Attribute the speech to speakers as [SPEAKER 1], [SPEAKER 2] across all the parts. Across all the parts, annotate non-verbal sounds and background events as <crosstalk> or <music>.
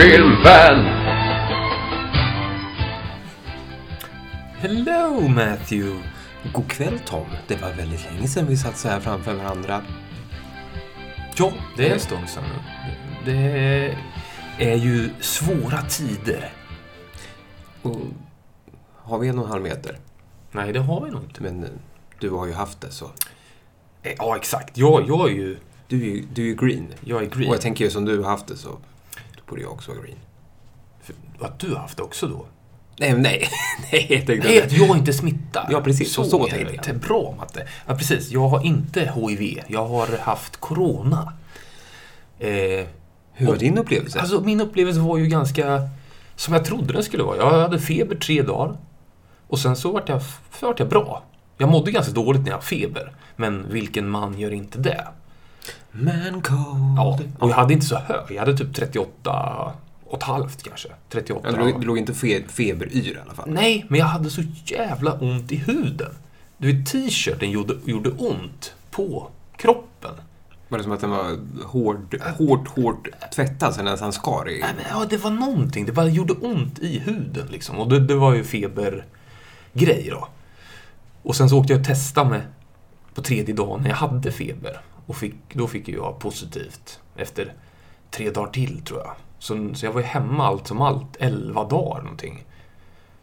[SPEAKER 1] filmfan.
[SPEAKER 2] Hello Matthew! God kväll Tom. Det var väldigt länge sedan vi satt så här framför varandra. Ja,
[SPEAKER 3] Det är en stund sedan nu.
[SPEAKER 2] Det är ju svåra tider. Och har vi en och en halv meter?
[SPEAKER 3] Nej, det har vi nog inte.
[SPEAKER 2] Men eh, du har ju haft det så.
[SPEAKER 3] Eh, Ja, exakt. Ja, jag är ju...
[SPEAKER 2] Du är ju, du är ju green.
[SPEAKER 3] Jag är green.
[SPEAKER 2] Och jag tänker ju som du har haft det så då borde jag också vara green.
[SPEAKER 3] För- Att du har haft det också då?
[SPEAKER 2] Nej, men nej. <laughs> nej, jag tänkte
[SPEAKER 3] Nej,
[SPEAKER 2] att-
[SPEAKER 3] att jag inte smittar.
[SPEAKER 2] Ja, precis.
[SPEAKER 3] Så,
[SPEAKER 2] Så
[SPEAKER 3] är det.
[SPEAKER 2] tänkte jag.
[SPEAKER 3] Bra, Matte. Ja, precis. Jag har inte HIV. Jag har haft corona. Eh,
[SPEAKER 2] Hur var
[SPEAKER 3] och-
[SPEAKER 2] din upplevelse?
[SPEAKER 3] Alltså, min upplevelse var ju ganska som jag trodde den skulle vara. Jag hade feber tre dagar och sen så vart jag, så vart jag bra. Jag mådde ganska dåligt när jag hade feber, men vilken man gör inte det?
[SPEAKER 2] Man cold.
[SPEAKER 3] Ja, och jag hade inte så hög. Jag hade typ 38 och ett halvt kanske. 38.
[SPEAKER 2] Ja, Du, låg, du låg inte fe, feberyr i alla fall.
[SPEAKER 3] Nej, men jag hade så jävla ont i huden. Du vet, t-shirten gjorde, gjorde ont på kroppen.
[SPEAKER 2] Var det som att den var hård, hårt, hårt tvättad sen nästan skar i?
[SPEAKER 3] Nej, men, ja, det var någonting. Det bara gjorde ont i huden liksom. Och det, det var ju febergrej då. Och sen så åkte jag och testade mig på tredje dagen när jag hade feber. Och fick, då fick ju jag positivt efter tre dagar till tror jag. Så, så jag var ju hemma allt som allt, elva dagar någonting.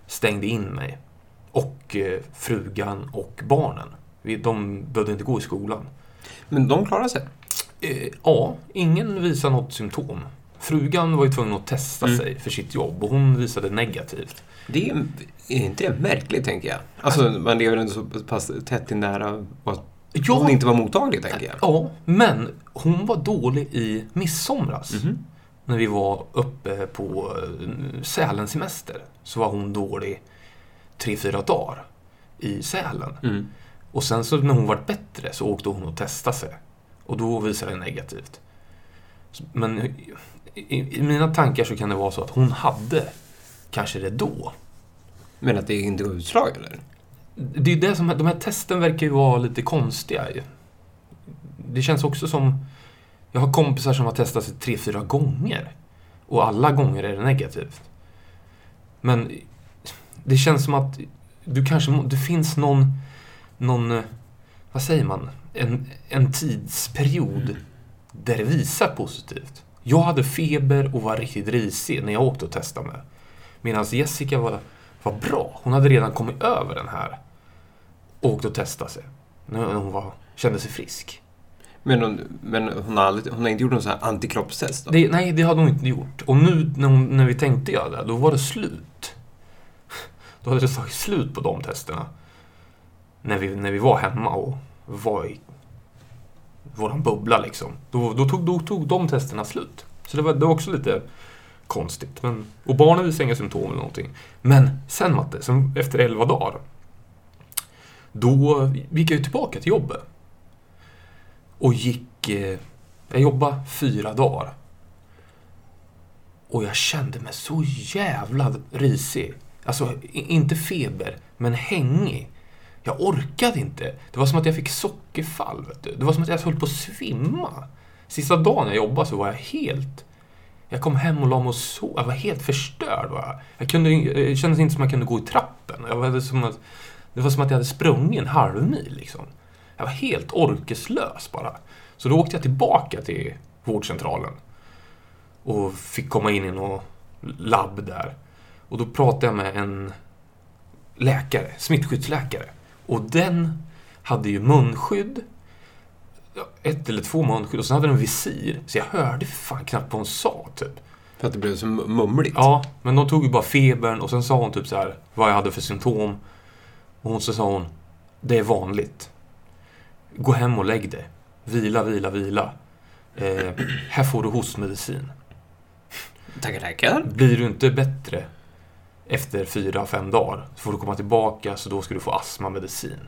[SPEAKER 3] Stängde in mig. Och eh, frugan och barnen. Vi, de behövde inte gå i skolan.
[SPEAKER 2] Men de klarade sig.
[SPEAKER 3] Eh, ja, ingen visar något symptom. Frugan var ju tvungen att testa sig för sitt jobb och hon visade negativt.
[SPEAKER 2] Det är, är inte det märkligt, tänker jag? Alltså, man lever ändå så pass tätt i nära och att
[SPEAKER 3] Ja.
[SPEAKER 2] hon inte var mottaglig, tänker jag.
[SPEAKER 3] Ja, men hon var dålig i midsomras. När vi var uppe på eh, Sälen semester så var hon dålig tre, fyra dagar i Sälen.
[SPEAKER 2] Mm.
[SPEAKER 3] Och sen så när hon vart bättre så åkte hon och testade sig. Och då visade det negativt. Så- Men i, i, i mina tankar så kan det vara så att hon hade kanske det då.
[SPEAKER 2] Men att det inte gav utslag, eller?
[SPEAKER 3] Det är ju det som, de här testen verkar ju vara lite konstiga ju. Det känns också som, jag har kompisar som har testat sig tre, fyra gånger. Och alla gånger är det negativt. Men det känns som att du kanske, må- det finns någon, någon, eh, vad säger man, en, en tidsperiod där det visar positivt. Jag hade feber och var riktigt risig när jag åkte och testade mig. Medan Jessica var, var bra. Hon hade redan kommit över den här. Och åkte och testade sig. När hon var, kände sig frisk.
[SPEAKER 2] Men hon, men hon, har, aldrig, hon har inte gjort någon sån här antikroppstest? Då.
[SPEAKER 3] Det, nej, det hade hon inte gjort. Och nu när, hon, när vi tänkte göra det, då var det slut. Då hade det tagit slut på de testerna. När vi, när vi var hemma och var i våran bubbla liksom. Då, då, tog, då tog de testerna slut. Så det var, det var också lite konstigt. Men, och barnen visade inga symptom eller någonting. Men sen Matte, sen efter 11 dagar. Då gick jag ju tillbaka till jobbet. Och gick... Eh, jag jobbade fyra dagar. Och jag kände mig så jävla risig. Alltså, i- inte feber, men hängig. Jag orkade inte. Det var som att jag fick sockerfall. Vet du. Det var som att jag höll på att svimma. Sista dagen jag jobbade så var jag helt... Jag kom hem och la mig och sov. Jag var helt förstörd. Var jag. Jag, kunde, jag kändes inte som att jag kunde gå i trappen. Jag var som att, det var som att jag hade sprungit en halv mil. Liksom. Jag var helt orkeslös bara. Så då åkte jag tillbaka till vårdcentralen och fick komma in i något labb där. Och då pratade jag med en läkare, smittskyddsläkare. Och den hade ju munskydd, ja, ett eller två munskydd, och sen hade den visir. Så jag hörde fan knappt vad hon sa, typ.
[SPEAKER 2] För att det blev så mumligt?
[SPEAKER 3] Ja, men de tog ju bara febern och sen sa hon typ så här vad jag hade för symptom. Och hon, så sa hon, det är vanligt. Gå hem och lägg dig. Vila, vila, vila. Eh, här får du hostmedicin.
[SPEAKER 2] Tackar, tackar.
[SPEAKER 3] Blir du inte bättre efter fyra, fem dagar så får du komma tillbaka så då ska du få astmamedicin.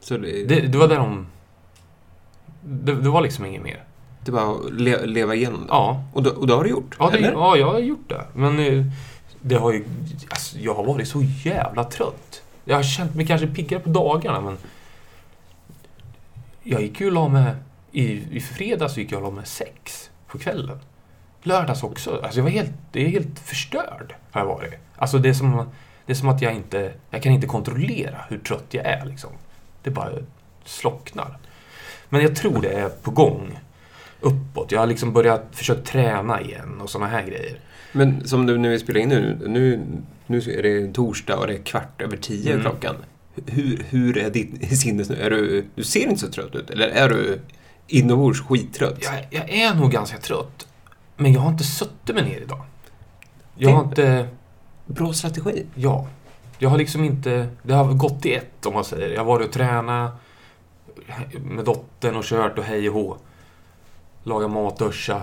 [SPEAKER 2] Så det,
[SPEAKER 3] Det,
[SPEAKER 2] det,
[SPEAKER 3] det var där de... Det, det var liksom inget mer.
[SPEAKER 2] är bara att le, leva igenom det.
[SPEAKER 3] Ja,
[SPEAKER 2] Och, då, och det har du gjort?
[SPEAKER 3] Ja, det,
[SPEAKER 2] eller?
[SPEAKER 3] ja, jag har gjort det. Men eh, det har ju, alltså, jag har varit så jävla trött. Jag har känt mig kanske piggare på dagarna, men... Jag gick ju och la mig... I, I fredags gick jag och la mig sex på kvällen. lördags också. Alltså jag var helt, det är helt förstörd har jag varit. Alltså det är som, det är som att jag inte, jag kan inte kontrollera hur trött jag är liksom. Det bara slocknar. Men jag tror det är på gång uppåt. Jag har liksom börjat försöka träna igen och sådana här grejer.
[SPEAKER 2] Men som du när vi spelar in nu, nu, nu är det torsdag och det är kvart över tio
[SPEAKER 3] Mm.
[SPEAKER 2] klockan. Hur, hur är ditt <laughs> sinnes nu? Är du, du ser inte så trött ut, eller är du inombords skittrött?
[SPEAKER 3] Jag, jag är nog ganska trött, men jag har inte suttit mig ner idag. Jag har inte...
[SPEAKER 2] Bra strategi.
[SPEAKER 3] Ja. Jag har liksom inte... Det har gått i ett om man säger. Jag har varit och tränat med dottern och kört och hej och hå. Lagat mat, duscha,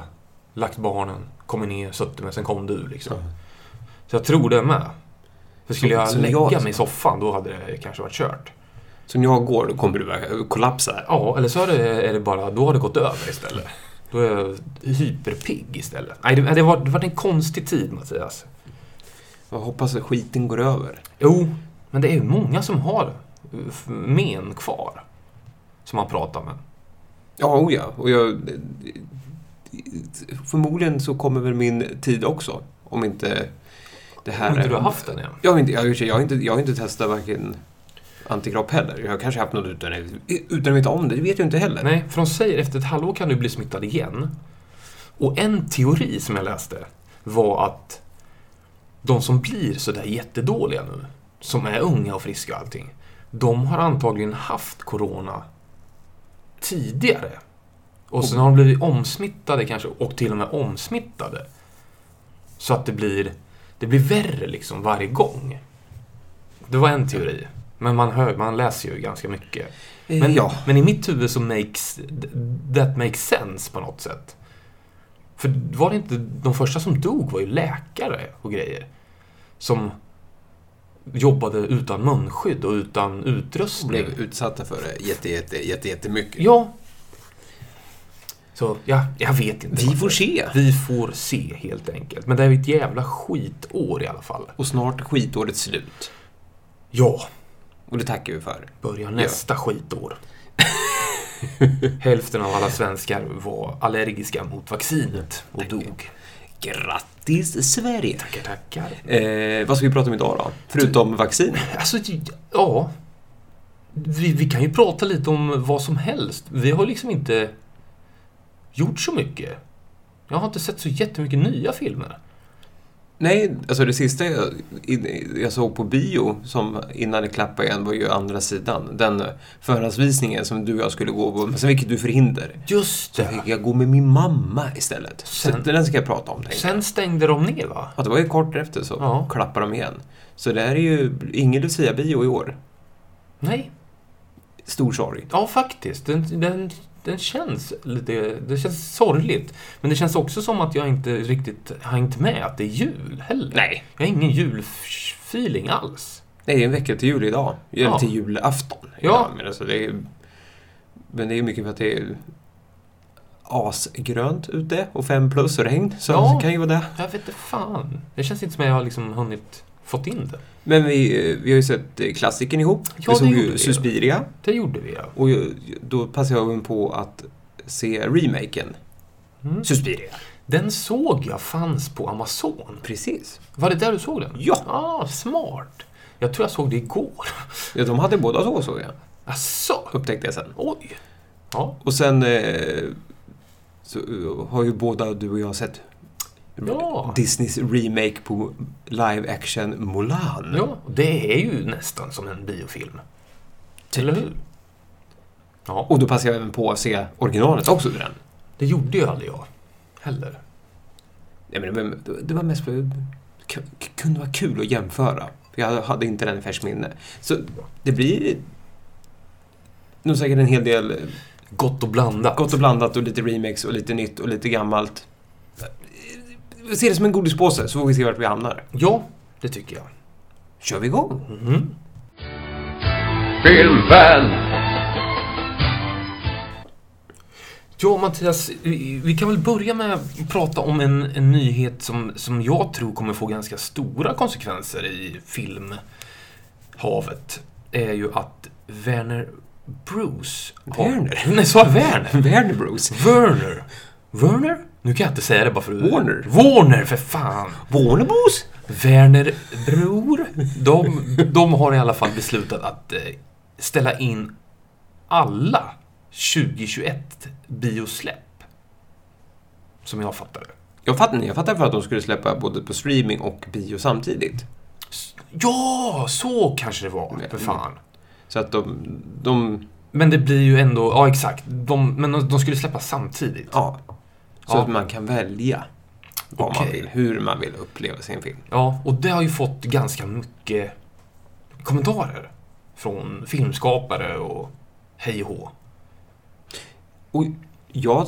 [SPEAKER 3] lagt barnen, kommit ner, suttit mig, sen kom du liksom. Så jag tror det med. För skulle
[SPEAKER 2] Så-
[SPEAKER 3] jag
[SPEAKER 2] så
[SPEAKER 3] lägga
[SPEAKER 2] jag-
[SPEAKER 3] mig i soffan då hade det kanske varit kört.
[SPEAKER 2] Så när jag går, då kommer du bara kollapsa. här.
[SPEAKER 3] Ja, eller så är det, är det bara, då har det gått över istället. Då är jag hyperpigg istället. Nej, det, det, var, det var en konstig tid Mattias.
[SPEAKER 2] Jag hoppas att skiten går över.
[SPEAKER 3] Jo, men det är ju många som har f- men kvar. Som man pratar med.
[SPEAKER 2] Ja, oh ja. Och jag, förmodligen så kommer väl min tid också. Om inte det här...
[SPEAKER 3] Om inte
[SPEAKER 2] är-
[SPEAKER 3] du har haft den än.
[SPEAKER 2] Jag har inte, jag, har i och för sig- jag har inte, jag har inte testat varken antikropp heller. Jag har kanske haft något utan, utan att veta om det. Det vet jag inte heller.
[SPEAKER 3] Nej, för de säger efter ett halvår kan du bli smittad igen. Och en teori som jag läste var att de som blir sådär jättedåliga nu, som är unga och friska och allting, de har antagligen haft corona tidigare. Och sen har de blivit omsmittade kanske, och till och med omsmittade. Så att det blir, det blir värre liksom varje gång. Det var en teori. Men man, hör, man läser ju ganska mycket. Men,
[SPEAKER 2] Men, ja.
[SPEAKER 3] men i mitt huvud så makes that makes sense på något sätt. För var det inte, de första som dog var ju läkare och grejer. Som jobbade utan munskydd och utan utrustning.
[SPEAKER 2] Blev utsatta för det jätte, jätte, jätte, jättemycket.
[SPEAKER 3] Ja. Så, ja, jag vet inte.
[SPEAKER 2] Vi får se.
[SPEAKER 3] Vi får se helt enkelt. Men det är ju ett jävla skitår i alla fall.
[SPEAKER 2] Och snart är skitåret slut.
[SPEAKER 3] Ja,
[SPEAKER 2] Och det tackar vi för.
[SPEAKER 3] börjar nästa skitår. <laughs> Hälften av alla svenskar var allergiska mot vaccinet och dog.
[SPEAKER 2] Grattis Sverige!
[SPEAKER 3] Tackar, tackar.
[SPEAKER 2] Eh, vad ska vi prata om idag då? Förutom vaccin?
[SPEAKER 3] Alltså, ja. Vi, vi kan ju prata lite om vad som helst. Vi har liksom inte gjort så mycket. Jag har inte sett så jättemycket nya filmer.
[SPEAKER 2] Nej, alltså det sista jag, i- jag såg på bio som innan det klappade igen var ju andra sidan. Den förhandsvisningen som du och jag skulle gå på, men sen fick du förhinder.
[SPEAKER 3] Just
[SPEAKER 2] Så fick jag gå med min mamma istället.
[SPEAKER 3] Sen-
[SPEAKER 2] så den ska jag prata om. Sen,
[SPEAKER 3] Sen stängde de ner va?
[SPEAKER 2] ja, det var ju kort efter så
[SPEAKER 3] Ja.
[SPEAKER 2] klappade de igen. Så det här är ju ingen Lucia-bio i år.
[SPEAKER 3] Nej.
[SPEAKER 2] Stor sorg.
[SPEAKER 3] Ja, faktiskt. Den, den, den känns lite... Det känns sorgligt. Men det känns också som att jag inte riktigt hängt med att det är jul heller.
[SPEAKER 2] Nej.
[SPEAKER 3] Jag har ingen julfeeling alls.
[SPEAKER 2] Nej, det är en vecka till jul idag. Eller
[SPEAKER 3] Ja.
[SPEAKER 2] till julafton.
[SPEAKER 3] Ja.
[SPEAKER 2] idag, Men, alltså det är, men det är mycket för att det är asgrönt ute och fem plus och regn. Så
[SPEAKER 3] Ja.
[SPEAKER 2] det kan ju vara det.
[SPEAKER 3] Jag vet inte fan. Det känns inte som att jag har liksom hunnit fått in det.
[SPEAKER 2] Men vi, eh, vi har ju sett eh, klassiken ihop.
[SPEAKER 3] Ja,
[SPEAKER 2] vi såg
[SPEAKER 3] det gjorde
[SPEAKER 2] ju
[SPEAKER 3] vi.
[SPEAKER 2] Suspiria.
[SPEAKER 3] Det gjorde vi ja.
[SPEAKER 2] Och ju- då passade jag även på att se remaken.
[SPEAKER 3] Mm.
[SPEAKER 2] Suspiria.
[SPEAKER 3] Den såg jag fanns på Amazon.
[SPEAKER 2] Precis.
[SPEAKER 3] Var det där du såg den?
[SPEAKER 2] Ja.
[SPEAKER 3] Ah, smart. Jag tror jag såg det igår.
[SPEAKER 2] ja, de hade båda så såg jag.
[SPEAKER 3] Asså?
[SPEAKER 2] Upptäckte jag sen.
[SPEAKER 3] Oj. Ja.
[SPEAKER 2] Och sen eh, så eh, har ju båda du och jag sett
[SPEAKER 3] Ja.
[SPEAKER 2] Disneys remake på live action Mulan.
[SPEAKER 3] Ja, och det är ju nästan som en biofilm.
[SPEAKER 2] Typ.
[SPEAKER 3] Eller hur? Ja,
[SPEAKER 2] Och då passade jag även på att se originalet också till den.
[SPEAKER 3] det gjorde ju aldrig jag heller.
[SPEAKER 2] Nej, men det, var- det var mest för det k- kunde vara kul att jämföra. För jag hade inte den i färskt minne. Så det blir nog säkert en hel del
[SPEAKER 3] Gott och blandat.
[SPEAKER 2] gott och blandat och lite remix och lite nytt och lite gammalt. Vi ser det som en godispåse så får vi se vart vi hamnar.
[SPEAKER 3] Ja, det tycker jag.
[SPEAKER 2] Kör vi igång!
[SPEAKER 3] Mhm.
[SPEAKER 1] Filmfan!
[SPEAKER 3] Ja, Mattias, vi vi kan väl börja med att prata om en, en nyhet som, som jag tror kommer få ganska stora konsekvenser i filmhavet. är ju att Werner Bruce... har-
[SPEAKER 2] Werner?
[SPEAKER 3] <laughs> Nej, sa jag Werner?
[SPEAKER 2] Werner Bruce.
[SPEAKER 3] Werner. Werner? Nu kan jag inte säga det bara för att...
[SPEAKER 2] Warner.
[SPEAKER 3] Warner, för fan!
[SPEAKER 2] Warnerbos?
[SPEAKER 3] Werner Bror. De, de har i alla fall beslutat att eh, ställa in alla 2021 biosläpp. Som jag fattar det.
[SPEAKER 2] Jag fattar, jag fattar för att de skulle släppa både på streaming och bio samtidigt.
[SPEAKER 3] S- Ja, så kanske det var. För fan.
[SPEAKER 2] Så att de... de
[SPEAKER 3] Men det blir ju ändå, ja exakt. De, men de, de skulle släppa samtidigt.
[SPEAKER 2] ja. Så
[SPEAKER 3] Ja.
[SPEAKER 2] att man kan välja vad man
[SPEAKER 3] Okej.
[SPEAKER 2] vill, hur man vill uppleva sin film.
[SPEAKER 3] Ja, och det har ju fått ganska mycket kommentarer. Från filmskapare och hej och hå.
[SPEAKER 2] Och jag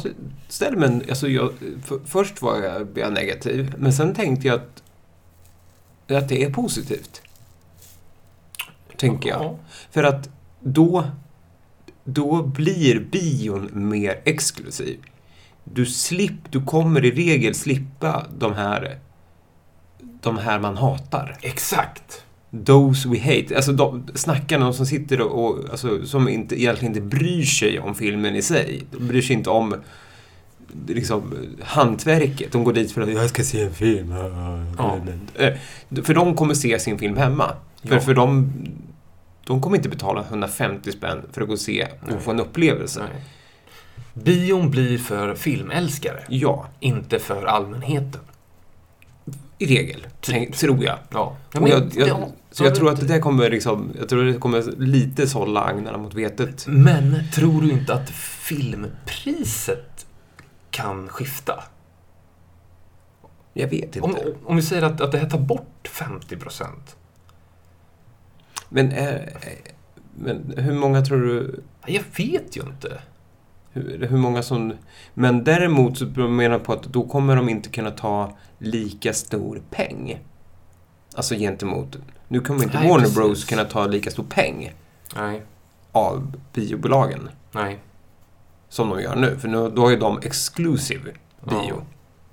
[SPEAKER 2] ställer mig... en- Alltså jag, för, först var jag, blev jag negativ, men sen tänkte jag att, att det är positivt. Tänker jag.
[SPEAKER 3] Ja.
[SPEAKER 2] För att då, då blir bion mer exklusiv. Du, slipp, du kommer i regel slippa de här, de här man hatar.
[SPEAKER 3] Exakt.
[SPEAKER 2] Those we hate. Alltså de, snackarna de som sitter och, och alltså, som inte, egentligen inte bryr sig om filmen i sig. De bryr sig inte om liksom, hantverket. De går dit för att jag ska se en film.
[SPEAKER 3] Ja.
[SPEAKER 2] Eh, För de kommer se sin film hemma. För,
[SPEAKER 3] Ja.
[SPEAKER 2] för de, de kommer inte betala 150 spänn för att gå och se
[SPEAKER 3] Nej.
[SPEAKER 2] och få en upplevelse.
[SPEAKER 3] Nej. Bion blir för filmälskare,
[SPEAKER 2] Ja,
[SPEAKER 3] inte för allmänheten.
[SPEAKER 2] i regel. Tänk, tror jag.
[SPEAKER 3] Typ. Ja.
[SPEAKER 2] Och jag, jag, så jag tror att det där kommer liksom, jag tror det kommer lite sålla agnarna mot vetet.
[SPEAKER 3] Men tror du inte att filmpriset kan skifta?
[SPEAKER 2] Jag vet inte.
[SPEAKER 3] Om, om vi säger att, att det här tar bort 50 procent.
[SPEAKER 2] Men, eh, eh, men hur många tror du...
[SPEAKER 3] Jag vet ju inte.
[SPEAKER 2] Hur, hur många som... Men däremot så menar jag på att då kommer de inte kunna ta lika stor peng. Alltså gentemot... Nu kommer inte
[SPEAKER 3] Nej,
[SPEAKER 2] Warner
[SPEAKER 3] precis.
[SPEAKER 2] Bros kunna ta lika stor peng
[SPEAKER 3] Nej,
[SPEAKER 2] av biobolagen
[SPEAKER 3] nej.
[SPEAKER 2] som de gör nu. För nu, då har ju de exclusive bio.
[SPEAKER 3] Ja.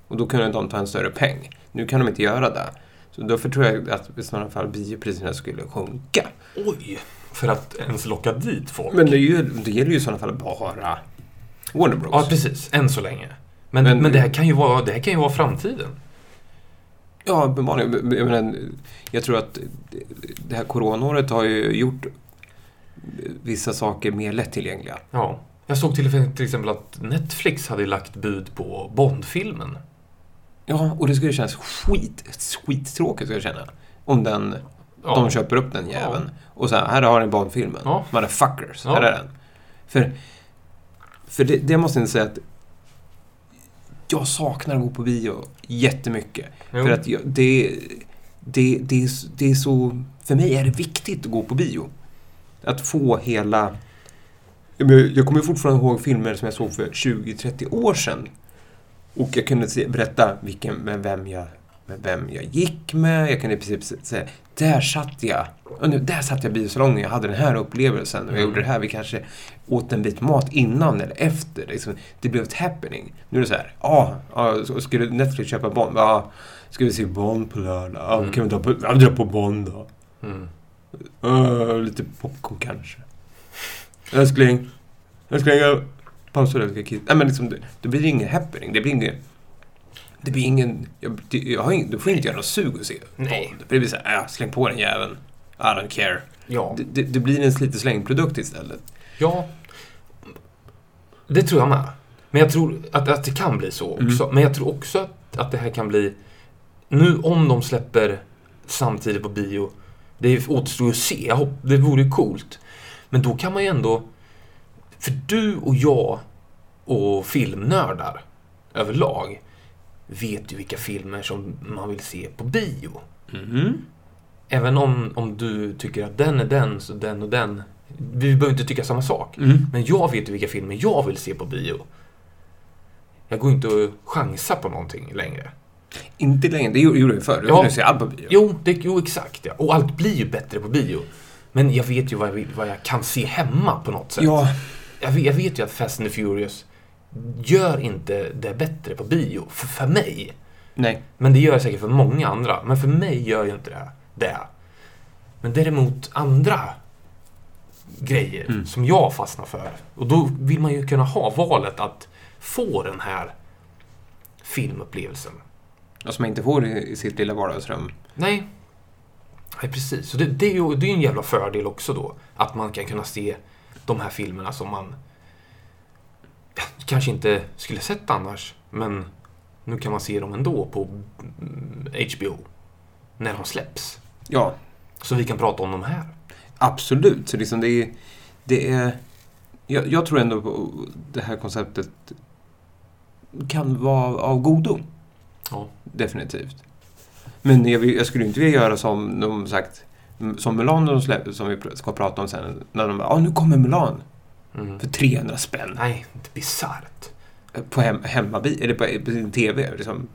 [SPEAKER 2] Och då kunde de ta en större peng. Nu kan de inte göra det. Så därför tror jag att i sådana fall biopriserna skulle sjunka.
[SPEAKER 3] Oj! För att ens locka dit folk.
[SPEAKER 2] Men det, är ju, det gäller ju i sådana fall bara Warner Bros.
[SPEAKER 3] Ja, precis. Än så länge. Men,
[SPEAKER 2] Men-
[SPEAKER 3] men, det, här kan ju vara, det här kan ju vara framtiden.
[SPEAKER 2] Ja, uppenbarligen. Men- men Jag, menar, jag tror att det- det här coronaåret har ju gjort vissa saker mer lättillgängliga.
[SPEAKER 3] Ja. Jag såg till, till exempel att Netflix hade lagt bud på Bondfilmen.
[SPEAKER 2] Ja, och det skulle kännas skit, skittråkigt skulle jag känna. Om den,
[SPEAKER 3] Ja.
[SPEAKER 2] de köper upp den jäveln. Och så här, här har ni barnfilmen.
[SPEAKER 3] Ja.
[SPEAKER 2] Motherfuckers,
[SPEAKER 3] Ja.
[SPEAKER 2] här är den. För, för det, det måste jag inte säga att jag saknar att gå på bio jättemycket.
[SPEAKER 3] Jo.
[SPEAKER 2] För att jag, det, det, det, är s- det är så... För mig är det viktigt att gå på bio. Att få hela... Ja, men Jag jag kommer fortfarande ihåg filmer som jag såg för 20-30 år sedan. Och jag kunde se, berätta vilken, med vem, jag, med vem jag gick med. Jag kunde i princip s- säga, där satt jag. Ja, nu, där satt jag i biosalongen. Jag hade den här upplevelsen. Och jag
[SPEAKER 3] Mm.
[SPEAKER 2] gjorde det här. Vi kanske åt en bit mat innan eller efter. Liksom, det blev ett happening. Nu är det så här, ja, ja, så skulle Netflix köpa Bond? Ja, ska vi se Bond på lördag? Ja,
[SPEAKER 3] Mm.
[SPEAKER 2] kan vi dra på, ja, vi drar på Bond då?
[SPEAKER 3] Mm.
[SPEAKER 2] Eh, lite popcorn kanske. Älskling. Älskling, jag pausar jag ska kissa. Nej men liksom, det, det blir ingen happening. Det blir ingen... Det blir ingen... Jag, det, jag har ingen, du får inte göra något sug att se
[SPEAKER 3] Nej.
[SPEAKER 2] Bond. Det blir såhär, äh, släng på den jäveln. I don't care.
[SPEAKER 3] Ja.
[SPEAKER 2] Det, det, det blir en lite slängprodukt istället.
[SPEAKER 3] ja. Det tror jag med. Men jag tror att, att det kan bli så också. Men jag tror också att, att det här kan bli... Nu om de släpper samtidigt på bio, det återstår att se. Jag hopp, det vore ju coolt. Men då kan man ju ändå... För du och jag och filmnördar överlag vet ju vilka filmer som man vill se på bio. Mm.
[SPEAKER 2] Mhm.
[SPEAKER 3] Även om, om du tycker att den är den, så den och den. Vi behöver inte tycka samma sak.
[SPEAKER 2] Mm.
[SPEAKER 3] Men jag vet ju vilka filmer jag vill se på bio. Jag går inte och chansar på någonting längre.
[SPEAKER 2] Inte längre. Det gjorde gjorde jag förr. Då
[SPEAKER 3] Ja.
[SPEAKER 2] kunde jag se allt på bio.
[SPEAKER 3] Jo, det, jo exakt ja. Och allt blir ju bättre på bio. Men jag vet ju vad jag, vill- vad jag kan se hemma på något sätt.
[SPEAKER 2] Ja.
[SPEAKER 3] Jag, vet, jag vet ju att Fast and the Furious gör inte det bättre på bio, för, för mig.
[SPEAKER 2] Nej.
[SPEAKER 3] Men det gör jag säkert för många andra. Men för mig gör ju inte det. det. Men däremot andra grejer som jag fastnar för. Och då vill man ju kunna ha valet att få den här filmupplevelsen.
[SPEAKER 2] Och som man inte får i i sitt lilla vardagsrum.
[SPEAKER 3] Nej. Nej, precis. Så det, det är ju det är ju en jävla fördel också då. Att man kan kunna se de här filmerna som man ja, kanske inte skulle sett annars. Men nu kan man se dem ändå på mm, HBO. När de släpps.
[SPEAKER 2] Ja,
[SPEAKER 3] Så vi kan prata om dem här.
[SPEAKER 2] Absolut. Så liksom det är, det är, jag, jag tror ändå på det här konceptet kan vara av godo.
[SPEAKER 3] Ja.
[SPEAKER 2] Definitivt. Men jag, vill- jag skulle inte vilja göra som de sagt, som Mulan de släpp, som vi pr- ska prata om sen. När de bara, ah, nu kommer Mulan
[SPEAKER 3] Mm.
[SPEAKER 2] för 300 spänn
[SPEAKER 3] Nej, det är bisarrt.
[SPEAKER 2] på hem, hemmabi, eller på, på sin TV. Liksom.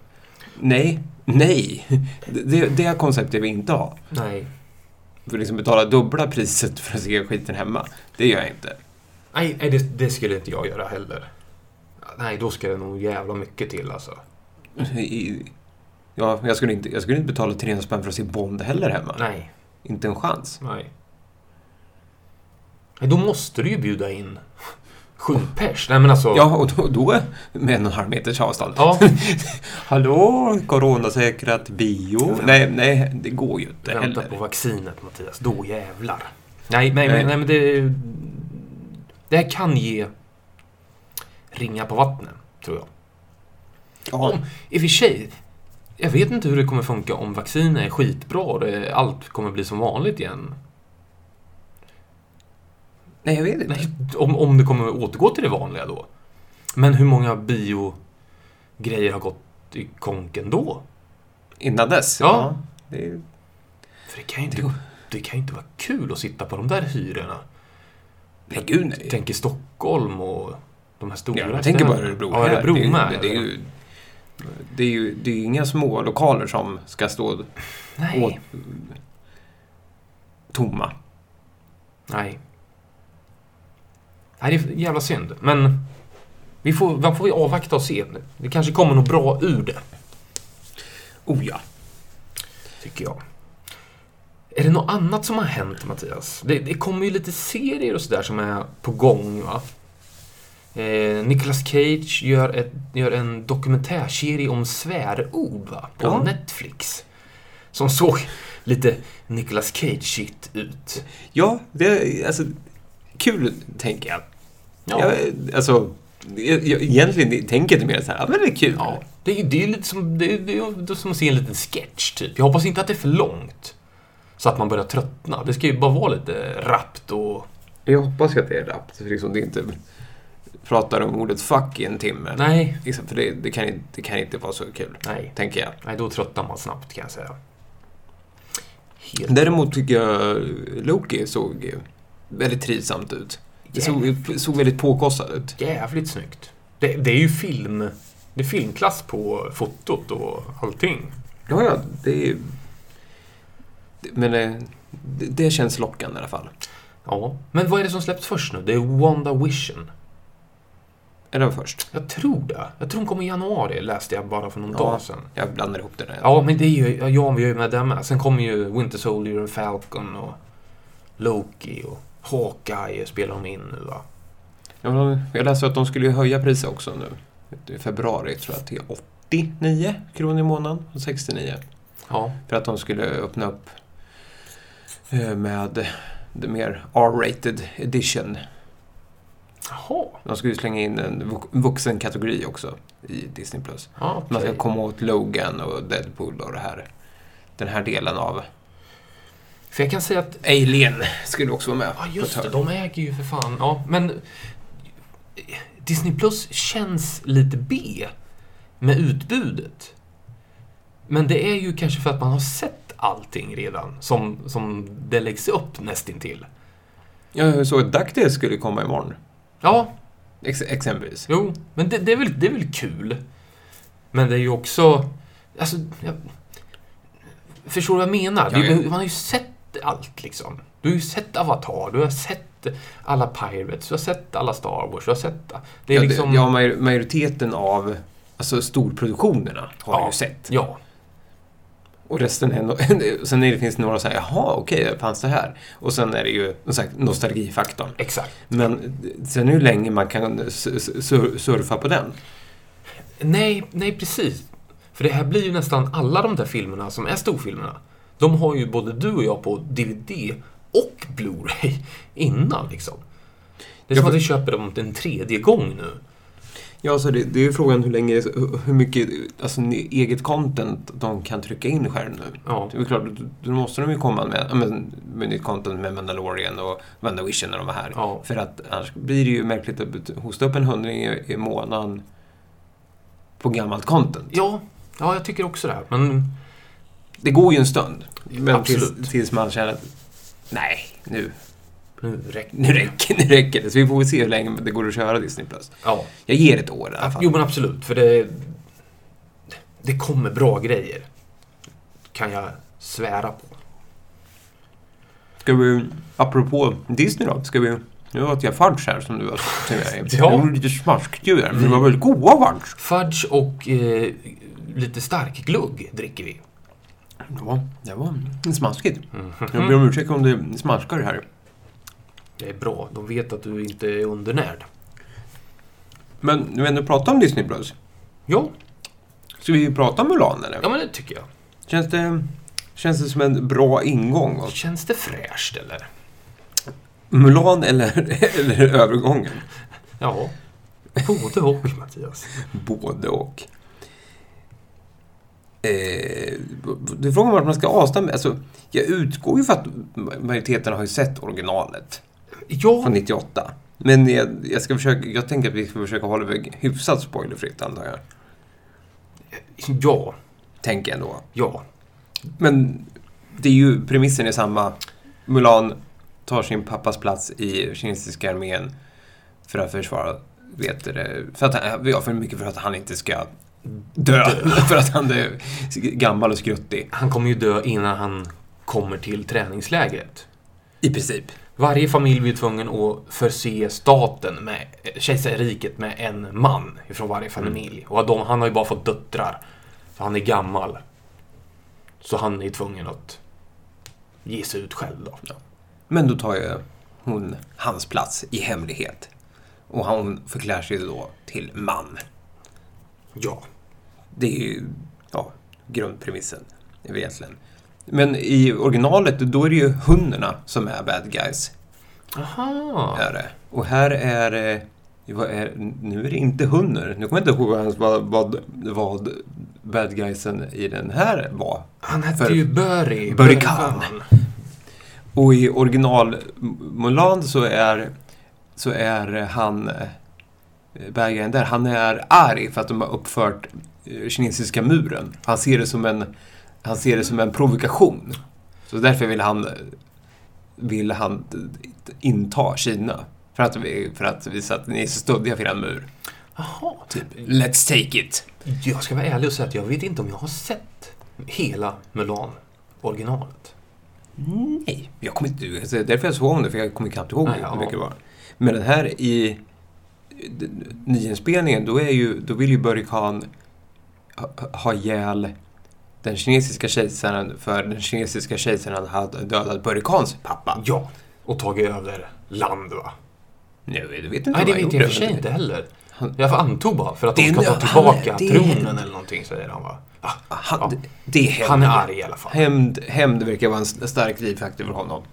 [SPEAKER 2] Nej, nej. <laughs> Det, det konceptet vill jag inte ha.
[SPEAKER 3] Nej.
[SPEAKER 2] För liksom betala dubbla priset för att se skiten hemma, det gör jag inte.
[SPEAKER 3] Nej, nej, det, det skulle inte jag göra heller. Nej, då ska det nog jävla mycket till alltså.
[SPEAKER 2] I, ja, jag, skulle inte, jag skulle inte betala 300 spänn för att se Bond heller hemma.
[SPEAKER 3] Nej,
[SPEAKER 2] Inte en chans.
[SPEAKER 3] nej. Nej, då måste du ju bjuda in sju pers. Nej, men alltså...
[SPEAKER 2] Ja, och då, då med en och en halv meters avstånd.
[SPEAKER 3] <laughs> ja.
[SPEAKER 2] Hallå, coronasäkrat bio. Nej, nej, det går ju inte
[SPEAKER 3] Vänta
[SPEAKER 2] heller.
[SPEAKER 3] på vaccinet Mattias, då jävlar. Eh. Nej, nej,
[SPEAKER 2] Nej.
[SPEAKER 3] nej. nej men det... Det här kan ge ringa på vattnet, tror jag.
[SPEAKER 2] Ja,
[SPEAKER 3] Om, I och för sig, jag vet inte hur det kommer funka om vaccinet är skitbra och det, allt kommer bli som vanligt igen.
[SPEAKER 2] nej, jag vet inte.
[SPEAKER 3] Nej, om, om det kommer återgå till det vanliga då. Men hur många biogrejer har gått i konken då?
[SPEAKER 2] Innan dess.
[SPEAKER 3] Ja.
[SPEAKER 2] det är,
[SPEAKER 3] För det kan ju inte, det kan ju inte vara kul att sitta på de där hyrorna.
[SPEAKER 2] nej, gud nej.
[SPEAKER 3] Tänk i Stockholm och de här stora
[SPEAKER 2] Ja, jag tänker bara Örebro
[SPEAKER 3] Ja,
[SPEAKER 2] här.
[SPEAKER 3] Örebro
[SPEAKER 2] det, är ju-
[SPEAKER 3] med.
[SPEAKER 2] det, är ju, det är ju det är ju inga små lokaler som ska stå
[SPEAKER 3] Nej.
[SPEAKER 2] åt, tomma.
[SPEAKER 3] Nej. Nej, det är jävla synd. Men vi får, vad får vi avvakta och se. nu. Det kanske kommer något bra ur det,
[SPEAKER 2] Oh ja.
[SPEAKER 3] tycker jag. Är det något annat som har hänt, Mattias? Det, det kommer ju lite serier och sådär som är på gång, va? Eh, Nicolas Cage gör, ett, gör en dokumentärserie om svärord, va? På
[SPEAKER 2] Ja.
[SPEAKER 3] Netflix. Som såg lite Nicolas Cage-shit ut.
[SPEAKER 2] Ja, det är alltså kul, tänker jag. jag alltså, jag, jag, egentligen tänker jag inte mer så här, ja, men det är kul.
[SPEAKER 3] Ja, det är ju det är ju lite som, det är, det är ju som att se en liten sketch typ. Jag hoppas inte att det är för långt. Så att man börjar tröttna. Det ska ju bara vara lite rappt och...
[SPEAKER 2] Jag hoppas att det är rappt, för liksom det inte pratar om ordet fuck i en timme.
[SPEAKER 3] Nej.
[SPEAKER 2] Liksom, för det, det, kan, inte- det kan inte vara så kul,
[SPEAKER 3] Nej.
[SPEAKER 2] tänker jag.
[SPEAKER 3] Nej, då tröttnar man snabbt kan jag säga. Helt
[SPEAKER 2] Däremot tycker jag Loki såg ju väldigt trivsamt ut. Det såg, såg väldigt påkostad ut.
[SPEAKER 3] jävligt snyggt. Det, det är ju film... Det är filmklass på fotot och allting.
[SPEAKER 2] Ja, ja, det är... Men eh, det, det känns lockande i alla fall.
[SPEAKER 3] Ja. Men vad är det som släpps först nu? Det är Wanda Vision.
[SPEAKER 2] Är det först?
[SPEAKER 3] Jag tror det. Jag tror den kommer i januari, läste jag bara för någon
[SPEAKER 2] Ja.
[SPEAKER 3] dag sedan.
[SPEAKER 2] Jag blandar ihop det där.
[SPEAKER 3] Ja, men det är ju, ja, ja, vi är ju med där med. Sen kommer ju Winter Soldier och Falcon och Loki och Hawkeye spelar de in nu va?
[SPEAKER 2] Ja, men Jag läste att de skulle ju höja priset också nu. I februari tror jag till 89 kronor i månaden och 69.
[SPEAKER 3] Ja.
[SPEAKER 2] För att de skulle öppna upp eh, med det mer R-rated edition.
[SPEAKER 3] Jaha.
[SPEAKER 2] De skulle ju slänga in en vux- vuxenkategori också i Disney+. Plus.
[SPEAKER 3] Ja,
[SPEAKER 2] Man
[SPEAKER 3] okej.
[SPEAKER 2] ska komma åt Logan och Deadpool och det här. Den här delen av
[SPEAKER 3] För jag kan säga att,
[SPEAKER 2] Alien skulle också vara med.
[SPEAKER 3] ja
[SPEAKER 2] på
[SPEAKER 3] just
[SPEAKER 2] ett
[SPEAKER 3] det,
[SPEAKER 2] hörn.
[SPEAKER 3] de äger ju för fan. Ja, men eh, Disney Plus känns lite B med utbudet. Men det är ju kanske för att man har sett allting redan som, som det läggs upp nästintill.
[SPEAKER 2] Jag såg att Ducktail skulle komma imorgon.
[SPEAKER 3] Ja,
[SPEAKER 2] Ex- exempelvis.
[SPEAKER 3] Jo, men det, det, är väl, det är väl kul. Men det är ju också... Alltså, jag, förstår du vad jag menar?
[SPEAKER 2] Ja,
[SPEAKER 3] Vi
[SPEAKER 2] ja.
[SPEAKER 3] behöver- Man har ju sett allt liksom. Du har ju sett Avatar, du har sett alla Pirates, du har sett alla Star Wars, du har sett... Det är
[SPEAKER 2] Ja, det-
[SPEAKER 3] liksom...
[SPEAKER 2] ja, major- majoriteten av alltså, storproduktionerna har jag
[SPEAKER 3] Ja.
[SPEAKER 2] ju sett.
[SPEAKER 3] ja,
[SPEAKER 2] Och resten är no <laughs> Sen är det, finns det några så här, jaha, okej, fanns det här? Och sen är det ju som sagt nostalgifaktorn.
[SPEAKER 3] exakt.
[SPEAKER 2] Men sen är det ju länge man kan s- s- sur- surfa på den.
[SPEAKER 3] Nej, nej precis. För det här blir ju nästan alla de där filmerna som är storfilmerna. De har ju både du och jag på DVD och Blu-ray <laughs> innan liksom. Det är
[SPEAKER 2] Ja,
[SPEAKER 3] som att
[SPEAKER 2] för-
[SPEAKER 3] vi köper dem en tredje gång nu.
[SPEAKER 2] Ja, så det, det är ju frågan hur länge, hur mycket alltså, ne- eget content de kan trycka in själv nu.
[SPEAKER 3] Ja.
[SPEAKER 2] Det är väl klart, då- då måste de ju komma med, ja, men, med nytt content med Mandalorian och WandaVision när de var här.
[SPEAKER 3] Ja.
[SPEAKER 2] För att annars blir det ju märkligt att bet- hosta upp en hundring i, i månaden på gammalt content.
[SPEAKER 3] Ja, ja, jag tycker också det. Här. Men
[SPEAKER 2] Det går ju en stund. Men tills,
[SPEAKER 3] Absolut.
[SPEAKER 2] tills man känner att nej, nu,
[SPEAKER 3] nu räcker
[SPEAKER 2] nu räcker nu räcker det. Så vi får väl se hur länge det går att köra Disney+. Plus.
[SPEAKER 3] Ja.
[SPEAKER 2] Jag ger ett år i alla fall.
[SPEAKER 3] Jo, men absolut. För det, det kommer bra grejer. Kan jag svära på.
[SPEAKER 2] Ska vi, apropå Disney då, ska vi... Nu åt jag fudge här som du har serverat.
[SPEAKER 3] Ja.
[SPEAKER 2] Det var lite smaskdjur, men det var väldigt goda fudge.
[SPEAKER 3] Fudge och eh, lite stark glugg dricker vi.
[SPEAKER 2] Ja, det var smaskigt.
[SPEAKER 3] Mm.
[SPEAKER 2] Jag ber om ursäkt om det smaskar här.
[SPEAKER 3] Det är bra. De vet att du inte är undernärd.
[SPEAKER 2] Men när vi ändå pratar om Disney Plus,
[SPEAKER 3] Ja,
[SPEAKER 2] ska vi prata om Mulan eller?
[SPEAKER 3] ja men det tycker jag.
[SPEAKER 2] Känns, det, känns det som en bra ingång? Och-
[SPEAKER 3] Känns det fräscht eller?
[SPEAKER 2] Mulan eller, <laughs> eller övergången?
[SPEAKER 3] Ja. Både <laughs> och Mattias.
[SPEAKER 2] Både och. Eh, det är frågan vart man ska avstanna. Alltså, jag utgår ju för att majoriteten har ju sett originalet
[SPEAKER 3] Ja,
[SPEAKER 2] från 98. Men jag, jag, ska försöka, jag tänker att vi ska försöka hålla det hyfsat spoilerfritt antar jag.
[SPEAKER 3] ja,
[SPEAKER 2] Tänker jag ändå.
[SPEAKER 3] ja.
[SPEAKER 2] Men det är ju, premissen är samma. Mulan tar sin pappas plats i kinesiska armén för att försvara, vet du det, för att han, ja, för mycket för att han inte ska dö. <laughs> för att han är gammal och skruttig.
[SPEAKER 3] Han kommer ju dö innan han kommer till träningslägret.
[SPEAKER 2] I princip.
[SPEAKER 3] Varje familj blir tvungen att förse staten med, eh, kejsarriket med en man ifrån varje familj. Och de, han har ju bara fått döttrar. Så han är gammal. Så han är tvungen att ge sig ut själv då.
[SPEAKER 2] Men då tar ju hon hans plats i hemlighet. Och hon förklär sig då till man.
[SPEAKER 3] Ja.
[SPEAKER 2] Det är ju ja, grundpremissen egentligen. Men i originalet, då är det ju hundarna som är bad guys.
[SPEAKER 3] Aha.
[SPEAKER 2] Är det. Och här är det... Vad är, nu är det inte hundar. Nu kommer jag inte ihåg ens vad, vad, vad bad guysen i den här var.
[SPEAKER 3] Han hette
[SPEAKER 2] För-
[SPEAKER 3] ju Böri.
[SPEAKER 2] Böri Khan. Och i original Mulan så är, så är han... eh, Bad guyen där, han är arg för att de har uppfört eh, kinesiska muren. Han ser det som en, han ser det som en provokation. Så därför vill han, vill han inta Kina. För att, vi- för att visa att ni är så stöddiga för er mur.
[SPEAKER 3] Jaha.
[SPEAKER 2] Typ. Let's take it!
[SPEAKER 3] Jag ska vara ärlig och säga att jag vet inte om jag har sett hela Mulan, originalet.
[SPEAKER 2] Nej, jag kommer inte ihåg. Så Därför jag såg om det, för jag kommer knappt ihåg
[SPEAKER 3] Nej, ja.
[SPEAKER 2] hur mycket det var. Men den här i d- nyinspelningen, då, är ju, då vill ju Börje Khan ha, ha ihjäl den kinesiska kejsaren för den kinesiska kejsaren hade dödat Börje Khans pappa.
[SPEAKER 3] Ja. Och tagit över land va?
[SPEAKER 2] Nu, det vet inte
[SPEAKER 3] Nej,
[SPEAKER 2] om
[SPEAKER 3] det vet
[SPEAKER 2] han gjorde,
[SPEAKER 3] jag i och för sig
[SPEAKER 2] men-
[SPEAKER 3] inte heller. Jag får antog bara, för att
[SPEAKER 2] Det
[SPEAKER 3] de
[SPEAKER 2] är
[SPEAKER 3] ska ta
[SPEAKER 2] nö-
[SPEAKER 3] tillbaka
[SPEAKER 2] han är- det är-
[SPEAKER 3] tronen eller någonting, säger han va? Ah,
[SPEAKER 2] Han,
[SPEAKER 3] Ja.
[SPEAKER 2] Det är hämnd.
[SPEAKER 3] Han är arg i alla fall.
[SPEAKER 2] Hämnd, hämnd verkar vara en s- stark drivfaktor för honom.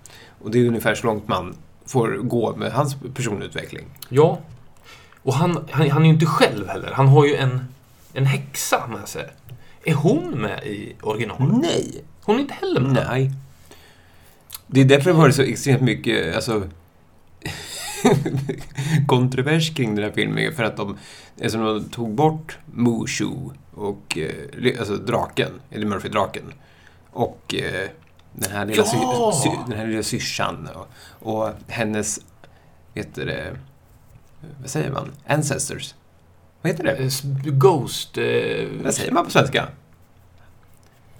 [SPEAKER 2] Och det är ungefär så långt man får gå med hans personutveckling.
[SPEAKER 3] Ja. Och han, han, han är ju inte själv heller. Han har ju en, en häxa med sig. Är hon med i originalet?
[SPEAKER 2] Nej!
[SPEAKER 3] Hon är inte heller med.
[SPEAKER 2] Nej. Det är därför det har varit så extremt mycket alltså, <laughs> kontrovers kring den här filmen. ju, För att de, eftersom de tog bort Mushu och eh, le- alltså draken, eller Murphy-draken. Och eh, den här lilla,
[SPEAKER 3] Ja!
[SPEAKER 2] sy, sy, den här lilla syrsan och, och hennes, heter det, vad säger man? Ancestors. Vad heter
[SPEAKER 3] Eh,
[SPEAKER 2] det?
[SPEAKER 3] s- Ghost... Eh,
[SPEAKER 2] Vad säger man på svenska?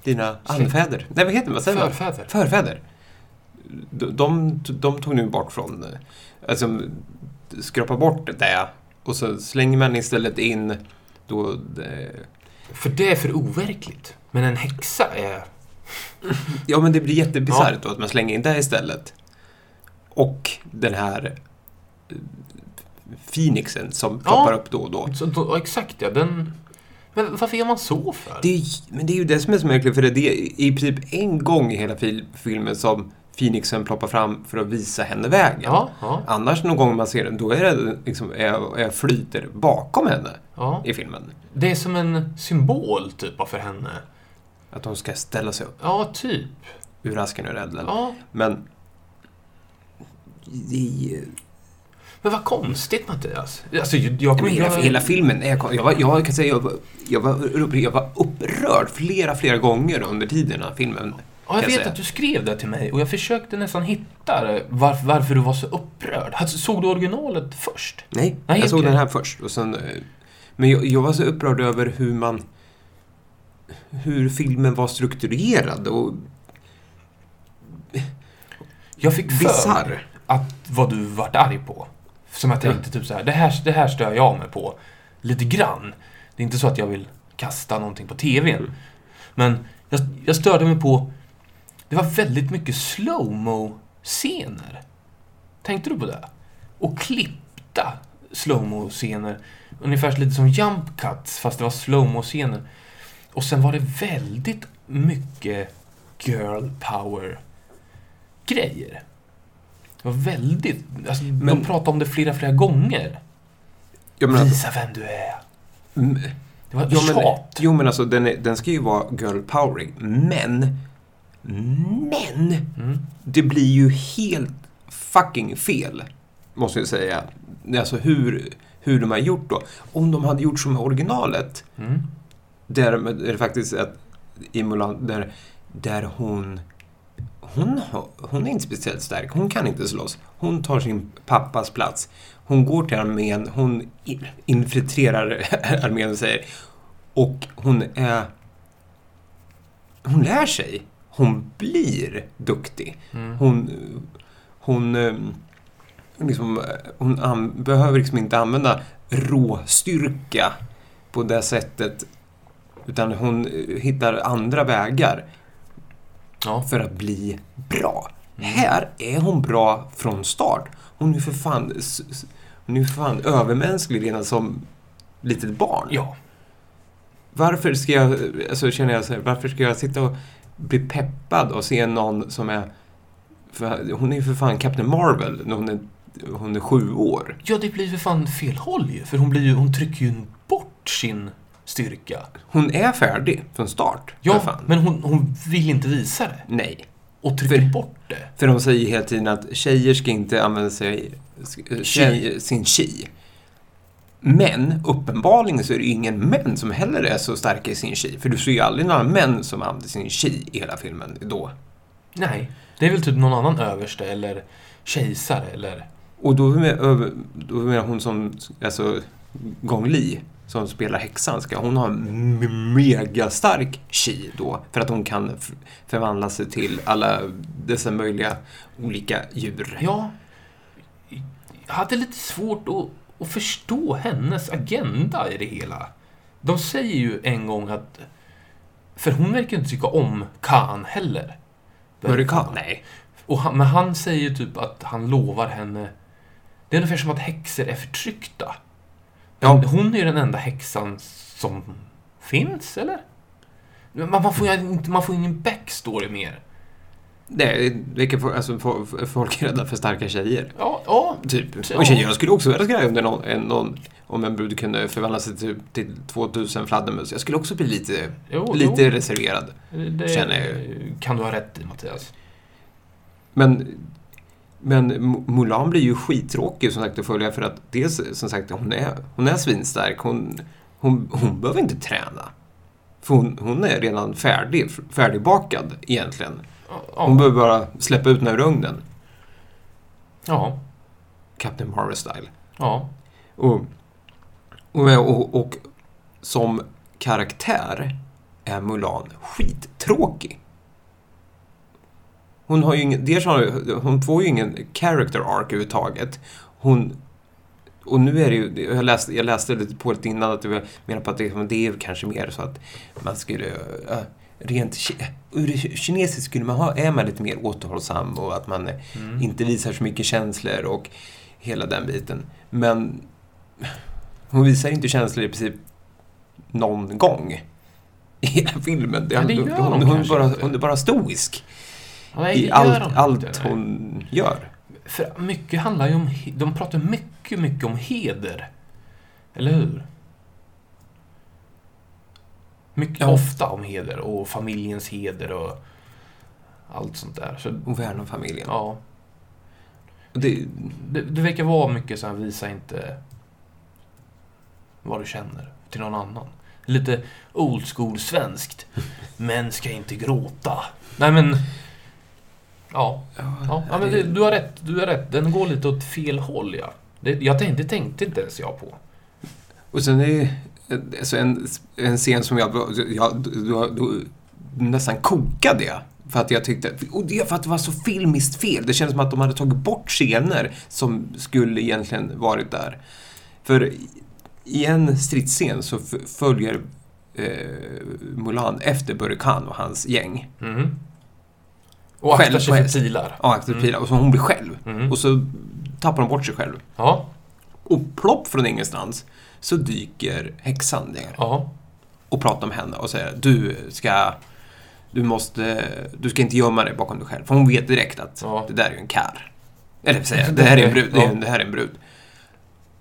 [SPEAKER 2] Dina
[SPEAKER 3] Släkt.
[SPEAKER 2] anfäder? Nej, vad heter man? Vad säger man?
[SPEAKER 3] förfäder.
[SPEAKER 2] förfäder. De, de, de tog nu bort från, alltså skrapa bort det och så slänger man istället in då, det-
[SPEAKER 3] För det är för overkligt. Men en häxa är...
[SPEAKER 2] ja men det blir jättebisarrt då att man slänger in det istället. Och den här eh, Phoenixen som ploppar upp då och då.
[SPEAKER 3] Så, då, exakt ja, den... Men varför gör man så för?
[SPEAKER 2] Det är, men det är ju det som är så märkligt, för det det är i princip en gång i hela fil, filmen som Phoenixen ploppar fram för att visa henne vägen.
[SPEAKER 3] Ja, ja,
[SPEAKER 2] Annars någon gång man ser den, då är det liksom, är, är flyter bakom henne
[SPEAKER 3] ja.
[SPEAKER 2] i filmen.
[SPEAKER 3] Det är som en symbol typ bara för henne.
[SPEAKER 2] Att hon ska ställa sig upp
[SPEAKER 3] Ja, typ.
[SPEAKER 2] ur asken ur elden.
[SPEAKER 3] Ja.
[SPEAKER 2] Men... Det,
[SPEAKER 3] Men vad konstigt Mattias. Alltså, jag, jag,
[SPEAKER 2] Nej, men hela,
[SPEAKER 3] jag,
[SPEAKER 2] hela filmen, är jag, jag, var, jag kan säga jag var, jag, var, upp- jag var upprörd flera, flera gånger under tiden av filmen.
[SPEAKER 3] Ja, jag
[SPEAKER 2] kan
[SPEAKER 3] vet
[SPEAKER 2] säga.
[SPEAKER 3] att du skrev det till mig och jag försökte nästan hitta det, varför, varför du var så upprörd. Alltså, såg du originalet först?
[SPEAKER 2] Nej,
[SPEAKER 3] Nej,
[SPEAKER 2] jag såg
[SPEAKER 3] okej.
[SPEAKER 2] den här först. Och sen, eh, men jag, jag var så upprörd över hur man... Hur filmen var strukturerad och
[SPEAKER 3] Jag fick för mig
[SPEAKER 2] bisarr.
[SPEAKER 3] att vad du vart arg på. Som jag tänkte typ så här, det här, det här stör jag mig på. Lite grann. Det är inte så att jag vill kasta någonting på TVn.
[SPEAKER 2] Mm.
[SPEAKER 3] Men jag, jag störde mig på, det var väldigt mycket slowmo scener Tänkte du på det? Och klippta slowmo scener Ungefär lite som jump cuts fast det var slowmo scener Och sen var det väldigt mycket girl power-grejer. Det var väldigt... Alltså, de
[SPEAKER 2] Men-
[SPEAKER 3] pratade om det flera, flera gånger.
[SPEAKER 2] Jag menar,
[SPEAKER 3] Visa vem du är.
[SPEAKER 2] mm,
[SPEAKER 3] Det var
[SPEAKER 2] jo, men,
[SPEAKER 3] tjat.
[SPEAKER 2] jo, men alltså den, är, den ska ju vara girl powering, men... Men!
[SPEAKER 3] Mm.
[SPEAKER 2] Det blir ju helt fucking fel, måste jag säga. Alltså hur, hur de har gjort då. Om de hade gjort som i originalet,
[SPEAKER 3] Mm.
[SPEAKER 2] där är det faktiskt att i Mulan, där, där hon... Hon, har- hon är inte speciellt stark, hon kan inte slåss. Hon tar sin pappas plats. Hon går till armén, hon in- infiltrerar <laughs> armén och säger... Och hon är... Hon lär sig. Hon blir duktig.
[SPEAKER 3] Mm.
[SPEAKER 2] Hon, eh, hon, eh, liksom, eh, hon an, behöver liksom inte använda råstyrka på det sättet. Utan hon eh, hittar andra vägar
[SPEAKER 3] Ja.
[SPEAKER 2] för att bli bra.
[SPEAKER 3] Mm.
[SPEAKER 2] Här är hon bra från start. Hon är ju för fan, s- s- hon är ju för fan övermänsklig redan som litet barn.
[SPEAKER 3] Ja.
[SPEAKER 2] Varför ska jag, alltså känner jag så här, varför ska jag sitta och bli peppad och se någon som är, för, hon är ju för fan Captain Marvel när hon är, hon är sju år.
[SPEAKER 3] ja, det blir för fan fel håll ju. För hon, blir ju, hon trycker ju bort sin styrka.
[SPEAKER 2] Hon är färdig från start. för
[SPEAKER 3] Ja,
[SPEAKER 2] fan.
[SPEAKER 3] men hon, hon vill inte visa det.
[SPEAKER 2] Nej.
[SPEAKER 3] Och trycker
[SPEAKER 2] För-
[SPEAKER 3] bort det.
[SPEAKER 2] För de säger hela tiden att tjejer ska inte använda sig,
[SPEAKER 3] Chi.
[SPEAKER 2] tjej, sin chi. Men uppenbarligen så är det ju ingen män som heller är så starka i sin chi. För du ser ju aldrig några män som använder sin chi i hela filmen då.
[SPEAKER 3] Nej. Det är väl typ någon annan överste eller kejsare eller...
[SPEAKER 2] Och då med, över- då menar hon som, alltså Gong Li, som spelar häxan, ska hon ha en m- megastark chi då? För att hon kan f- förvandla sig till alla dessa möjliga olika djur.
[SPEAKER 3] Ja. Jag hade lite svårt att, att förstå hennes agenda i det hela. De säger ju en gång att... För hon verkar inte tycka om Khan heller.
[SPEAKER 2] Hurrikan? Nej.
[SPEAKER 3] Och han, men han säger ju typ att han lovar henne... Det är ungefär som att häxor är förtryckta.
[SPEAKER 2] Ja.
[SPEAKER 3] Men Hon är ju den enda häxan som finns, eller? Men Man, man, får, ju inte, man får ingen backstory mer.
[SPEAKER 2] Nej, vilka, fo- alltså, fo- f- folk är rädda för starka tjejer.
[SPEAKER 3] Ja, ja.
[SPEAKER 2] Typ.
[SPEAKER 3] Ja.
[SPEAKER 2] Och tjejer, jag skulle också vara skraj om, det är någon, en, någon, om en brud kunde förvandla sig till, till 2000 fladdermus. Jag skulle också bli lite,
[SPEAKER 3] Jo,
[SPEAKER 2] lite reserverad.
[SPEAKER 3] jo. Det
[SPEAKER 2] känner jag.
[SPEAKER 3] kan du ha rätt i, Mattias.
[SPEAKER 2] Men, men M- Mulan blir ju skittråkig som sagt att följa för att dels som sagt hon är, hon är svinstark. Hon, hon, hon behöver inte träna. För hon, hon är redan färdig, f- färdigbakad egentligen.
[SPEAKER 3] Ja,
[SPEAKER 2] Hon
[SPEAKER 3] Ja.
[SPEAKER 2] behöver bara släppa ut den ur ugnen.
[SPEAKER 3] ja,
[SPEAKER 2] Captain Marvel style.
[SPEAKER 3] ja.
[SPEAKER 2] Och, och, och, och som karaktär är Mulan skittråkig. Hon har ju ingen, dels har, hon får ju ingen character arc överhuvudtaget. Hon, och nu är det ju, jag läste, jag läste lite på det innan att jag menar på att det, det är kanske mer så att man skulle, äh, rent ki- ur kinesiskt skulle man ha, är man lite mer återhållsam och att man
[SPEAKER 3] Mm.
[SPEAKER 2] inte visar så mycket känslor och hela den biten. Men hon visar inte känslor i princip någon gång i hela filmen. Det,
[SPEAKER 3] Ja, det gör
[SPEAKER 2] hon,
[SPEAKER 3] hon
[SPEAKER 2] hon,
[SPEAKER 3] kanske
[SPEAKER 2] bara,
[SPEAKER 3] inte.
[SPEAKER 2] hon är bara stoisk
[SPEAKER 3] Nej, det
[SPEAKER 2] i
[SPEAKER 3] gör de
[SPEAKER 2] allt,
[SPEAKER 3] inte,
[SPEAKER 2] allt
[SPEAKER 3] nej.
[SPEAKER 2] hon gör.
[SPEAKER 3] För mycket handlar ju om... he- De pratar mycket, mycket om heder. Eller hur? Mycket,
[SPEAKER 2] Ja.
[SPEAKER 3] Ofta om heder och familjens heder och allt sånt där. Så,
[SPEAKER 2] Hon värnar om familjen.
[SPEAKER 3] Mm. ja.
[SPEAKER 2] Och Det,
[SPEAKER 3] Det, det verkar vara mycket så här, visa inte vad du känner till någon annan. Lite old school svenskt. Män ska inte gråta. Nej men... Ja, ja, ja men det, du har rätt. Du har rätt. Den går lite åt fel håll ja. Det, jag tänkte, det tänkte inte ens jag på.
[SPEAKER 2] Och sen är ju alltså en, en scen som jag, jag då, då, nästan kokade jag. För att jag tyckte, och det för att det var så filmiskt fel. Det kändes som att de hade tagit bort scener som skulle egentligen varit där. För i- i en stridsscen så f- följer eh, Mulan efter Burre Khan och hans gäng.
[SPEAKER 3] Mhm. Och aktar
[SPEAKER 2] Själv på
[SPEAKER 3] sig
[SPEAKER 2] häst.
[SPEAKER 3] för pilar.
[SPEAKER 2] Ja, efter
[SPEAKER 3] Mm.
[SPEAKER 2] pilar. Och så hon blir själv.
[SPEAKER 3] Mhm.
[SPEAKER 2] Och så tappar hon bort sig själv.
[SPEAKER 3] Ja,
[SPEAKER 2] Och plopp från ingenstans så dyker häxan ner.
[SPEAKER 3] ja.
[SPEAKER 2] och prata med henne och säga du ska du måste, du ska inte gömma dig bakom dig själv. För hon vet direkt att
[SPEAKER 3] Ja.
[SPEAKER 2] det där är ju en kär. Eller säga,
[SPEAKER 3] <laughs>
[SPEAKER 2] det här är en brud. Det, är,
[SPEAKER 3] Ja.
[SPEAKER 2] det här är en brud.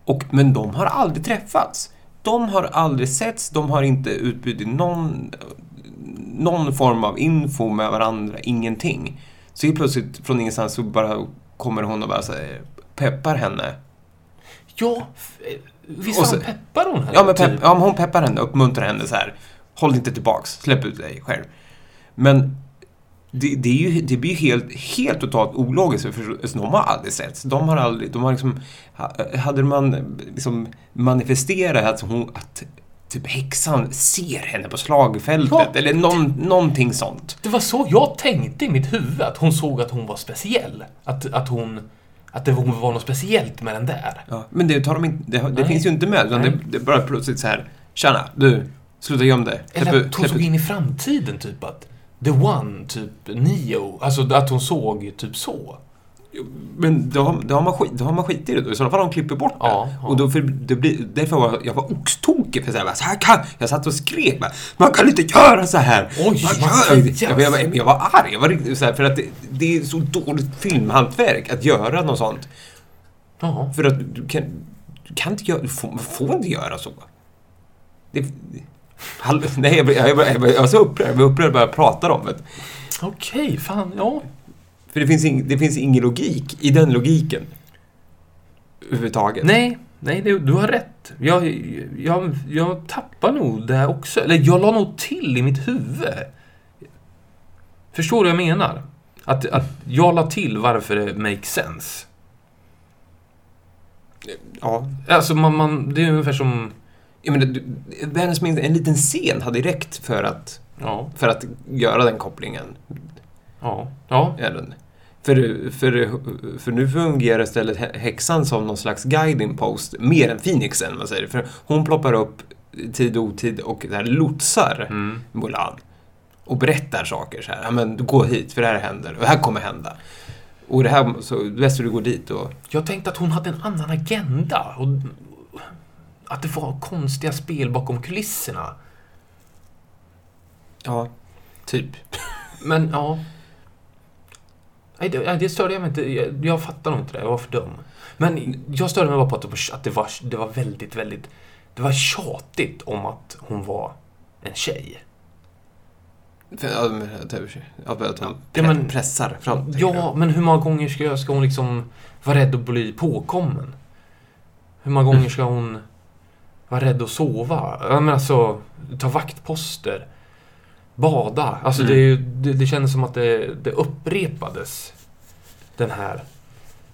[SPEAKER 2] Och, men de har aldrig träffats. De har aldrig setts, de har inte utbytt någon, någon form av info med varandra, ingenting. Så helt plötsligt från ingenstans så bara kommer hon och bara säger, peppar henne.
[SPEAKER 3] Ja, f- eh, visst
[SPEAKER 2] Och
[SPEAKER 3] fan
[SPEAKER 2] så-
[SPEAKER 3] peppar hon henne?
[SPEAKER 2] Ja men, pepp,
[SPEAKER 3] typ?
[SPEAKER 2] ja, men hon peppar henne, uppmuntrar henne så här. Håll inte tillbaks, släpp ut dig själv. Men det, det, är ju, det blir ju helt, helt totalt ologiskt, för för de har aldrig setts. De har aldrig, de har liksom, ha- hade man liksom manifesterat att hon, att typ häxan ser henne på slagfältet
[SPEAKER 3] Ja.
[SPEAKER 2] eller någon, någonting sånt.
[SPEAKER 3] Det var så jag tänkte i mitt huvud, att hon såg att hon var speciell. Att, att hon... Att det var var något speciellt med den där.
[SPEAKER 2] Ja, men det tar de inte, det, det
[SPEAKER 3] Nej.
[SPEAKER 2] finns ju inte med, utan det,
[SPEAKER 3] Nej.
[SPEAKER 2] det är bara plötsligt så här, tjena, du, sluta gömma dig. Släpp
[SPEAKER 3] Eller
[SPEAKER 2] ut-
[SPEAKER 3] att hon
[SPEAKER 2] släpp
[SPEAKER 3] såg
[SPEAKER 2] ut."
[SPEAKER 3] in i framtiden, typ att... The One, typ Neo. Alltså att hon såg typ så.
[SPEAKER 2] Men då, har- då, har man skit, då har man skit i det då. I sådana fall har de klipper bort det.
[SPEAKER 3] Ja, ja.
[SPEAKER 2] Och då för, det blir, därför var jag var oxtokig. För så här, bara, så här kan, jag satt och skrek. Bara, man kan inte göra så här!
[SPEAKER 3] Oj,
[SPEAKER 2] man
[SPEAKER 3] Mattias.
[SPEAKER 2] jag, jag, jag, var- jag var arg. Jag var riktigt, så här, för att det, det är så dåligt filmhantverk att göra något sånt.
[SPEAKER 3] Ja.
[SPEAKER 2] För att du kan, du kan inte göra... Du får, man får inte göra så. Det, hall, <laughs> nej, jag, blev- jag, jag, jag, jag var så upprörd. Jag var upprörd bara jag pratade om det.
[SPEAKER 3] Okej, fan, ja.
[SPEAKER 2] För det finns, ing, det finns ingen logik i den logiken. Överhuvudtaget.
[SPEAKER 3] Nej, nej, du, du har rätt. Jag, jag, jag tappar nog det här också. Eller jag la nog till i mitt huvud. Förstår du vad jag menar? Att, att jag la till varför det makes sense.
[SPEAKER 2] Ja.
[SPEAKER 3] Alltså, man, man, det är ungefär som...
[SPEAKER 2] Jag menar, du- världens minsta, en liten scen hade räckt för att,
[SPEAKER 3] Ja,
[SPEAKER 2] för att göra den kopplingen.
[SPEAKER 3] ja, ja.
[SPEAKER 2] Är den. För, för, för nu fungerar istället hä- häxan som någon slags guiding post, mer än Phoenixen, man säger. För hon ploppar upp i tid och otid och där lotsar
[SPEAKER 3] Mm.
[SPEAKER 2] Mulan och berättar saker så här. Ja, men gå hit, för det här händer och det här kommer hända. Och det här, så det är bäst att du går dit och...
[SPEAKER 3] Jag tänkte att hon hade en annan agenda. Och att det var konstiga spel bakom kulisserna.
[SPEAKER 2] Ja, typ.
[SPEAKER 3] Men ja... Nej, det, nej, det störde jag mig inte. Jag, jag fattar nog inte det. Jag var för dum. Men jag störde mig bara på att, det var- att det, var, det var väldigt, väldigt... Det var tjatigt om att hon var en tjej.
[SPEAKER 2] För, ja, men, att- att- att hon
[SPEAKER 3] Ja, men-
[SPEAKER 2] pressar fram. tänker jag.
[SPEAKER 3] Ja, men hur många gånger ska, ska hon liksom vara rädd att bli påkommen? Hur många
[SPEAKER 2] Mm.
[SPEAKER 3] gånger ska hon vara rädd att sova? Ja, men alltså, ta vaktposter. Bada. Alltså
[SPEAKER 2] Mm.
[SPEAKER 3] det, är ju- det, det kändes som att det, det upprepades. Den här.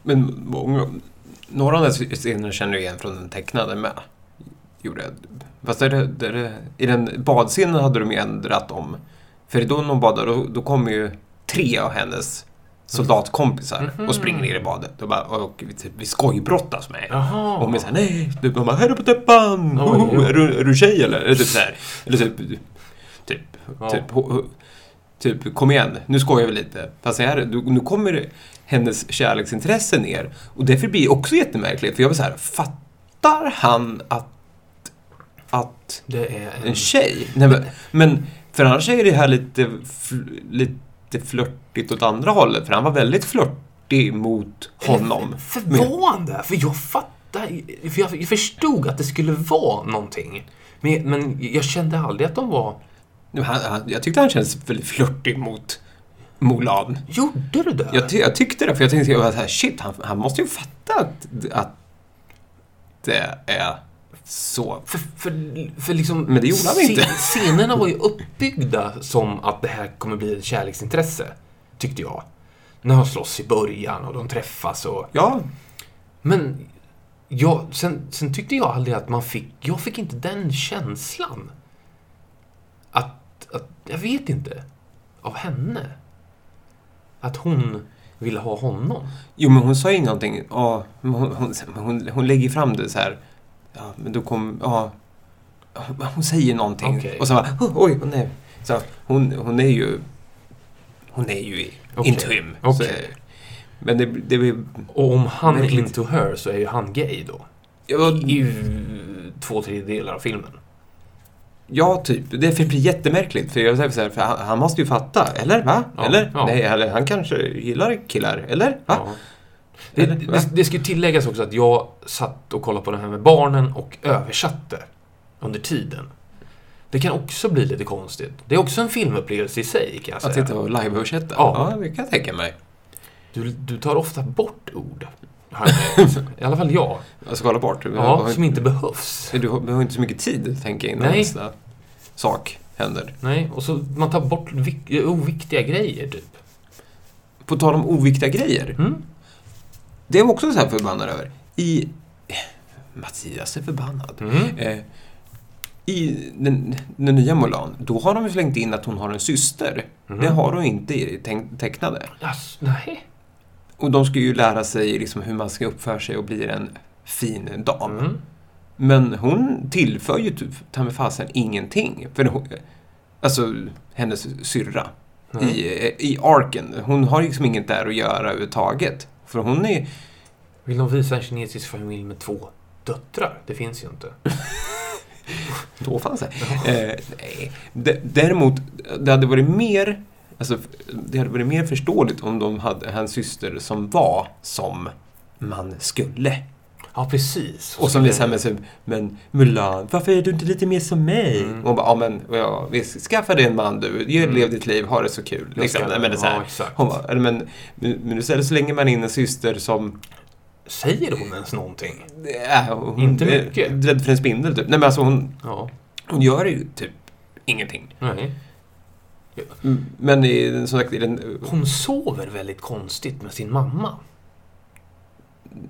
[SPEAKER 2] Men många, några av de här scenerna känner jag igen från den tecknade med. Gjorde jag. Fast är det, där det, i den badscenen hade de ju ändrat om. För då när hon badar, då, då kommer ju tre av hennes soldatkompisar
[SPEAKER 3] Mhm.
[SPEAKER 2] och springer ner i badet. Och, bara, och vi, typ, vi skojbrottas med henne.
[SPEAKER 3] Jaha.
[SPEAKER 2] Och hon är såhär, nej, du bara, här är på täppan!
[SPEAKER 3] Oj,
[SPEAKER 2] Hoho,
[SPEAKER 3] oj.
[SPEAKER 2] är, du, är du tjej eller? Eller typ såhär, eller typ, typ,
[SPEAKER 3] Ja.
[SPEAKER 2] typ, ho- ho- typ, kom igen, nu skojar vi lite. Fast här, du, nu kommer hennes kärleksintresse ner. Och därför blir det också jättemärkligt, för jag var såhär, fattar han att att
[SPEAKER 3] Det är en...
[SPEAKER 2] en tjej... Nej, men- men för annars är det här lite, fl- lite flörtigt åt andra hållet. För han var väldigt flörtig mot
[SPEAKER 3] <laughs>
[SPEAKER 2] honom.
[SPEAKER 3] Förvånande! För jag fattar för jag, jag förstod att det skulle vara någonting. Men, men jag kände aldrig att de var...
[SPEAKER 2] Men Han, han, jag tyckte han kändes väldigt flörtig mot Mulan.
[SPEAKER 3] Gjorde du det?
[SPEAKER 2] Jag, ty, jag tyckte det, för jag tänkte jag var så här, shit, han, han måste ju fatta att, att det är så.
[SPEAKER 3] För, för, för liksom...
[SPEAKER 2] Men det gjorde han
[SPEAKER 3] scen-
[SPEAKER 2] inte. <laughs>
[SPEAKER 3] Scenerna var ju uppbyggda som att det här kommer bli ett kärleksintresse. Tyckte jag. När de slåss i början och de träffas och...
[SPEAKER 2] Ja,
[SPEAKER 3] Men jag, sen, sen tyckte jag aldrig att man fick... Jag fick inte den känslan. Att, att... Jag vet inte. Av henne. Att hon ville ha honom.
[SPEAKER 2] Jo, men hon sa ju någonting. Ja, men hon, hon, hon, hon lägger fram det så här. Ja, men då kom... Ja, hon säger någonting.
[SPEAKER 3] Okej.
[SPEAKER 2] Och så bara, "Oh, oj, hon är... Så hon, hon är ju... Hon är ju
[SPEAKER 3] Okej.
[SPEAKER 2] intim. Så,
[SPEAKER 3] Okej.
[SPEAKER 2] men det, det blir...
[SPEAKER 3] Och om han är
[SPEAKER 2] Verkligen.
[SPEAKER 3] into her så är ju han gay då.
[SPEAKER 2] Ja,
[SPEAKER 3] I ju två tredjedelar av filmen.
[SPEAKER 2] ja, typ. Det blir jättemärkligt. För jag säger så här, för han, han måste ju fatta. Eller? Va?
[SPEAKER 3] Ja,
[SPEAKER 2] eller?
[SPEAKER 3] ja.
[SPEAKER 2] Nej, eller han kanske gillar killar. Eller? Va?
[SPEAKER 3] Ja. Det,
[SPEAKER 2] Eller, va?
[SPEAKER 3] det, det ska ju tilläggas också att jag satt och kollade på den här med barnen och översatte under tiden. Det kan också bli lite konstigt. Det är också en filmupplevelse i sig kan jag
[SPEAKER 2] Att
[SPEAKER 3] säga.
[SPEAKER 2] sitta och liveöversätta?
[SPEAKER 3] Ja.
[SPEAKER 2] Ja. ja, det kan jag tänka mig.
[SPEAKER 3] Du, du tar ofta bort ord. har jag
[SPEAKER 2] <laughs>
[SPEAKER 3] märkt. I alla fall jag.
[SPEAKER 2] Jag ska kolla bort.
[SPEAKER 3] Ja, som inte behövs.
[SPEAKER 2] Men Du har, behöver inte så mycket tid, tänker jag, innan
[SPEAKER 3] Nej.
[SPEAKER 2] nästa sak händer.
[SPEAKER 3] Nej, och så man tar bort vik- oviktiga grejer typ.
[SPEAKER 2] På tal om oviktiga grejer.
[SPEAKER 3] Mm?
[SPEAKER 2] Det är jag också så här förbannad över. I... Mattias är förbannad.
[SPEAKER 3] Mm?
[SPEAKER 2] Eh, I den, den nya Mulan, då har de ju slängt in att hon har en syster.
[SPEAKER 3] Mhm.
[SPEAKER 2] Mm. Det har de inte i det teck- tecknade.
[SPEAKER 3] Ass, nej.
[SPEAKER 2] Och de ska ju lära sig liksom hur man ska uppföra sig och bli en fin dam.
[SPEAKER 3] Mm.
[SPEAKER 2] Men hon tillför ju typ, ta mig fasen ingenting. För hon, alltså, hennes syrra.
[SPEAKER 3] nej.
[SPEAKER 2] i, i arken. Hon har liksom inget där att göra överhuvudtaget. För hon är...
[SPEAKER 3] Vill de visa en kinesisk familj med två döttrar? Det finns ju inte.
[SPEAKER 2] Då fanns det. Eh, nej. D- däremot, det hade varit mer... Alltså, det hade varit mer förståeligt om de hade en syster som var som man skulle.
[SPEAKER 3] Ja, precis.
[SPEAKER 2] Och som blir såhär med sig, men Mulan, varför är du inte lite mer som mig?
[SPEAKER 3] Mm.
[SPEAKER 2] Och hon bara, ja men ja, visst, skaffa dig en man du, Ge-
[SPEAKER 3] Mm.
[SPEAKER 2] lev ditt liv, ha det så kul. Liksom. Nej, men det är så
[SPEAKER 3] ja,
[SPEAKER 2] här.
[SPEAKER 3] exakt.
[SPEAKER 2] Hon bara, "Nej, men, men istället så lägger man in en syster som
[SPEAKER 3] Säger hon ens någonting?
[SPEAKER 2] Nej, hon
[SPEAKER 3] Inte
[SPEAKER 2] är
[SPEAKER 3] mycket.
[SPEAKER 2] Rädd för en spindel typ. Nej men alltså hon,
[SPEAKER 3] Ja.
[SPEAKER 2] hon gör ju typ ingenting.
[SPEAKER 3] Nej. Mm.
[SPEAKER 2] Men i, den- som sagt, i den...
[SPEAKER 3] Hon sover väldigt konstigt med sin mamma.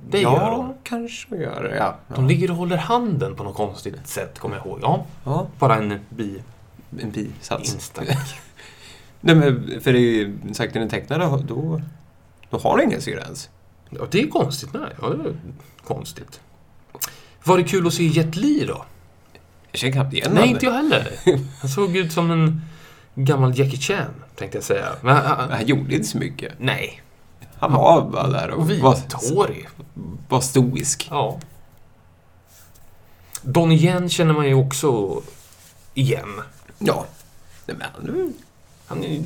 [SPEAKER 3] Det
[SPEAKER 2] ja,
[SPEAKER 3] gör hon.
[SPEAKER 2] kanske hon gör det. Ja,
[SPEAKER 3] De
[SPEAKER 2] ja.
[SPEAKER 3] ligger och håller handen på något konstigt sätt, kommer jag ihåg. Ja,
[SPEAKER 2] ja
[SPEAKER 3] bara en bi
[SPEAKER 2] en bisats.
[SPEAKER 3] inställning.
[SPEAKER 2] Nej men för det är ju som sagt i den tecknade, då, då har hon ingen syra ens.
[SPEAKER 3] Ja, det är konstigt. Nej, ja, det är konstigt. Var det kul att se Jet Li då?
[SPEAKER 2] Jag känner knappt igen
[SPEAKER 3] Nej,
[SPEAKER 2] honom.
[SPEAKER 3] inte jag heller. Han såg ut som en gammal Jackie Chan, tänkte jag säga. Men, han- han-
[SPEAKER 2] Han gjorde inte så mycket.
[SPEAKER 3] nej.
[SPEAKER 2] Han var bara där och
[SPEAKER 3] Och
[SPEAKER 2] var,
[SPEAKER 3] vithårig.
[SPEAKER 2] var stoisk.
[SPEAKER 3] Ja. Donnie Yen känner man ju också igen.
[SPEAKER 2] Ja. Nej, men han är ju-
[SPEAKER 3] Han är ju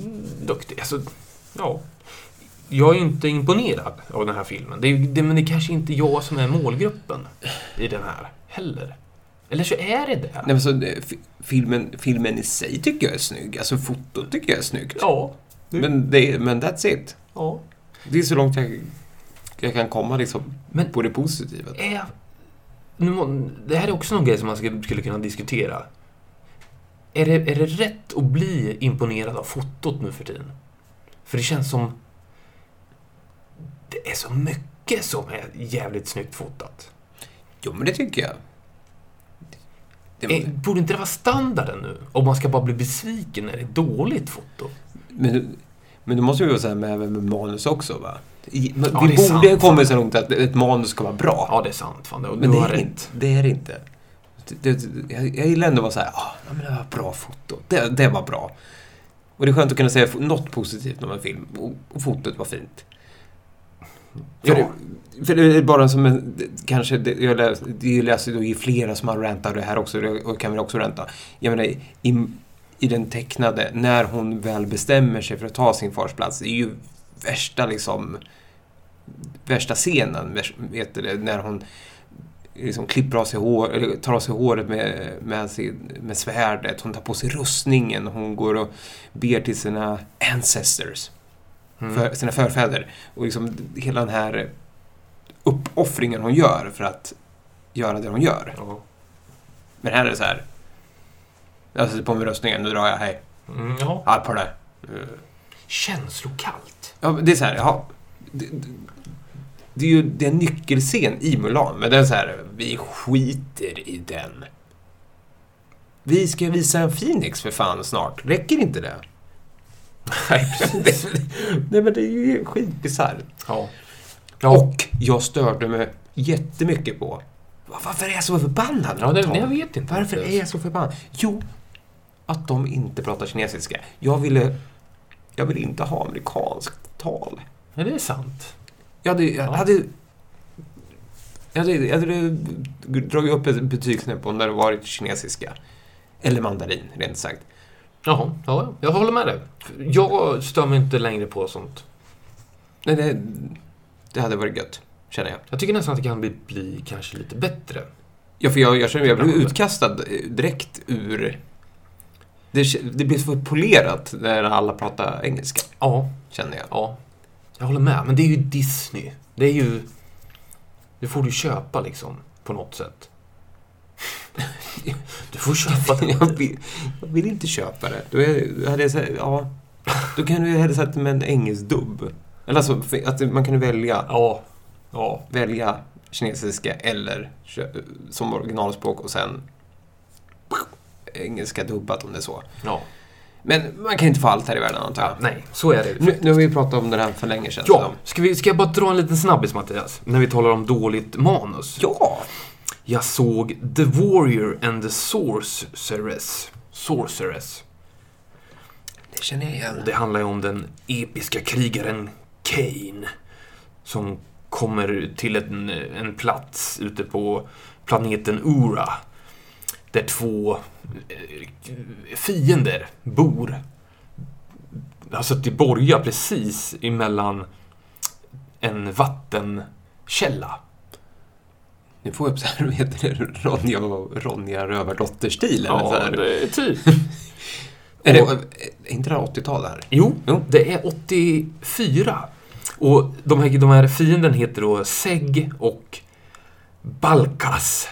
[SPEAKER 3] duktig. Alltså, ja. Jag är ju inte imponerad av den här filmen. Det är, det, men det är kanske inte jag som är målgruppen i den här heller. Eller så är det det.
[SPEAKER 2] Nej, men så, eh, fi- filmen, filmen i sig tycker jag är snygg. Alltså fotot tycker jag är snyggt.
[SPEAKER 3] Ja.
[SPEAKER 2] Men, det, men that's it.
[SPEAKER 3] ja.
[SPEAKER 2] Det är så långt jag, jag kan komma liksom,
[SPEAKER 3] Men-
[SPEAKER 2] på det positiva.
[SPEAKER 3] Är, Eh, nu, må- det här är också någon grej som man skulle, skulle kunna diskutera. Är det, är det rätt att bli imponerad av fotot nu för tiden? För det känns som... Det är så mycket som är jävligt snyggt fotat.
[SPEAKER 2] Jo, men det tycker jag. Det,
[SPEAKER 3] Eh, Borde inte det vara standarden nu? Om man ska bara bli besviken när det är dåligt foto?
[SPEAKER 2] men, men det måste ju vara så här med, även med manus också, va? I, men,
[SPEAKER 3] Ja, det är
[SPEAKER 2] vi borde
[SPEAKER 3] sant.
[SPEAKER 2] komma så långt att ett manus ska vara bra.
[SPEAKER 3] Ja, det är sant. Fan, det,
[SPEAKER 2] men
[SPEAKER 3] du
[SPEAKER 2] det
[SPEAKER 3] har
[SPEAKER 2] är, det
[SPEAKER 3] rätt.
[SPEAKER 2] inte, det är det inte. Det, det, jag, jag gillar ändå att vara så här, ah, ja, men det var bra foto. Det, det var bra. Och det är skönt att kunna säga f- något positivt om en film. Och, och fotot var fint. För
[SPEAKER 3] Ja.
[SPEAKER 2] det, För det är bara som en, kanske, det, jag läs, det läser då i flera som har rantat det här också, och kan väl också ranta. Jag menar, i, i den tecknade, när hon väl bestämmer sig för att ta sin fars plats, det är ju värsta liksom, värsta scenen, värst- vet du det, när hon liksom klipper av sig hår, eller tar av sig håret med, med, sin, med svärdet, hon tar på sig rustningen, hon går och ber till sina ancestors
[SPEAKER 3] Mm.
[SPEAKER 2] för sina förfäder. Och liksom hela den här uppoffringen hon gör för att göra det hon gör.
[SPEAKER 3] Ja.
[SPEAKER 2] Men här är det så här. Jag sätter på mig röstningen, nu drar jag, hej.
[SPEAKER 3] Mm, ja.
[SPEAKER 2] Ja, på det. Eh,
[SPEAKER 3] Känslokallt.
[SPEAKER 2] Ja, men det är så här, jaha. Det, det, det är ju det är en nyckelscen i Mulan, men den är så här, vi skiter i den. Vi ska visa en Phoenix för fan snart, räcker inte det?
[SPEAKER 3] Nej, <laughs> precis.
[SPEAKER 2] Nej men det är ju skitbisarrt.
[SPEAKER 3] ja.
[SPEAKER 2] Och jag störde mig jättemycket på "Va- varför är jag så förbannad?
[SPEAKER 3] ja det,
[SPEAKER 2] Tom?
[SPEAKER 3] jag vet inte.
[SPEAKER 2] varför är jag så förbannad? Jo, att de inte pratar kinesiska. Jag ville, jag ville inte ha amerikanskt tal.
[SPEAKER 3] Ja, det är sant.
[SPEAKER 2] Jag hade, jag
[SPEAKER 3] Ja.
[SPEAKER 2] hade, jag hade, jag hade dragit upp ett betygssnitt på när det varit kinesiska. Eller mandarin, rent sagt.
[SPEAKER 3] Jaha, ja, jag håller med dig. Jag stör mig inte längre på sånt.
[SPEAKER 2] Nej, det, det hade varit gött, känner jag.
[SPEAKER 3] Jag tycker nästan att det kan bli, bli kanske lite bättre.
[SPEAKER 2] Ja, för jag, jag känner mig, jag blev utkastad eh, direkt ur... Det, k- det blev så polerat när alla pratar engelska,
[SPEAKER 3] Ja,
[SPEAKER 2] känner jag. <laughs>
[SPEAKER 3] ja. Jag håller med. Men det är ju Disney. Det är ju... Det får du köpa liksom, på något sätt. <laughs> Du får köpa det.
[SPEAKER 2] Jag vill, jag vill inte köpa det. Då, är, då hade jag sagt, ja... Då kan du hellre sätta med en engelsk dubb. Eller alltså, för att man kan välja,
[SPEAKER 3] Ja. Ja.
[SPEAKER 2] välja kinesiska eller kö- som originalspråk och sen engelska dubbat om det är så.
[SPEAKER 3] ja.
[SPEAKER 2] Men man kan inte få allt här i världen antar jag.
[SPEAKER 3] Nej, så är det ju. Alltså.
[SPEAKER 2] Nu, nu har vi pratat om den här för länge sedan.
[SPEAKER 3] Ja, ska, vi, ska jag bara dra en liten snabbis Mattias? När vi talar om dåligt manus.
[SPEAKER 2] Ja!
[SPEAKER 3] Jag såg The Warrior and the Sorceress. Sorceress.
[SPEAKER 2] Det känner jag igen.
[SPEAKER 3] Och det handlar ju om den episka krigaren Kane. Som kommer till en, en plats ute på planeten Ura. Där två eh, fiender bor. Alltså det borgar precis emellan en vattenkälla.
[SPEAKER 2] Nu får jag upp så här, <laughs> vad heter det, Ronja, och- Ronja Rövardotter-stil. eller så här.
[SPEAKER 3] det är typ.
[SPEAKER 2] är, det, är inte det här 80-tal här?
[SPEAKER 3] Jo,
[SPEAKER 2] Jo.
[SPEAKER 3] det är 84. Och de här, de här fienden heter då Seg och Balkas.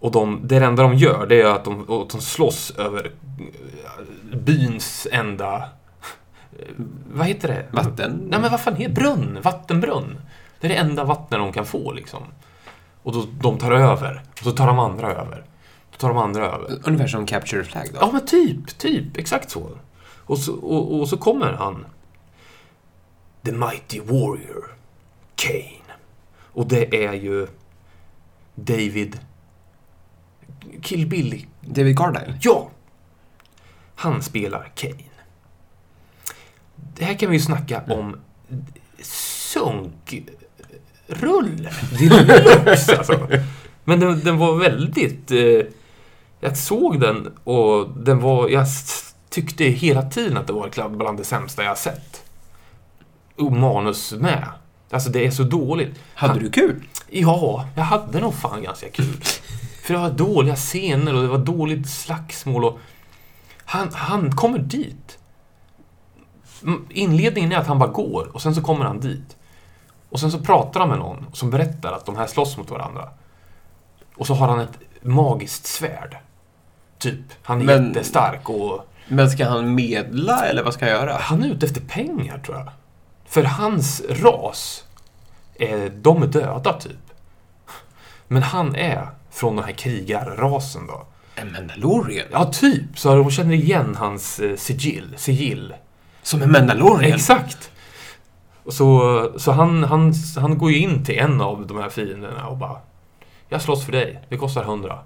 [SPEAKER 3] Och de, det enda de gör det är att de, och att de slåss över eh, byns enda... eh, Vad heter det?
[SPEAKER 2] Vatten?
[SPEAKER 3] Nej men vad fan heter Brunn? Vattenbrunn. Det är det enda vattnet de kan få liksom. Och då, de tar över. Och så tar de andra över. Då tar de andra över.
[SPEAKER 2] Ungefär som Capture the Flag då?
[SPEAKER 3] Ja, men typ, typ, exakt så. Och så, och, och så kommer han. The Mighty Warrior, Kane. Och det är ju David Kill Billy.
[SPEAKER 2] David Cardile?
[SPEAKER 3] Ja! Han spelar Kane. Det här kan vi ju snacka om sunkrulle deluxe <laughs> alltså. Men den, den var väldigt... Eh, jag såg den och den var... Jag s- tyckte hela tiden att det var bland det sämsta jag sett. Och manus med. Alltså det är så dåligt.
[SPEAKER 2] Hade du kul?
[SPEAKER 3] Ja, jag hade nog fan ganska kul. För det var dåliga scener och det var dåligt slagsmål och... Han, han kommer dit. Mm, Inledningen är att han bara går och sen så kommer han dit. Och sen så pratar han med någon som berättar att de här slåss mot varandra. Och så har han ett magiskt svärd. Typ. Han är
[SPEAKER 2] Men-
[SPEAKER 3] jättestark och...
[SPEAKER 2] Men ska han medla eller vad ska jag göra?
[SPEAKER 3] Han är ute efter pengar, tror jag. För hans ras, eh, de är döda, typ. Men han är från den här krigarrasen då.
[SPEAKER 2] En Mandalorian?
[SPEAKER 3] Ja, typ. Så de känner igen hans eh, sigill. sigill.
[SPEAKER 2] Som en Mandalorian?
[SPEAKER 3] Exakt! Och Så, så han, han, han går ju in till en av de här fienderna och bara Jag slåss för dig, det kostar 100.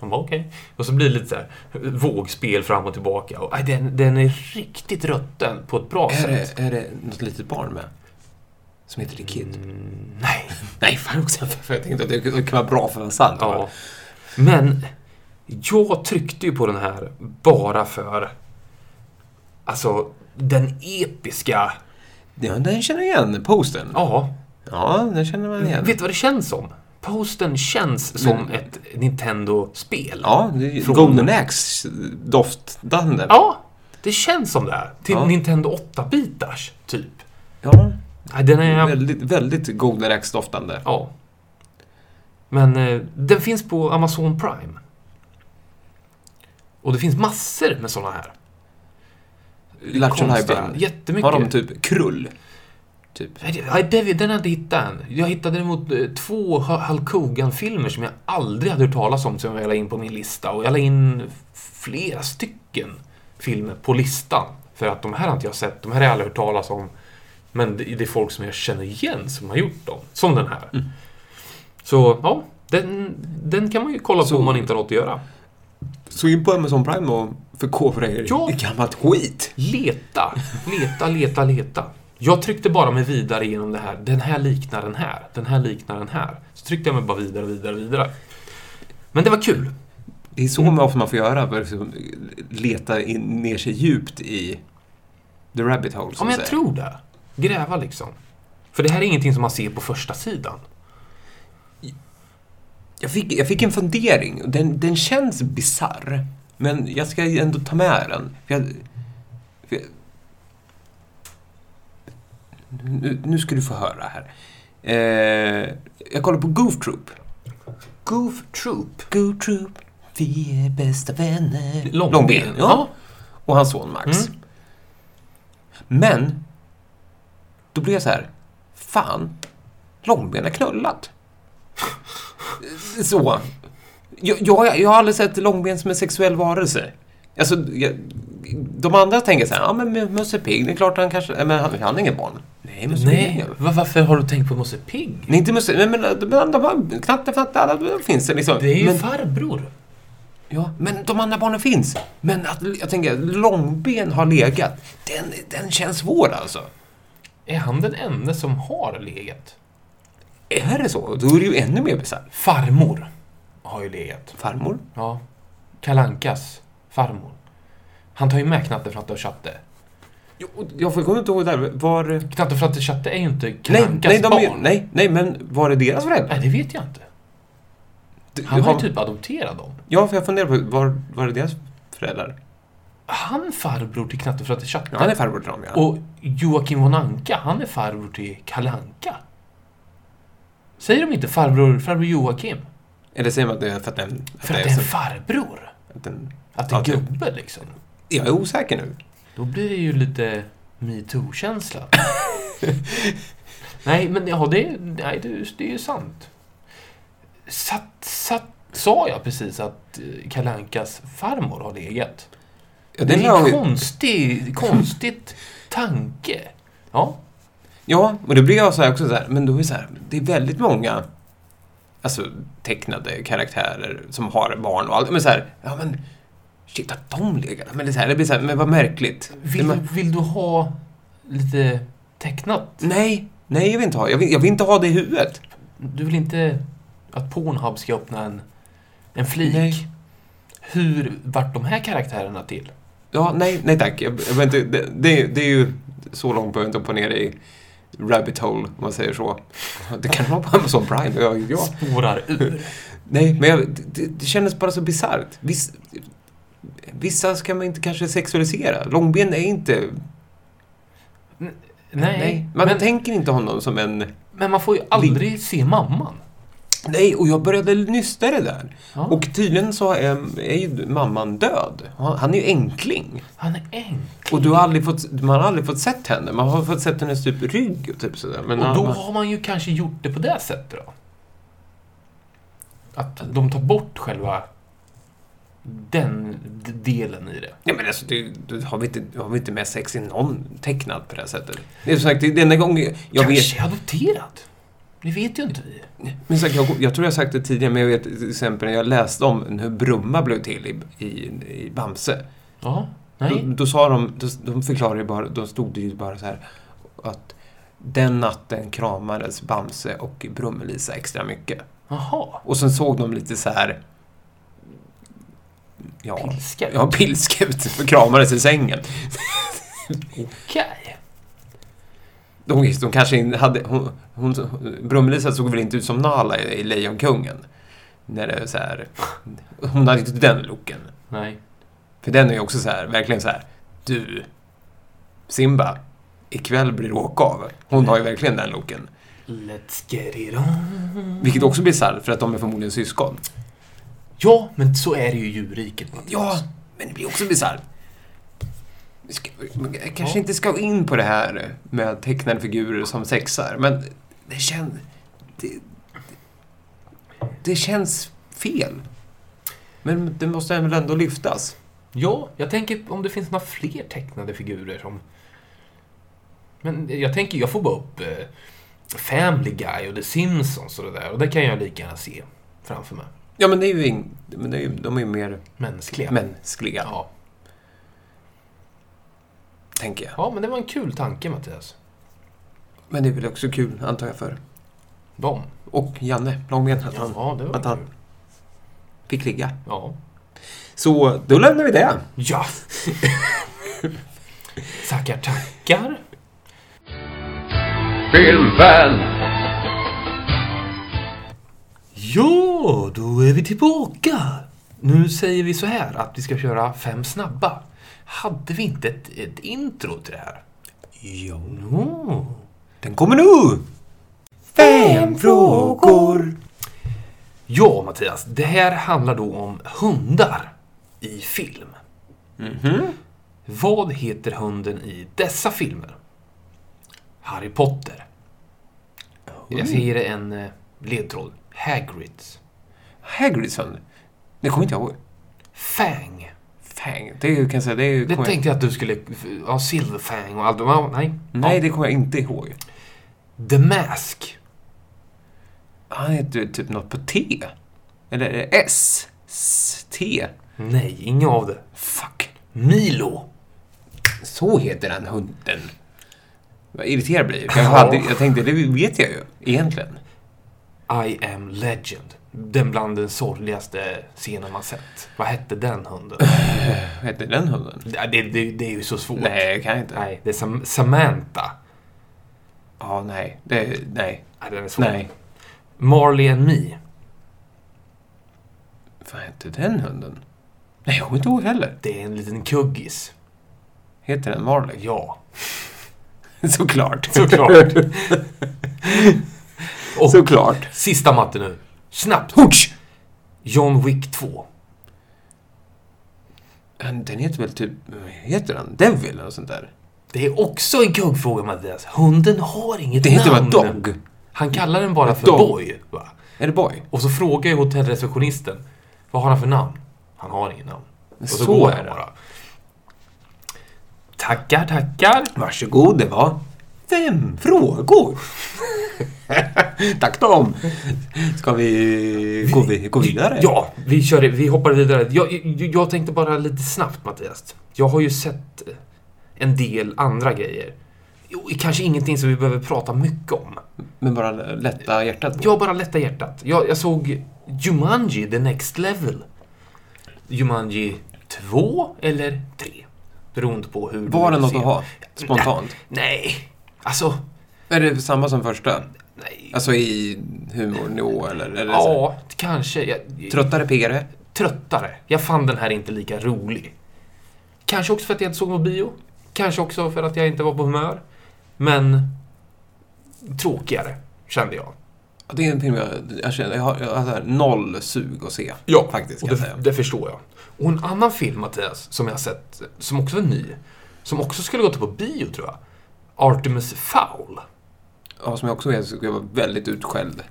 [SPEAKER 3] De bara okej. Och så blir det lite så här vågspel fram och tillbaka. Och, aj, den, den är riktigt rutten på ett bra
[SPEAKER 2] Är
[SPEAKER 3] sätt.
[SPEAKER 2] det, är det något litet barn med? Som heter The Kid?
[SPEAKER 3] Mm, nej.
[SPEAKER 2] Nej, fan också. <laughs> För jag tänkte att det kan vara bra för att vara sant.
[SPEAKER 3] Ja. Men jag tryckte ju på den här bara för alltså den episka...
[SPEAKER 2] Ja, den känner jag igen. Posten.
[SPEAKER 3] Ja,
[SPEAKER 2] Ja, den känner man igen.
[SPEAKER 3] vet du vad det känns som? Posten känns som
[SPEAKER 2] Men-
[SPEAKER 3] ett Nintendo-spel.
[SPEAKER 2] Mm. Ja, det är ju
[SPEAKER 3] Från-
[SPEAKER 2] Golden Axe doftande.
[SPEAKER 3] Ja, det känns som det. Här. Till
[SPEAKER 2] Ja.
[SPEAKER 3] Nintendo 8-bitars, typ.
[SPEAKER 2] Ja,
[SPEAKER 3] Nej, den är...
[SPEAKER 2] Väldigt, väldigt Golden Axe doftande.
[SPEAKER 3] Ja. Men eh, den finns på Amazon Prime. Och det finns massor med såna här.
[SPEAKER 2] Lattjo
[SPEAKER 3] Konstiga.
[SPEAKER 2] Lajban.
[SPEAKER 3] Jättemycket.
[SPEAKER 2] Har de typ krull? Typ.
[SPEAKER 3] Nej, det- nej, det- den har jag inte hittat än. Jag hittade däremot eh, två H- Hulk Hogan-filmer som jag aldrig hade hört talas om som jag la in på min lista. Och jag la in flera stycken filmer på listan. För att de här har inte jag sett, de här har jag aldrig hört talas om. Men det det är folk som jag känner igen som har gjort dem. Som den här. Så ja, den, den kan man ju kolla
[SPEAKER 2] Så-
[SPEAKER 3] på om man inte har något att göra.
[SPEAKER 2] Så in på Amazon Prime och förkovra er
[SPEAKER 3] Ja.
[SPEAKER 2] i gammalt skit.
[SPEAKER 3] Leta, leta, leta, leta. Jag tryckte bara mig vidare genom det här. Den här liknar den här. Den här liknar den här. Så tryckte jag mig bara vidare, vidare, vidare. Men det var kul.
[SPEAKER 2] Det är så mm. ofta man får göra. för att Liksom, leta in, ner sig djupt i the rabbit hole.
[SPEAKER 3] Ja,
[SPEAKER 2] som
[SPEAKER 3] men
[SPEAKER 2] säger.
[SPEAKER 3] jag tror det. Gräva liksom. För det här är ingenting som man ser på första sidan.
[SPEAKER 2] jag, fick, jag fick en fundering. Den, den känns bisarr. Men jag ska ändå ta med den. För jag, för jag, nu, nu ska du få höra här. Eh, jag kollar på Goof Troop.
[SPEAKER 3] Goof Troop.
[SPEAKER 2] Goof Troop, vi är bästa vänner.
[SPEAKER 3] Långben.
[SPEAKER 2] ja.
[SPEAKER 3] Ja. Mm.
[SPEAKER 2] Och hans son Max. Men, då blev jag så här, fan, Långben har knullat. så. Jag, jag, jag har aldrig sett Långben som en sexuell varelse. Alltså, jag, de andra tänker så här, ja men Mu- Musse Pigg, det är klart han kanske, nej, men han, han har ingen barn. Nej, Musse Pigg är
[SPEAKER 3] Nej,
[SPEAKER 2] ingen barn.
[SPEAKER 3] va- varför har du tänkt på Musse Pigg?
[SPEAKER 2] Nej, inte Musse, nej, men eh, de andra, knatte, fnatte, alla de finns det liksom.
[SPEAKER 3] Det är ju
[SPEAKER 2] men,
[SPEAKER 3] farbror.
[SPEAKER 2] Ja, men de andra barnen finns. Men att, jag tänker, att långben har legat. Den, den känns svår alltså.
[SPEAKER 3] Är han den enda som har legat?
[SPEAKER 2] Är det så? Då är det ju ännu mer bisarrt.
[SPEAKER 3] Farmor har ju legat.
[SPEAKER 2] Farmor?
[SPEAKER 3] Ja. Kalankas farmor. Han tar ju med Knatte, Fratte och Tjatte.
[SPEAKER 2] Jo, och jag får- kommer inte ihåg där. Var...
[SPEAKER 3] Knatte, Fratte och Tjatte är ju inte
[SPEAKER 2] Nej,
[SPEAKER 3] Kalankas
[SPEAKER 2] nej, de är,
[SPEAKER 3] barn.
[SPEAKER 2] nej, nej, men var det deras föräldrar?
[SPEAKER 3] nej, det vet jag inte.
[SPEAKER 2] Du-
[SPEAKER 3] Han har
[SPEAKER 2] har-
[SPEAKER 3] ju typ adopterat dem.
[SPEAKER 2] Ja, för jag funderar på, var, var det deras föräldrar?
[SPEAKER 3] Han farbror till Knatte, Fratte och Tjatte.
[SPEAKER 2] Ja, han är farbror till dem, ja.
[SPEAKER 3] Och Joakim von Anka, han är farbror till Kalanka. Säger de inte farbror, farbror Joakim?
[SPEAKER 2] Eller säger man att det är för att den...
[SPEAKER 3] För
[SPEAKER 2] det
[SPEAKER 3] att
[SPEAKER 2] är
[SPEAKER 3] det är en
[SPEAKER 2] så-
[SPEAKER 3] farbror.
[SPEAKER 2] att den
[SPEAKER 3] Att det är
[SPEAKER 2] Ja, typ.
[SPEAKER 3] gubbe liksom.
[SPEAKER 2] jag är osäker nu.
[SPEAKER 3] Då blir det ju lite metoo-känsla. <laughs> nej, men ja, det, nej, det, det är ju sant. Satt, satt, sa jag precis att eh, Kalle Ankas farmor har legat? det
[SPEAKER 2] Ja, den
[SPEAKER 3] är
[SPEAKER 2] har
[SPEAKER 3] en
[SPEAKER 2] ju-
[SPEAKER 3] konstig, konstigt tanke. Ja,
[SPEAKER 2] Ja, och då blir jag så här också så här, men då är det så här, det är väldigt många alltså, tecknade karaktärer som har barn och allt, men så här, ja men shit att de legat, men det, är så här, det blir så här, men vad märkligt.
[SPEAKER 3] vill,
[SPEAKER 2] Men-
[SPEAKER 3] vill du ha lite tecknat?
[SPEAKER 2] nej, nej jag vill inte ha, jag vill, jag vill inte ha det i huvudet.
[SPEAKER 3] Du vill inte att Pornhub ska öppna en, en flik?
[SPEAKER 2] Nej.
[SPEAKER 3] Hur vart de här karaktärerna till?
[SPEAKER 2] Ja, nej, nej tack, jag, jag vill inte, det, det, är- det är ju så långt behöver jag inte hoppa ner i rabbit hole, om man
[SPEAKER 3] <laughs>
[SPEAKER 2] säger så. Det kan vara på Amazon Prime, vad vet jag.
[SPEAKER 3] Spårar ur.
[SPEAKER 2] Nej, men jag, det, det kändes bara så bisarrt. Viss, vissa ska man inte kanske sexualisera. Långben är inte...
[SPEAKER 3] Nej,
[SPEAKER 2] Man
[SPEAKER 3] men,
[SPEAKER 2] tänker inte honom som en...
[SPEAKER 3] men man får ju aldrig se mamman.
[SPEAKER 2] Nej, och jag började nysta det där.
[SPEAKER 3] Ja.
[SPEAKER 2] Och tydligen så är, är ju mamman död. Han han är ju enkling.
[SPEAKER 3] Han är äng.
[SPEAKER 2] Och du har aldrig fått, man har aldrig fått sett henne. Man har fått sett hennes typ rygg och typ sådär. Men
[SPEAKER 3] Och då
[SPEAKER 2] man,
[SPEAKER 3] har man ju kanske gjort det på det sättet då. Att de tar bort själva den d- delen i det.
[SPEAKER 2] Ja, men alltså, det, det har, vi inte, har vi inte med sex i någon tecknad på det här sättet? Det är som sagt, det är den enda gången... Jag vet,
[SPEAKER 3] kanske adopterad. Det vet ju inte vi.
[SPEAKER 2] Men sagt, jag, jag tror jag har sagt det tidigare, men jag vet till exempel när jag läste om hur Brumma blev till i, i, i Bamse.
[SPEAKER 3] Ja,
[SPEAKER 2] Då,
[SPEAKER 3] nej.
[SPEAKER 2] Mm. då sa de, då, de förklarade ju bara, då stod det ju bara så här att Den natten kramades Bamse och Brummelisa extra mycket.
[SPEAKER 3] Jaha.
[SPEAKER 2] Och sen såg de lite så här... Ja,
[SPEAKER 3] Pilska?
[SPEAKER 2] ja pilska ut och kramades i sängen.
[SPEAKER 3] Okej.
[SPEAKER 2] De, de kanske inte hade... Hon, hon, Brummelisa såg väl inte ut som Nala i, i Lejonkungen. När det är så här... Hon hade inte den looken.
[SPEAKER 3] Nej.
[SPEAKER 2] För den är ju också så här, verkligen så här. Du, Simba, ikväll blir du åka av. Hon har ju verkligen den looken.
[SPEAKER 3] Let's get it on.
[SPEAKER 2] Vilket också blir sarr för att de är förmodligen syskon.
[SPEAKER 3] Ja, men så är det ju i djurriket.
[SPEAKER 2] Ja, men det blir också bisarrt. Vi ska- man Kanske inte ska gå in på det här med tecknade figurer som sexar, men det känns... Det, det- det känns fel. Men det måste väl ändå lyftas.
[SPEAKER 3] Ja, jag tänker om det finns några fler tecknade figurer som... Men jag tänker, jag får bara upp eh, Family Guy och The Simpsons och det där. Och det kan jag lika gärna se framför mig.
[SPEAKER 2] Ja, men det är ju, ing, men det är ju de är ju mer
[SPEAKER 3] Mänskliga.
[SPEAKER 2] mänskliga,
[SPEAKER 3] Ja.
[SPEAKER 2] tänker jag.
[SPEAKER 3] ja, men det var en kul tanke Mattias.
[SPEAKER 2] Men det är väl också kul, antar jag, för...
[SPEAKER 3] De.
[SPEAKER 2] Och Janne Långben, att han
[SPEAKER 3] Ja, det var
[SPEAKER 2] att han-
[SPEAKER 3] kul.
[SPEAKER 2] fick ligga.
[SPEAKER 3] Ja.
[SPEAKER 2] Så då lämnar vi det. <laughs>
[SPEAKER 3] Ja! Tackar, tackar.
[SPEAKER 1] Filmfan!
[SPEAKER 3] Ja, då är vi tillbaka. Nu säger vi så här att vi ska köra fem snabba. Hade vi inte ett, ett intro till det här?
[SPEAKER 2] Jo.
[SPEAKER 3] Jo.
[SPEAKER 2] Den kommer nu! Fem frågor!
[SPEAKER 3] Ja, Mattias. Det här handlar då om hundar i film.
[SPEAKER 2] Mm.
[SPEAKER 3] Vad heter hunden i dessa filmer? Harry Potter. Jag ska ge dig en eh, ledtråd. Hagrids.
[SPEAKER 2] Hagrids hund. Det kommer inte jag ihåg.
[SPEAKER 3] Fang.
[SPEAKER 2] Fang. Det är ju- kan jag säga, det är ju...
[SPEAKER 3] Det
[SPEAKER 2] kommer jag-
[SPEAKER 3] tänkte jag att du skulle... Ja, Silverfang och allt. Ja, Nej.
[SPEAKER 2] Nej, det kommer jag inte ihåg.
[SPEAKER 3] The Mask.
[SPEAKER 2] Han heter ju typ något på T. Eller är det S? S? T?
[SPEAKER 3] Nej, inga av det.
[SPEAKER 2] Fuck.
[SPEAKER 3] Milo.
[SPEAKER 2] Så heter den hunden. Vad irriterad jag blir. För jag, hade, jag tänkte, det vet jag ju egentligen.
[SPEAKER 3] I am legend. Den bland den sorgligaste scenen man sett. Vad hette den
[SPEAKER 2] <laughs>
[SPEAKER 3] hunden?
[SPEAKER 2] Vad heter den hunden?
[SPEAKER 3] det, det, det, det är ju så svårt.
[SPEAKER 2] Nej, jag kan inte.
[SPEAKER 3] Nej, det är Sam- Samantha.
[SPEAKER 2] Ja, nej. Det, nej.
[SPEAKER 3] Nej, den är svår.
[SPEAKER 2] Nej.
[SPEAKER 3] Marley and Me.
[SPEAKER 2] Vad hette den hunden? Nej, jag kommer inte ihåg heller.
[SPEAKER 3] Det är en liten kuggis.
[SPEAKER 2] Heter den Marley? <laughs>
[SPEAKER 3] Ja,
[SPEAKER 2] Såklart.
[SPEAKER 3] såklart. Och
[SPEAKER 2] Såklart.
[SPEAKER 3] sista matte nu. Snabbt.
[SPEAKER 2] Hutsch!
[SPEAKER 3] John Wick 2.
[SPEAKER 2] Den den heter väl typ... Vad heter den? Devil eller något sånt där?
[SPEAKER 3] Det är också en kuggfråga Mattias. Hunden har inget
[SPEAKER 2] Det
[SPEAKER 3] namn.
[SPEAKER 2] heter väl Dog?
[SPEAKER 3] Han kallar den bara för
[SPEAKER 2] Dog.
[SPEAKER 3] Boy. Va?
[SPEAKER 2] Är det Boy?
[SPEAKER 3] Och så frågar ju hotellreceptionisten vad har han för namn? Han har inget namn. Och så,
[SPEAKER 2] Så
[SPEAKER 3] går
[SPEAKER 2] är
[SPEAKER 3] han
[SPEAKER 2] det.
[SPEAKER 3] bara. Tackar, tackar.
[SPEAKER 2] Varsågod, det var fem frågor. <laughs> Tack Tom! Ska vi gå, vi, gå vidare?
[SPEAKER 3] Ja, vi, kör, det. vi hoppar vidare. Jag, jag, jag tänkte bara lite snabbt Mattias. Jag har ju sett en del andra grejer. Jo, kanske ingenting som vi behöver prata mycket om.
[SPEAKER 2] Men bara lätta hjärtat på.
[SPEAKER 3] Jag bara lättar hjärtat. Jag, jag såg Jumanji the next level. Jumanji 2 eller 3. Beroende på hur
[SPEAKER 2] Var det
[SPEAKER 3] vill
[SPEAKER 2] något
[SPEAKER 3] se.
[SPEAKER 2] att ha? Spontant?
[SPEAKER 3] Nej, alltså...
[SPEAKER 2] Är det samma som första?
[SPEAKER 3] Nej.
[SPEAKER 2] Alltså i humornivå eller? eller så?
[SPEAKER 3] ja, kanske. Jag,
[SPEAKER 2] Tröttare, piggare?
[SPEAKER 3] tröttare. Jag fann den här inte lika rolig. Kanske också för att jag inte såg någon bio. Kanske också för att jag inte var på humör. Men tråkigare, kände jag.
[SPEAKER 2] Ja, Det är en film jag, jag känner, jag har, jag har så här noll sug att se.
[SPEAKER 3] Ja,
[SPEAKER 2] faktiskt.
[SPEAKER 3] och
[SPEAKER 2] Kan jag
[SPEAKER 3] det,
[SPEAKER 2] säga.
[SPEAKER 3] det förstår jag. Och en annan film, Mattias, som jag har sett, som också var ny, som också skulle gått på bio, tror jag. Artemis Fowl.
[SPEAKER 2] Ja, som jag också är så skulle jag vara väldigt utskälld.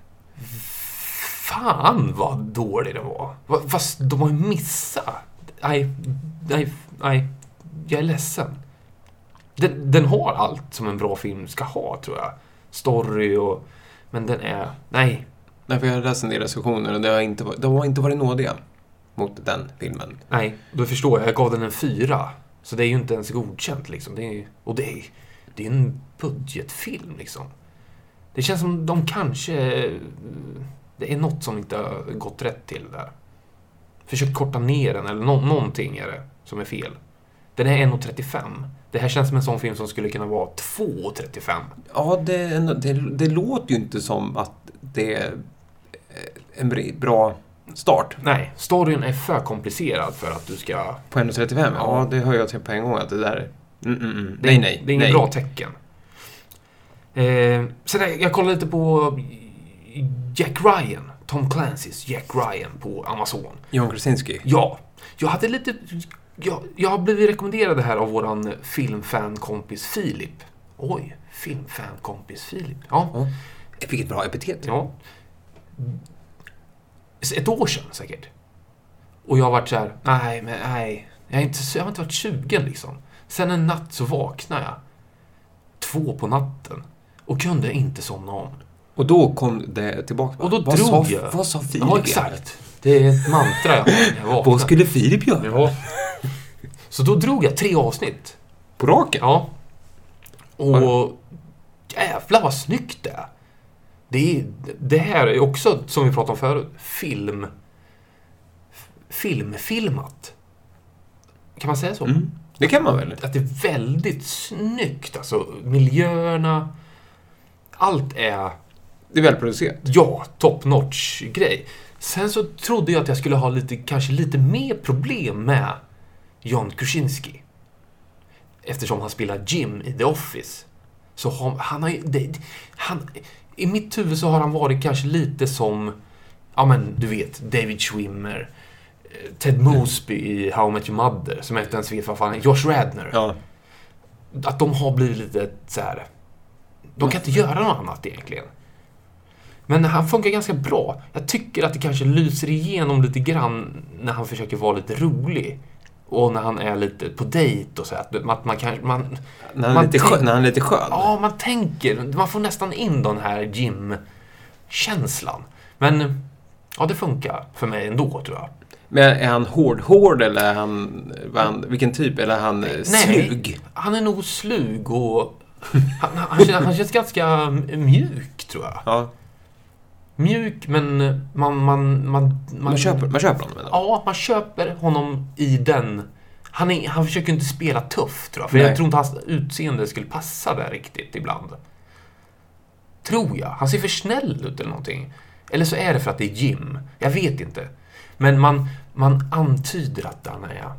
[SPEAKER 3] Fan vad dålig den var. Va- Fast de har ju missat. Nej, nej, nej. Jag är ledsen. Den, den har allt som en bra film ska ha, tror jag. Story och... Men den är... Nej,
[SPEAKER 2] Nej, för jag har läst en del recensioner och det har inte, varit- de har inte varit nådiga mot den filmen.
[SPEAKER 3] nej. Då förstår jag. Jag gav den en fyra. Så det är ju inte ens godkänt liksom. Det är, ju- och det är, Det är en budgetfilm liksom. Det känns som de kanske... eh, Det är något som inte har gått rätt till där. Försökt korta ner den, eller nå- någonting är det som är fel. Den är 1.35. Det här känns som en sån film som skulle kunna vara 2.35.
[SPEAKER 2] Ja, det, det, det låter ju inte som att det är eh, en bri- bra start
[SPEAKER 3] Nej, storyn är för komplicerad för att du ska...
[SPEAKER 2] på 1.35. Ja.
[SPEAKER 3] Ja.
[SPEAKER 2] det hör jag till på en gång att det där... Mm, mm, mm.
[SPEAKER 3] Det är,
[SPEAKER 2] nej, nej.
[SPEAKER 3] Det är inget
[SPEAKER 2] nej.
[SPEAKER 3] bra tecken. Eh, sen jag, jag kollade lite på Jack Ryan. Tom Clancys Jack Ryan på Amazon.
[SPEAKER 2] John Krasinski.
[SPEAKER 3] Ja, jag hade lite... Jag, jag har blivit rekommenderad det här av våran filmfankompis Filip. Oj, filmfankompis Filip. Ja.
[SPEAKER 2] Ja. Vilket bra epitet.
[SPEAKER 3] ja. Ett år sedan säkert. Och jag har varit så här, nej, men nej. Jag, är inte, så- jag har inte varit 20 liksom. Sen en natt så vaknade jag. Två på natten. Och kunde inte somna om.
[SPEAKER 2] Och då kom det tillbaka.
[SPEAKER 3] Och då
[SPEAKER 2] vad
[SPEAKER 3] drog
[SPEAKER 2] sa,
[SPEAKER 3] jag.
[SPEAKER 2] Vad sa Filip?
[SPEAKER 3] Ja, exakt. Det är ett mantra jag har när jag
[SPEAKER 2] egentligen? Vad
[SPEAKER 3] vaknar.
[SPEAKER 2] skulle Filip göra?
[SPEAKER 3] Ja. Så då drog jag tre avsnitt.
[SPEAKER 2] På raken?
[SPEAKER 3] Ja. Och jävlar vad snyggt det är. Det, är, det här är också, som vi pratade om förut, film... f- Filmfilmat. Kan man säga så?
[SPEAKER 2] Mm. Det kan man väl?
[SPEAKER 3] Att det är väldigt snyggt. Alltså miljöerna. Allt är
[SPEAKER 2] Det är välproducerat.
[SPEAKER 3] ja, top notch grej. Sen så trodde jag att jag skulle ha lite, kanske lite mer problem med John Krasinski. Eftersom han spelar Jim i The Office. Så har, han har ju, det, han, I mitt huvud så har han varit kanske lite som, ja men du vet, David Schwimmer, eh, Ted Mosby i How I Met Your Mother, som efter en svep, vad fan, är- Josh Radner
[SPEAKER 2] Ja.
[SPEAKER 3] att de har blivit lite så här. De kan inte göra något annat egentligen. Men han funkar ganska bra. Jag tycker att det kanske lyser igenom lite grann när han försöker vara lite rolig. Och när han är lite på dejt och så här. Att man, man kanske, man,
[SPEAKER 2] När han,
[SPEAKER 3] Man
[SPEAKER 2] är lite
[SPEAKER 3] tänk-
[SPEAKER 2] skön, när han är lite skön.
[SPEAKER 3] ja, man tänker. Man får nästan in den här Jim-känslan. Men ja, det funkar för mig ändå tror jag.
[SPEAKER 2] Men är han hård-hård eller är han, vad är han... Vilken typ? Eller är han eh, slug?
[SPEAKER 3] han är nog slug och han, han, han, känns, han känns ganska mjuk tror jag.
[SPEAKER 2] Ja.
[SPEAKER 3] Mjuk, men man... Man, man,
[SPEAKER 2] Man, köper, man köper honom ändå.
[SPEAKER 3] Ja, man köper honom i den... Han, är, han försöker inte spela tuff, tror jag. För
[SPEAKER 2] Nej.
[SPEAKER 3] jag tror inte hans utseende skulle passa där riktigt ibland. Tror jag. Han ser för snäll ut eller någonting. Eller så är det för att det är Jim. Jag vet inte. Men man, man antyder att han är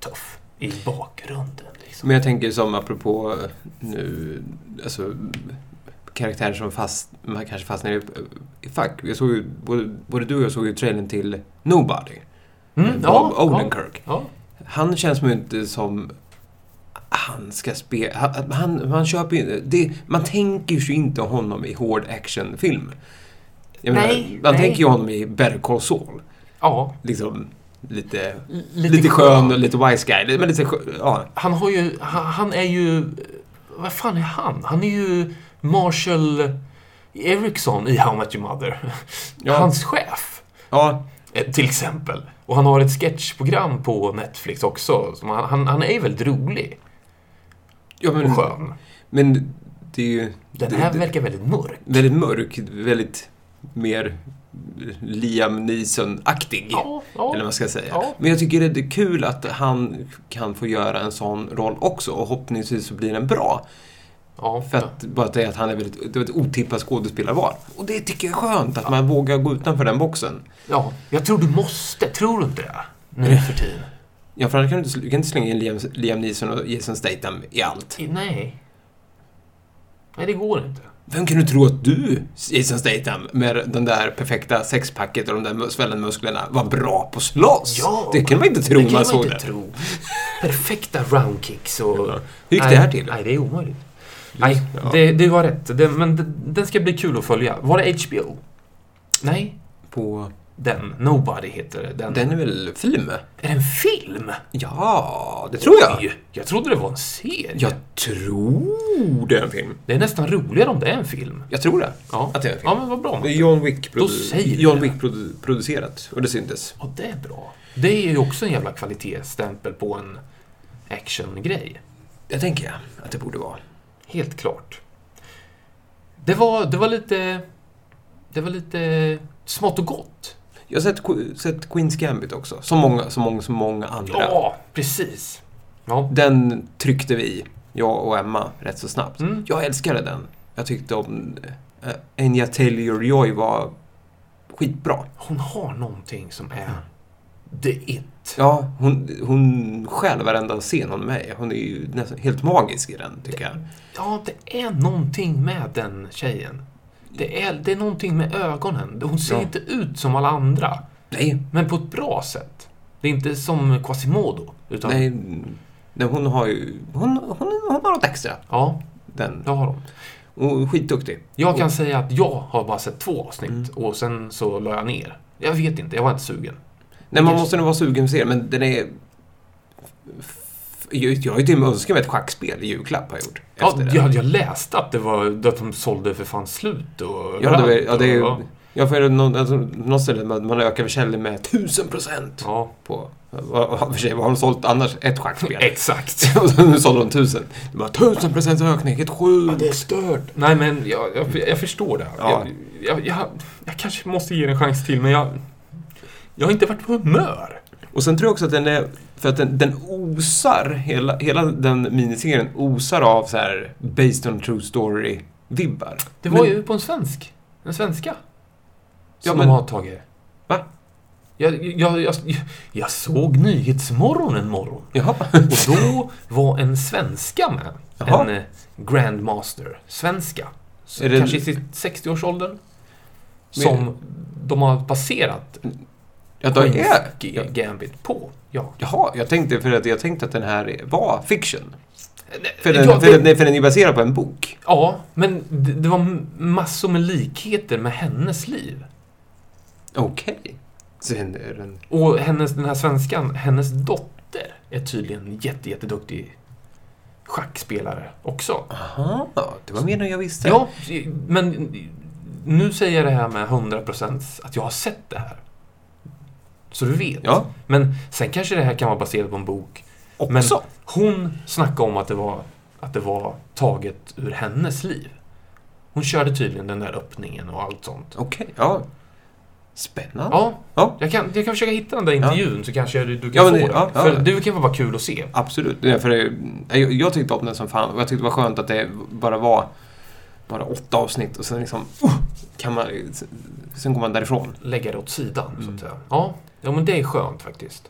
[SPEAKER 3] tuff i bakgrunden. Liksom.
[SPEAKER 2] Men jag tänker som apropå eh, nu, alltså karaktärer som fast, man kanske fastnar i, i fack. Jag såg ju, både, både du och jag såg ju trailern till Nobody.
[SPEAKER 3] Mm,
[SPEAKER 2] Bob
[SPEAKER 3] ja, ja,
[SPEAKER 2] Odenkirk.
[SPEAKER 3] ja.
[SPEAKER 2] Han känns ju inte som han ska spela... Han, han, man, köper ju, det, man tänker ju inte honom i hård actionfilm. Jag menar,
[SPEAKER 3] Nej,
[SPEAKER 2] man
[SPEAKER 3] nej.
[SPEAKER 2] tänker ju honom i Better Call Saul.
[SPEAKER 3] ja.
[SPEAKER 2] Liksom lite,
[SPEAKER 3] L-
[SPEAKER 2] lite, skön och lite wise guy. Men lite skön, ja.
[SPEAKER 3] Han har ju, han, han är ju, vad fan är han? Han är ju Marshall Eriksson i How I Met Your Mother.
[SPEAKER 2] Ja.
[SPEAKER 3] Hans chef,
[SPEAKER 2] ja
[SPEAKER 3] eh, till exempel. Och han har ett sketchprogram på Netflix också. Som han, han, han är väldigt rolig
[SPEAKER 2] Ja, men,
[SPEAKER 3] och skön.
[SPEAKER 2] men det är ju
[SPEAKER 3] Den
[SPEAKER 2] Mm. det-
[SPEAKER 3] här
[SPEAKER 2] det-
[SPEAKER 3] verkar väldigt mörk.
[SPEAKER 2] väldigt mörk, väldigt mer Liam Neeson-aktig.
[SPEAKER 3] Ja,
[SPEAKER 2] Eller vad
[SPEAKER 3] ja.
[SPEAKER 2] man ska säga.
[SPEAKER 3] Ja.
[SPEAKER 2] Men jag tycker det är kul att han kan få göra en sån roll också och hoppningsvis så blir den bra.
[SPEAKER 3] ja.
[SPEAKER 2] För att bara det att han är väldigt, det var ett otippat skådespelarval. Och det tycker jag är skönt, att man vågar gå utanför den boxen.
[SPEAKER 3] ja. Jag tror du måste, tror du inte det? Nu för tiden.
[SPEAKER 2] Ja, för annars kan du inte, sl- du kan inte slänga in Liam, Liam Neeson och Jason Statham i allt.
[SPEAKER 3] I- Nej. Nej, det går inte.
[SPEAKER 2] Vem kan du tro att du, Jason Statham, med den där perfekta sexpacket och de där mus- svällmusklerna, var bra på att slåss?
[SPEAKER 3] Ja,
[SPEAKER 2] det kan man inte tro
[SPEAKER 3] det
[SPEAKER 2] när
[SPEAKER 3] kan
[SPEAKER 2] man såg
[SPEAKER 3] inte
[SPEAKER 2] det.
[SPEAKER 3] tro. Perfekta roundkicks och...
[SPEAKER 2] Ja. Hur gick det här till?
[SPEAKER 3] Nej, nej, det är omöjligt. Nej,
[SPEAKER 2] Ja.
[SPEAKER 3] det, det var rätt. Det, men det, den ska bli kul att följa. Var det HBO? Nej,
[SPEAKER 2] På...
[SPEAKER 3] den. Nobody heter den.
[SPEAKER 2] Den är väl film?
[SPEAKER 3] Är det en film?
[SPEAKER 2] Ja, det tror jag.
[SPEAKER 3] Oj, jag trodde det var en serie.
[SPEAKER 2] Jag tror det är en film.
[SPEAKER 3] Det är nästan roligare om det är en film.
[SPEAKER 2] Jag tror det.
[SPEAKER 3] Ja,
[SPEAKER 2] Att det är en film.
[SPEAKER 3] ja men vad bra.
[SPEAKER 2] Det är John Wick,
[SPEAKER 3] Då säger vi
[SPEAKER 2] John
[SPEAKER 3] det.
[SPEAKER 2] Wick produ- producerat och det syntes.
[SPEAKER 3] Ja, det är bra. Det är ju också en jävla kvalitetsstämpel på en actiongrej.
[SPEAKER 2] Det tänker jag att det borde vara.
[SPEAKER 3] Helt klart. Det var, det var lite... Det var lite smått och gott.
[SPEAKER 2] Jag har sett, Qu- sett Queens Gambit också, som många, som många, som många andra.
[SPEAKER 3] Ja, precis. Ja.
[SPEAKER 2] Den tryckte vi, jag och Emma, rätt så snabbt.
[SPEAKER 3] Mm.
[SPEAKER 2] Jag älskade den. Jag tyckte om... eh, Enya Taylor-Joy var skitbra.
[SPEAKER 3] Hon har någonting som är
[SPEAKER 2] Mm.
[SPEAKER 3] the it.
[SPEAKER 2] Ja, hon, hon stjäl varenda scen hon är med i. Hon är ju nästan helt magisk i den, tycker jag.
[SPEAKER 3] Ja, det är någonting med den tjejen. Det är, det är någonting med ögonen. Hon ser
[SPEAKER 2] Ja.
[SPEAKER 3] inte ut som alla andra,
[SPEAKER 2] Nej,
[SPEAKER 3] men på ett bra sätt. Det är inte som Quasimodo, utan
[SPEAKER 2] nej. nej hon har ju... Hon, hon, hon har något extra,
[SPEAKER 3] ja,
[SPEAKER 2] den.
[SPEAKER 3] det har hon.
[SPEAKER 2] Hon är skitduktig.
[SPEAKER 3] Jag kan säga att jag har bara sett två avsnitt
[SPEAKER 2] Mm.
[SPEAKER 3] och sen så la jag ner. Jag vet inte, jag var inte sugen.
[SPEAKER 2] Nej, man
[SPEAKER 3] Just-
[SPEAKER 2] måste nog vara sugen för det, men den är... F- Jag jag har ju till och med önskat mig ett schackspel i julklapp, har jag gjort.
[SPEAKER 3] Ja,
[SPEAKER 2] efter den.
[SPEAKER 3] jag, jag läste att, det var, att de sålde för fan slut och
[SPEAKER 2] Ja, det, är- ja, det är
[SPEAKER 3] och-
[SPEAKER 2] ju... Ja, för någon, alltså, någon ställe man, man ökar försäljningen med 1000 procent.
[SPEAKER 3] Ja,
[SPEAKER 2] På, vad- vad- för sig, vad har de sålt annars? Ett schackspel.
[SPEAKER 3] exakt.
[SPEAKER 2] <laughs> Och så nu sålde de 1000. Det var 1000 procents ökning, helt sjukt.
[SPEAKER 3] är stört. Nej, men jag, jag, jag förstår det.
[SPEAKER 2] Ja.
[SPEAKER 3] Jag, jag, jag, jag kanske måste ge den en chans till, men jag, jag har inte varit på humör.
[SPEAKER 2] Och sen tror jag också att den är, för att den, den osar, hela, hela den miniserien osar av så här based on true story-vibbar.
[SPEAKER 3] Det var
[SPEAKER 2] Men-
[SPEAKER 3] ju på en svensk. En svenska.
[SPEAKER 2] Ja,
[SPEAKER 3] som
[SPEAKER 2] men-
[SPEAKER 3] de har tagit.
[SPEAKER 2] Va?
[SPEAKER 3] Jag, jag, jag, jag, jag såg Nyhetsmorgon en
[SPEAKER 2] <laughs>
[SPEAKER 3] morgon.
[SPEAKER 2] Jaha.
[SPEAKER 3] Och då var en svenska med.
[SPEAKER 2] Jaha.
[SPEAKER 3] En eh, grandmaster. Svenska. S-
[SPEAKER 2] Är det-
[SPEAKER 3] Kanske i sitt 60-årsåldern. Som de har baserat
[SPEAKER 2] Ja, då är,
[SPEAKER 3] Queen's Ga- Gambit på. Ja.
[SPEAKER 2] jaha, jag tänkte, för att jag tänkte att den här var fiction. För den,
[SPEAKER 3] ja,
[SPEAKER 2] för
[SPEAKER 3] det-
[SPEAKER 2] den, nej, för den är baserad på en bok.
[SPEAKER 3] ja, men det, det var m- massor med likheter med hennes liv.
[SPEAKER 2] Okej. Sen är den...
[SPEAKER 3] Och hennes, den här svenskan, hennes dotter är tydligen jätte, jätteduktig schackspelare också.
[SPEAKER 2] Aha, det var mer än jag visste.
[SPEAKER 3] Ja, men nu säger jag det här med 100% att jag har sett det här. Så du vet.
[SPEAKER 2] Ja.
[SPEAKER 3] Men sen kanske det här kan vara baserat på en bok. Men
[SPEAKER 2] Också.
[SPEAKER 3] hon snackade om att det, var, att det var taget ur hennes liv. Hon körde tydligen den där öppningen och allt sånt.
[SPEAKER 2] Okej, ja. Spännande.
[SPEAKER 3] Ja,
[SPEAKER 2] Ja.
[SPEAKER 3] jag kan, jag kan försöka hitta den där intervjun så kanske du, du kan
[SPEAKER 2] Ja, men
[SPEAKER 3] få
[SPEAKER 2] det-
[SPEAKER 3] den.
[SPEAKER 2] ja, ja.
[SPEAKER 3] För det kan vara bara kul att se.
[SPEAKER 2] Absolut. Nej, för det, jag, jag tyckte om den som fan och jag tyckte det var skönt att det bara var bara åtta avsnitt och sen liksom oh, kan man, sen går man därifrån.
[SPEAKER 3] Lägga det åt sidan, så
[SPEAKER 2] Mm.
[SPEAKER 3] att säga. Ja. ja, men det är skönt faktiskt.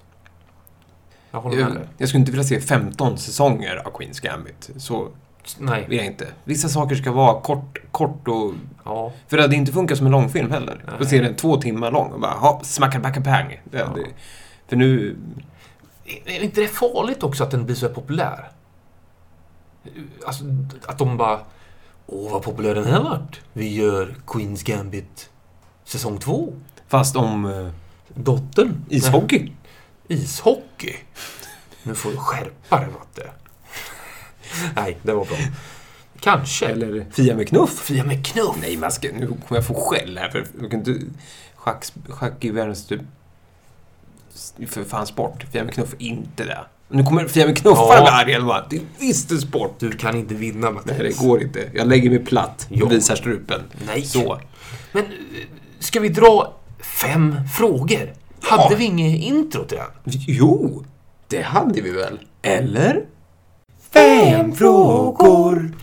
[SPEAKER 3] Jag håller med
[SPEAKER 2] Jag,
[SPEAKER 3] dig.
[SPEAKER 2] jag skulle inte vilja se 15 säsonger av Queens Gambit. Så
[SPEAKER 3] Nej.
[SPEAKER 2] vill jag inte. Vissa saker ska vara kort, kort och...
[SPEAKER 3] Ja.
[SPEAKER 2] För det hade inte funkat som en långfilm heller.
[SPEAKER 3] Nej.
[SPEAKER 2] Då ser den två timmar lång och bara hopp, smacka, backa, pang. Det,
[SPEAKER 3] Ja.
[SPEAKER 2] det, för nu...
[SPEAKER 3] Är inte det farligt också att den blir så här populär? Alltså, att de bara... Åh, vad populär den här vart. Vi gör Queens Gambit säsong två.
[SPEAKER 2] Fast om eh,
[SPEAKER 3] Dottern.
[SPEAKER 2] ishockey.
[SPEAKER 3] Nej, ishockey. Nu får du skärpa dig, Matte. <laughs> Nej, det var bra. Kanske.
[SPEAKER 2] Eller Fia med knuff.
[SPEAKER 3] Fia med knuff.
[SPEAKER 2] Nej, man ska, nu kommer jag få skäll här för jag kan inte, schack, schack i världens typ för fan sport. Fia med knuff är inte det. Nu kommer Fia med knuffar
[SPEAKER 3] Ja.
[SPEAKER 2] bli arg eller vad? Det är visst en sport.
[SPEAKER 3] Du kan inte vinna, Matte.
[SPEAKER 2] Nej, det går inte. Jag lägger mig platt
[SPEAKER 3] Ja.
[SPEAKER 2] och visar strupen.
[SPEAKER 3] Nej.
[SPEAKER 2] Så.
[SPEAKER 3] Men eh, ska vi dra fem frågor? Hade vi inget intro till den?
[SPEAKER 2] Jo, det hade vi väl? Eller?
[SPEAKER 3] Fem frågor.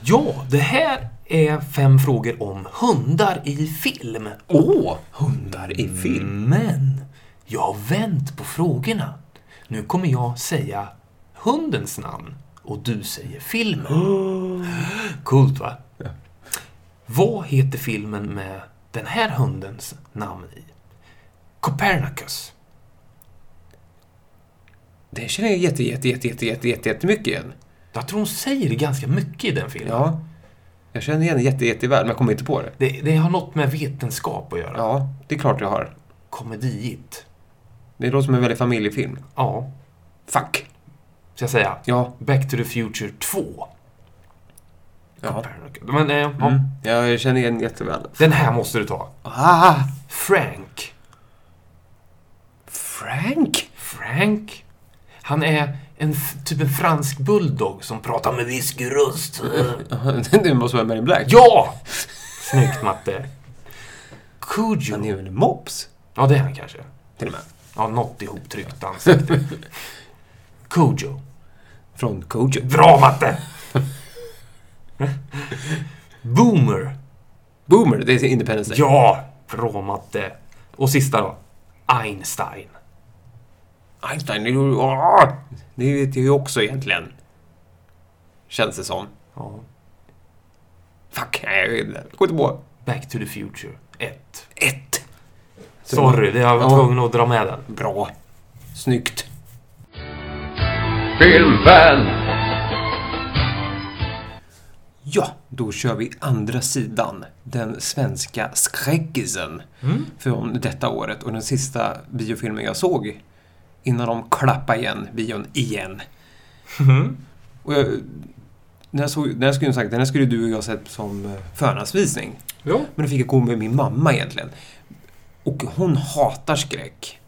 [SPEAKER 3] Ja, det här är fem frågor om hundar i film.
[SPEAKER 2] Åh, hundar
[SPEAKER 3] Mm.
[SPEAKER 2] i film.
[SPEAKER 3] Men jag har vänt på frågorna. Nu kommer jag säga hundens namn och du säger filmen.
[SPEAKER 2] <gasps>
[SPEAKER 3] Coolt va? Vad heter filmen med den här hundens namn i? Copernicus.
[SPEAKER 2] Det känner jag jätte, jätte, jätte, jätte, jätte, jätte, jättemycket igen.
[SPEAKER 3] Jag tror hon säger det ganska mycket i den filmen.
[SPEAKER 2] Ja. Jag känner igen det jätte, jätteväl, men jag kommer inte på det.
[SPEAKER 3] Det, det har något med vetenskap att göra.
[SPEAKER 2] Ja, det är klart jag har.
[SPEAKER 3] Komediigt.
[SPEAKER 2] Det låter som en väldigt familjefilm.
[SPEAKER 3] Ja,
[SPEAKER 2] Fuck.
[SPEAKER 3] ska jag säga.
[SPEAKER 2] Ja.
[SPEAKER 3] Back to the Future 2.
[SPEAKER 2] ja.
[SPEAKER 3] Men, eh, ja.
[SPEAKER 2] Mm. Ja, jag känner igen jätteväl.
[SPEAKER 3] Den här måste du ta.
[SPEAKER 2] Ah!
[SPEAKER 3] Frank.
[SPEAKER 2] Frank? <laughs>
[SPEAKER 3] Frank? Han är en, f- typ en fransk bulldog som pratar med <laughs> whiskyröst.
[SPEAKER 2] det måste vara Men in Black.
[SPEAKER 3] Ja! Snyggt Matte.
[SPEAKER 2] Han är
[SPEAKER 3] Kujo.
[SPEAKER 2] väl en mops?
[SPEAKER 3] Ja, det är han kanske.
[SPEAKER 2] Till och med.
[SPEAKER 3] Ja, något ihoptryckt ansikte. Kujo.
[SPEAKER 2] Från Kojo.
[SPEAKER 3] Bra matte! Boomer.
[SPEAKER 2] Boomer, det är Independence Day.
[SPEAKER 3] Ja! Bra matte. Och sista då. Einstein.
[SPEAKER 2] Einstein, det är ju- åh! det vet jag ju också egentligen. Känns det som.
[SPEAKER 3] Ja.
[SPEAKER 2] Fuck, nej, jag vet inte. Gå inte på.
[SPEAKER 3] Back to the future. 1.
[SPEAKER 2] Ett. Så-
[SPEAKER 3] Sorry, det jag var
[SPEAKER 2] Ja.
[SPEAKER 3] tvungen att dra med den.
[SPEAKER 2] Bra. Snyggt.
[SPEAKER 1] Filmfan,
[SPEAKER 2] Ja, då kör vi andra sidan. Den svenska skräckisen från detta året. Och den sista biofilmen jag såg innan de klappade igen bion igen.
[SPEAKER 3] Mm-hmm.
[SPEAKER 2] Och jag, när jag, såg, när jag skulle sagt, den här skulle du och jag sett som eh, förhandsvisning.
[SPEAKER 3] Ja.
[SPEAKER 2] Men då fick jag gå med min mamma egentligen. Och hon hatar skräck.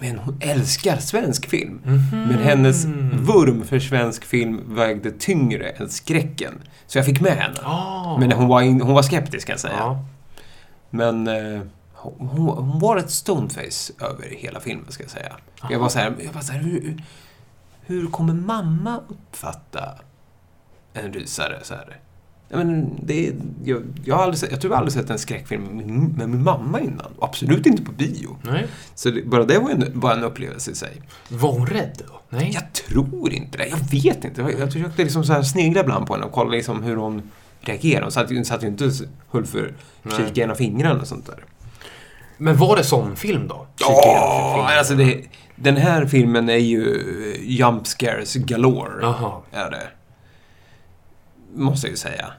[SPEAKER 2] Men hon älskar svensk film.
[SPEAKER 3] Mhm.
[SPEAKER 2] Men hennes vurm för svensk film vägde tyngre än skräcken. Så jag fick med henne.
[SPEAKER 3] Ah.
[SPEAKER 2] Men hon var, in, hon var skeptisk kan jag säga.
[SPEAKER 3] ja.
[SPEAKER 2] Men eh, hon, hon var ett stoneface över hela filmen ska jag säga. Jag var så här, jag var så här hur, hur kommer mamma uppfatta en rysare? Så här? Jag, men, det, är- jag, jag, har aldrig, sett- jag tror jag aldrig sett en skräckfilm med min, med min mamma innan. Och Absolut inte på bio.
[SPEAKER 3] Nej.
[SPEAKER 2] Så det, bara det var en, var en upplevelse i sig.
[SPEAKER 3] Var hon rädd då? Nej.
[SPEAKER 2] Jag tror inte det. Jag vet inte. Jag, jag försökte liksom så här snegla ibland på henne och kolla liksom hur hon reagerade. Hon satt, ju- satt ju inte och höll för
[SPEAKER 3] Nej.
[SPEAKER 2] kika genom fingrarna och sånt där.
[SPEAKER 3] Men var det sån film då?
[SPEAKER 2] Ja, alltså det, den här filmen är ju eh, jump scares galore.
[SPEAKER 3] Jaha.
[SPEAKER 2] Är det. Måste jag ju säga.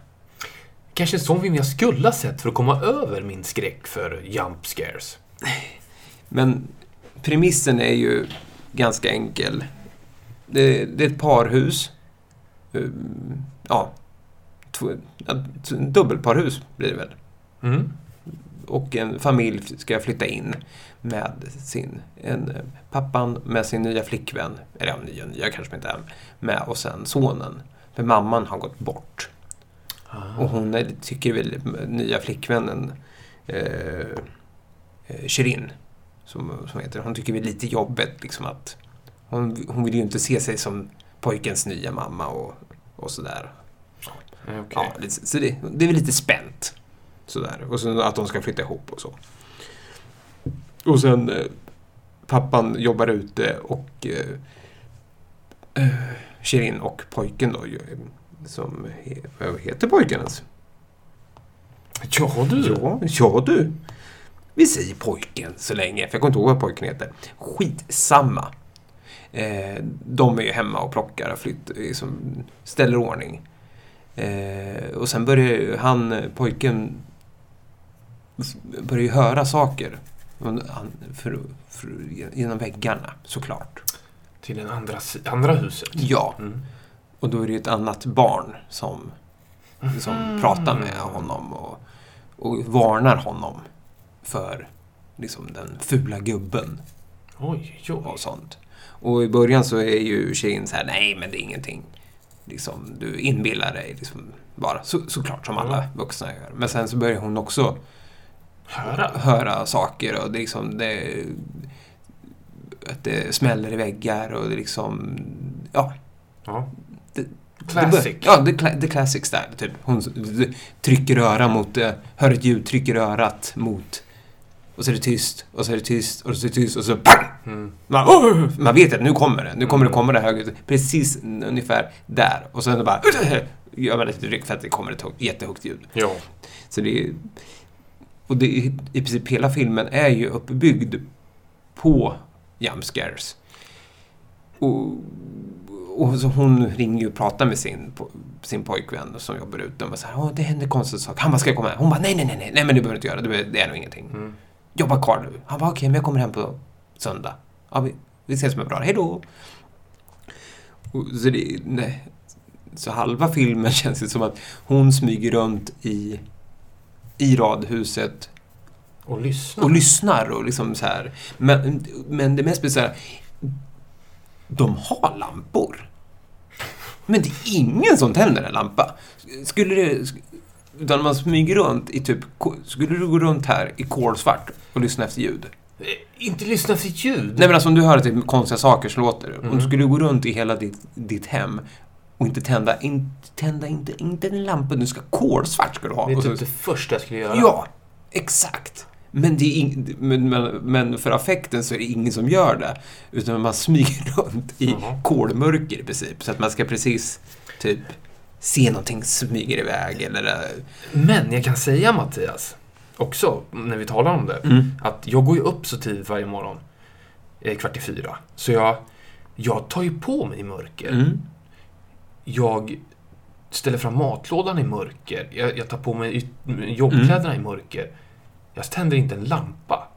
[SPEAKER 3] Kanske en sån film jag skulle ha sett för att komma över min skräck för jump scares.
[SPEAKER 2] Men premissen är ju ganska enkel. Det, det är ett parhus. Ehm, Ja, två, ja, t- dubbelparhus blir det väl.
[SPEAKER 3] Mm.
[SPEAKER 2] Och en familj ska flytta in med sin, en, eh, pappan med sin nya flickvän, eller ja, nya, nya kanske man inte är, med och sen sonen. För mamman har gått bort. Och hon är, tycker väl nya flickvännen eh, eh, Shirin, som, som heter, hon tycker väl lite jobbigt liksom att hon, hon vill ju inte se sig som pojkens nya mamma och, och sådär.
[SPEAKER 3] Okej.
[SPEAKER 2] Ja, lite, så det, det är väl lite spänt. Sådär. Och sen att de ska flytta ihop och så. Och sen eh, pappan jobbar ute och eh, eh, Shirin och pojken då, ju, som he, vad heter pojken ens?
[SPEAKER 3] Ja, du.
[SPEAKER 2] Ja, ja du. Vi säger pojken så länge, för jag kommer inte ihåg vad pojken heter. Skitsamma. Eh, de är ju hemma och plockar och flytt, liksom, ställer ordning. Eh, och sen börjar ju han, eh, pojken, f- börjar ju höra saker. Och Han, för, för, genom väggarna, såklart.
[SPEAKER 3] Till det andra, si- andra huset.
[SPEAKER 2] Ja.
[SPEAKER 3] Mm.
[SPEAKER 2] Och då är det ju ett annat barn som, som pratar med honom och, och varnar honom för liksom, den fula gubben
[SPEAKER 3] Oj, oj, oj.
[SPEAKER 2] och sånt. Och i början så är ju tjejen så här, nej men det är ingenting. Liksom, du inbillar dig liksom, bara, så, såklart som alla vuxna gör. Men sen så börjar hon också
[SPEAKER 3] Höra.
[SPEAKER 2] höra saker och det är liksom det, att det smäller i väggar och det liksom, ja,
[SPEAKER 3] Ja.
[SPEAKER 2] Det-
[SPEAKER 3] Classic.
[SPEAKER 2] Det bör- ja, the, cla- the classic style. Typ. Hon s- d- trycker öra mot, eh, hör ett ljud, trycker örat mot. Och så är det tyst, och så är det tyst, och så är det tyst, och så pang!
[SPEAKER 3] Mm.
[SPEAKER 2] Man, "Åh!" man vet att nu kommer det, nu kommer det komma det här ljudet. Precis n- ungefär där. Och sen bara <clears throat> gör man ett ryck för att det kommer ett högt- jättehögt ljud.
[SPEAKER 3] Ja.
[SPEAKER 2] Så det är, och det är, i princip hela filmen är ju uppbyggd på jump scares. Och, och så hon ringer ju och pratar med sin, po- sin pojkvän som jobbar ute. Och bara så här, Åh, det händer konstiga saker. Han bara, ska jag komma hem? Hon bara, nej, nej, nej, nej, nej men du behöver inte göra det. Det behöver- Det är nog ingenting.
[SPEAKER 3] Mm.
[SPEAKER 2] Jobba kvar nu. Han bara, okej, men jag kommer hem på söndag. Ja, vi, vi ses om en bra. Hej då! Och Så, det, nej. så halva filmen <laughs> känns det som att hon smyger runt i, i radhuset
[SPEAKER 3] Och lyssna.
[SPEAKER 2] och lyssnar och liksom så här. Men, men det mest speciella de har lampor. Men det är ingen som tänder en lampa. Skulle det... sk- Utan man smyger runt i typ... ko- Skulle du gå runt här i kolsvart och lyssna efter ljud?
[SPEAKER 3] Eh, Inte lyssna till ljud.
[SPEAKER 2] Nej men alltså om du hör typ konstiga saker så låter det. Om
[SPEAKER 3] Mm.
[SPEAKER 2] du skulle gå runt i hela ditt, ditt hem och inte tända, inte tända, inte, inte en lampa, du ska kolsvart ska du ha.
[SPEAKER 3] det är
[SPEAKER 2] Och så-
[SPEAKER 3] typ det första jag skulle göra.
[SPEAKER 2] Ja, exakt. Men, det är ing- men, men, men för affekten så är det ingen som gör det. Utan man smyger <laughs> runt i
[SPEAKER 3] Jaha.
[SPEAKER 2] kolmörker i princip. Så att man ska precis typ se någonting smyger iväg eller... eh,
[SPEAKER 3] Men jag kan säga Mattias, också när vi talar om det, att jag går ju upp så tidigt varje morgon, eh, kvart i fyra. Så jag, jag tar ju på mig mörker.
[SPEAKER 2] Mm.
[SPEAKER 3] Jag ställer fram matlådan i mörker. Jag, jag tar på mig yt- jobbkläderna
[SPEAKER 2] Mm.
[SPEAKER 3] i mörker. Jag tänder inte en lampa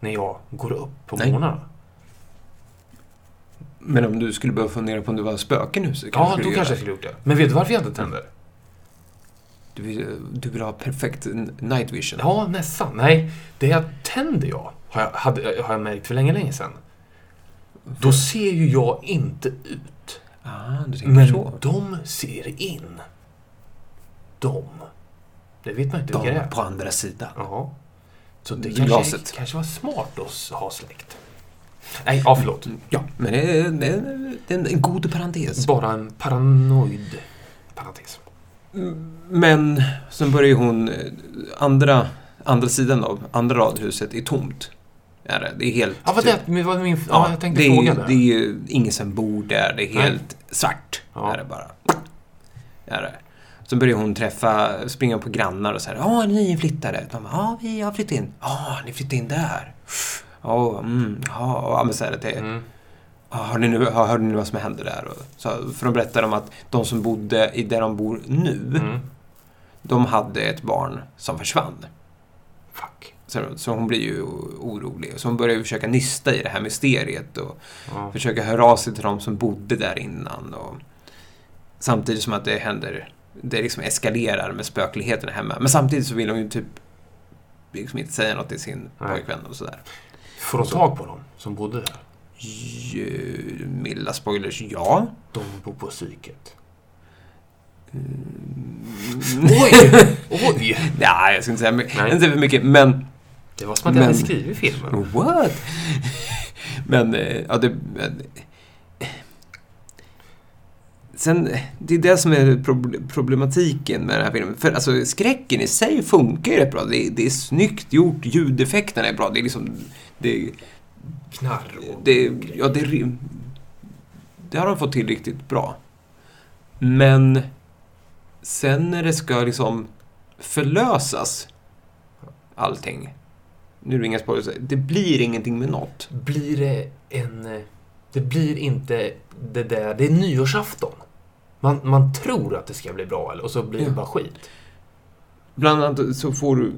[SPEAKER 3] när jag går upp på
[SPEAKER 2] Nej.
[SPEAKER 3] morgnarna.
[SPEAKER 2] Men om du skulle börja fundera på om det var spöken i huset?
[SPEAKER 3] Ja,
[SPEAKER 2] du
[SPEAKER 3] då
[SPEAKER 2] skulle
[SPEAKER 3] kanske jag
[SPEAKER 2] göra. Mm.
[SPEAKER 3] skulle gjort det. Men vet du varför jag inte tänder?
[SPEAKER 2] Du vill, du vill ha perfekt n- night vision.
[SPEAKER 3] Ja, nästan. Nej, det jag tänder jag, har jag, hade, har jag märkt för länge, länge sedan.
[SPEAKER 2] Mm.
[SPEAKER 3] Då ser ju jag inte ut.
[SPEAKER 2] Ah, du tänker
[SPEAKER 3] Men
[SPEAKER 2] så.
[SPEAKER 3] de ser in. De. Det vet man inte vilka det
[SPEAKER 2] De Mm.
[SPEAKER 3] är.
[SPEAKER 2] på andra sidan.
[SPEAKER 3] Ja. Så det
[SPEAKER 2] Glaset.
[SPEAKER 3] kanske, kanske var smart att ha släkt. Nej, ja, förlåt.
[SPEAKER 2] Ja, men det är, det är, det är en god parentes.
[SPEAKER 3] Bara en paranoid parentes.
[SPEAKER 2] Men sen börjar ju hon, eh, andra, andra sidan av andra radhuset är tomt. Är det. det är helt...
[SPEAKER 3] Ja, vad
[SPEAKER 2] typ-
[SPEAKER 3] det, men vad min, ja, jag tänkte
[SPEAKER 2] det är,
[SPEAKER 3] fråga det.
[SPEAKER 2] Det är ju ingen som bor där, det är
[SPEAKER 3] Nej.
[SPEAKER 2] helt svart.
[SPEAKER 3] Ja.
[SPEAKER 2] Är det bara. Är det. Sen börjar hon träffa, springa på grannar och säga Ja, ni är inflyttade. De bara, Ja, vi har flyttat in. Ja, ni flyttade in där. Ja, mm, ja, ja, men så här, det,
[SPEAKER 3] Mm.
[SPEAKER 2] Ja, Har ni nu, har- hörde ni vad som hände där? Och Så, för de berättar om att de som bodde i där de bor nu,
[SPEAKER 3] Mm.
[SPEAKER 2] de hade ett barn som försvann.
[SPEAKER 3] Fuck.
[SPEAKER 2] Så, så hon blir ju orolig. Så hon börjar ju försöka nysta i det här mysteriet och
[SPEAKER 3] Ja.
[SPEAKER 2] försöka höra av sig till de som bodde där innan. Och, samtidigt som att det händer, det liksom eskalerar med spökligheten hemma. Men samtidigt så vill hon ju typ liksom inte säga något till sin
[SPEAKER 3] Nej.
[SPEAKER 2] pojkvän och sådär.
[SPEAKER 3] Får de tag på dem som bodde där?
[SPEAKER 2] Ju- Milda spoilers, ja.
[SPEAKER 3] De bor på psyket.
[SPEAKER 2] Mm. <laughs>
[SPEAKER 3] Oj! Oj!
[SPEAKER 2] Nej, jag ska inte säga, my-
[SPEAKER 3] Nej.
[SPEAKER 2] <laughs> inte för mycket, men
[SPEAKER 3] Det var som att jag hade
[SPEAKER 2] Men- Mm.
[SPEAKER 3] skrivit filmen.
[SPEAKER 2] what? men, eh, ja, det... Men, sen, det är det som är prob- problematiken med den här filmen. För alltså, skräcken i sig funkar ju rätt bra. Det är, det är snyggt gjort, ljudeffekterna är bra. Det är liksom... Det,
[SPEAKER 3] Knarr och...
[SPEAKER 2] det, ja, det, rim- det har de fått till riktigt bra. Men sen när det ska liksom förlösas allting. Nu är det inga spoilers. Det blir ingenting med något.
[SPEAKER 3] Blir det en... eh, Det blir inte det där... Det är nyårsafton. Man, man tror att det ska bli bra eller, och så blir det
[SPEAKER 2] Ja.
[SPEAKER 3] bara skit.
[SPEAKER 2] Bland annat så får du,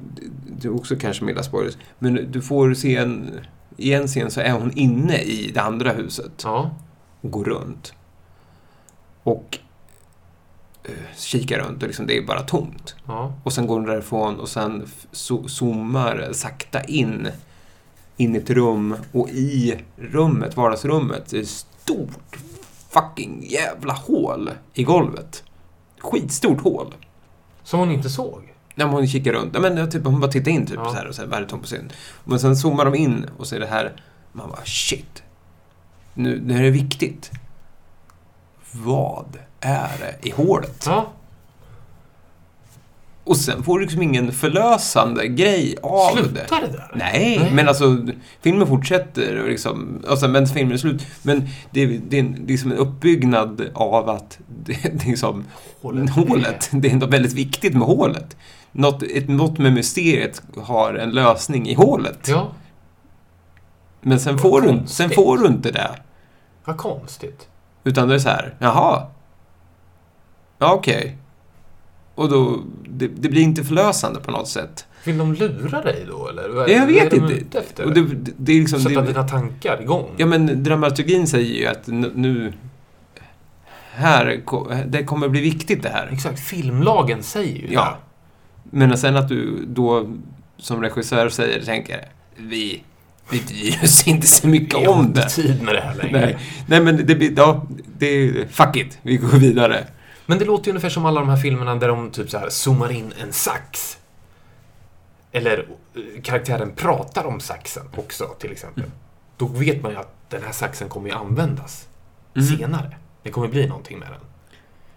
[SPEAKER 2] det är också kanske milda spoilers, men du får se en, i en scen så är hon inne i det andra huset
[SPEAKER 3] Ja.
[SPEAKER 2] och går runt. Och eh, kikar runt och liksom, det är bara tomt.
[SPEAKER 3] ja.
[SPEAKER 2] Och sen går hon därifrån och sen f- zo- zoomar sakta in, in i ett rum och i rummet, vardagsrummet, det är ett stort fucking jävla hål i golvet. Skitstort hål.
[SPEAKER 3] Som hon inte såg.
[SPEAKER 2] När hon kikar runt, ja, men jag typ, hon bara tittar in typ
[SPEAKER 3] Ja.
[SPEAKER 2] så här och så här, vad är det tomt på syn? Men sen zoomar de in och så är det här, man bara shit. Nu, nu är det viktigt. Vad är det i hålet?
[SPEAKER 3] Ja.
[SPEAKER 2] Och sen får du liksom ingen förlösande grej av det.
[SPEAKER 3] Slutar det där?
[SPEAKER 2] Nej,
[SPEAKER 3] Nej.
[SPEAKER 2] men alltså filmen fortsätter och liksom, och sen men filmen är slut. Men det, är- det är en, liksom en uppbyggnad av att det, det är liksom,
[SPEAKER 3] Hålet.
[SPEAKER 2] hålet. det är något väldigt viktigt med hålet. Något, ett, något med mysteriet har en lösning i hålet.
[SPEAKER 3] Ja.
[SPEAKER 2] Men sen
[SPEAKER 3] Vad
[SPEAKER 2] får, du, sen
[SPEAKER 3] konstigt.
[SPEAKER 2] får du inte det.
[SPEAKER 3] Vad konstigt.
[SPEAKER 2] Utan det är så här, jaha. Ja, okej. Och då, det, det blir inte förlösande på något sätt.
[SPEAKER 3] Vill de lura dig då eller? Vad
[SPEAKER 2] Jag vet
[SPEAKER 3] vad är
[SPEAKER 2] inte.
[SPEAKER 3] De ute efter?
[SPEAKER 2] Och det, det, det är liksom...
[SPEAKER 3] Sätta
[SPEAKER 2] det,
[SPEAKER 3] dina tankar igång?
[SPEAKER 2] Ja, men dramaturgin säger ju att n- nu... Här, ko- det kommer bli viktigt det här.
[SPEAKER 3] Exakt, filmlagen säger ju
[SPEAKER 2] Ja. Men sen att du då som regissör säger, tänker vi Vi bryr oss inte så mycket
[SPEAKER 3] Jag har
[SPEAKER 2] om
[SPEAKER 3] inte
[SPEAKER 2] det.
[SPEAKER 3] tid med det här längre.
[SPEAKER 2] Nej, nej men det blir... Ja, det är... Fuck it. Vi går vidare.
[SPEAKER 3] Men det låter ju ungefär som alla de här filmerna där de typ så här zoomar in en sax. Eller eh, karaktären pratar om saxen också, till exempel. Då vet man ju att den här saxen kommer ju användas
[SPEAKER 2] Mm.
[SPEAKER 3] Mm. senare. Det kommer bli någonting med den.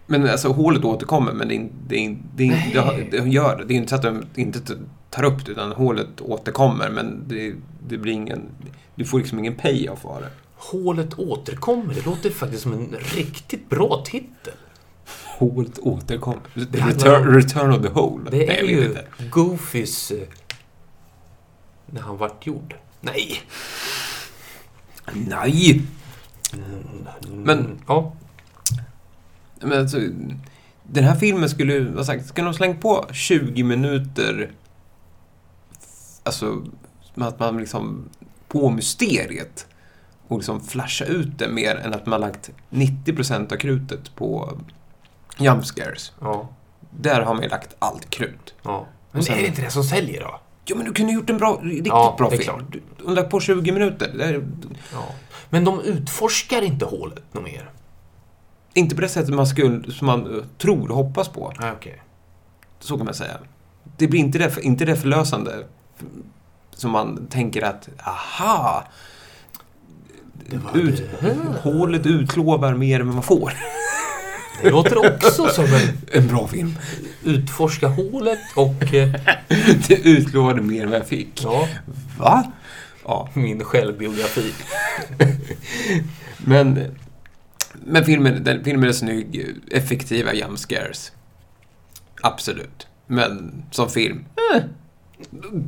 [SPEAKER 2] Men alltså hålet återkommer, men det, är in- det, är in- det, är in-
[SPEAKER 3] Nej.
[SPEAKER 2] det, det gör det. Det är inte så att de inte t- tar upp det, utan hålet återkommer, men det, det blir ingen... Du får liksom ingen payoff av det.
[SPEAKER 3] Hålet återkommer, det låter faktiskt som en riktigt bra titel.
[SPEAKER 2] Hålet återkommer. The
[SPEAKER 3] handlar
[SPEAKER 2] return,
[SPEAKER 3] om-
[SPEAKER 2] return of the hole.
[SPEAKER 3] Det
[SPEAKER 2] Nej,
[SPEAKER 3] är
[SPEAKER 2] jag vet
[SPEAKER 3] ju
[SPEAKER 2] inte.
[SPEAKER 3] Goofys... eh, När han vart gjord. Nej!
[SPEAKER 2] Nej!
[SPEAKER 3] Mm,
[SPEAKER 2] Men-
[SPEAKER 3] Ja.
[SPEAKER 2] Men alltså, den här filmen skulle ju, vad sagt, skulle de slängt på 20 minuter, alltså, med att man liksom, på mysteriet och liksom flasha ut det mer än att man lagt 90% av krutet på jump scares.
[SPEAKER 3] Ja.
[SPEAKER 2] Där har man ju lagt allt krut.
[SPEAKER 3] ja. Men
[SPEAKER 2] Och sen-
[SPEAKER 3] är det inte det som säljer då?
[SPEAKER 2] Ja, men du kunde gjort en bra, riktigt
[SPEAKER 3] Ja,
[SPEAKER 2] bra
[SPEAKER 3] det är
[SPEAKER 2] film.
[SPEAKER 3] klart.
[SPEAKER 2] Du, du lagt på 20 minuter. Det är,
[SPEAKER 3] Ja. Men de utforskar inte hålet något mer?
[SPEAKER 2] inte på det sättet man skulle, som man eh, tror och hoppas på.
[SPEAKER 3] Nej, okej.
[SPEAKER 2] Så kan man säga. Det blir inte det, inte det förlösande som man tänker att, aha!
[SPEAKER 3] Det var
[SPEAKER 2] Ut, hålet utlovar mer än vad man får.
[SPEAKER 3] Det låter också som en
[SPEAKER 2] En bra film.
[SPEAKER 3] utforska hålet och eh,
[SPEAKER 2] <laughs> Det utlovade mer än vad jag fick.
[SPEAKER 3] ja,
[SPEAKER 2] Va? Ja,
[SPEAKER 3] min självbiografi.
[SPEAKER 2] men, men filmen, den, filmen är snygg, effektiva jump scares. Absolut. Men som film, eh.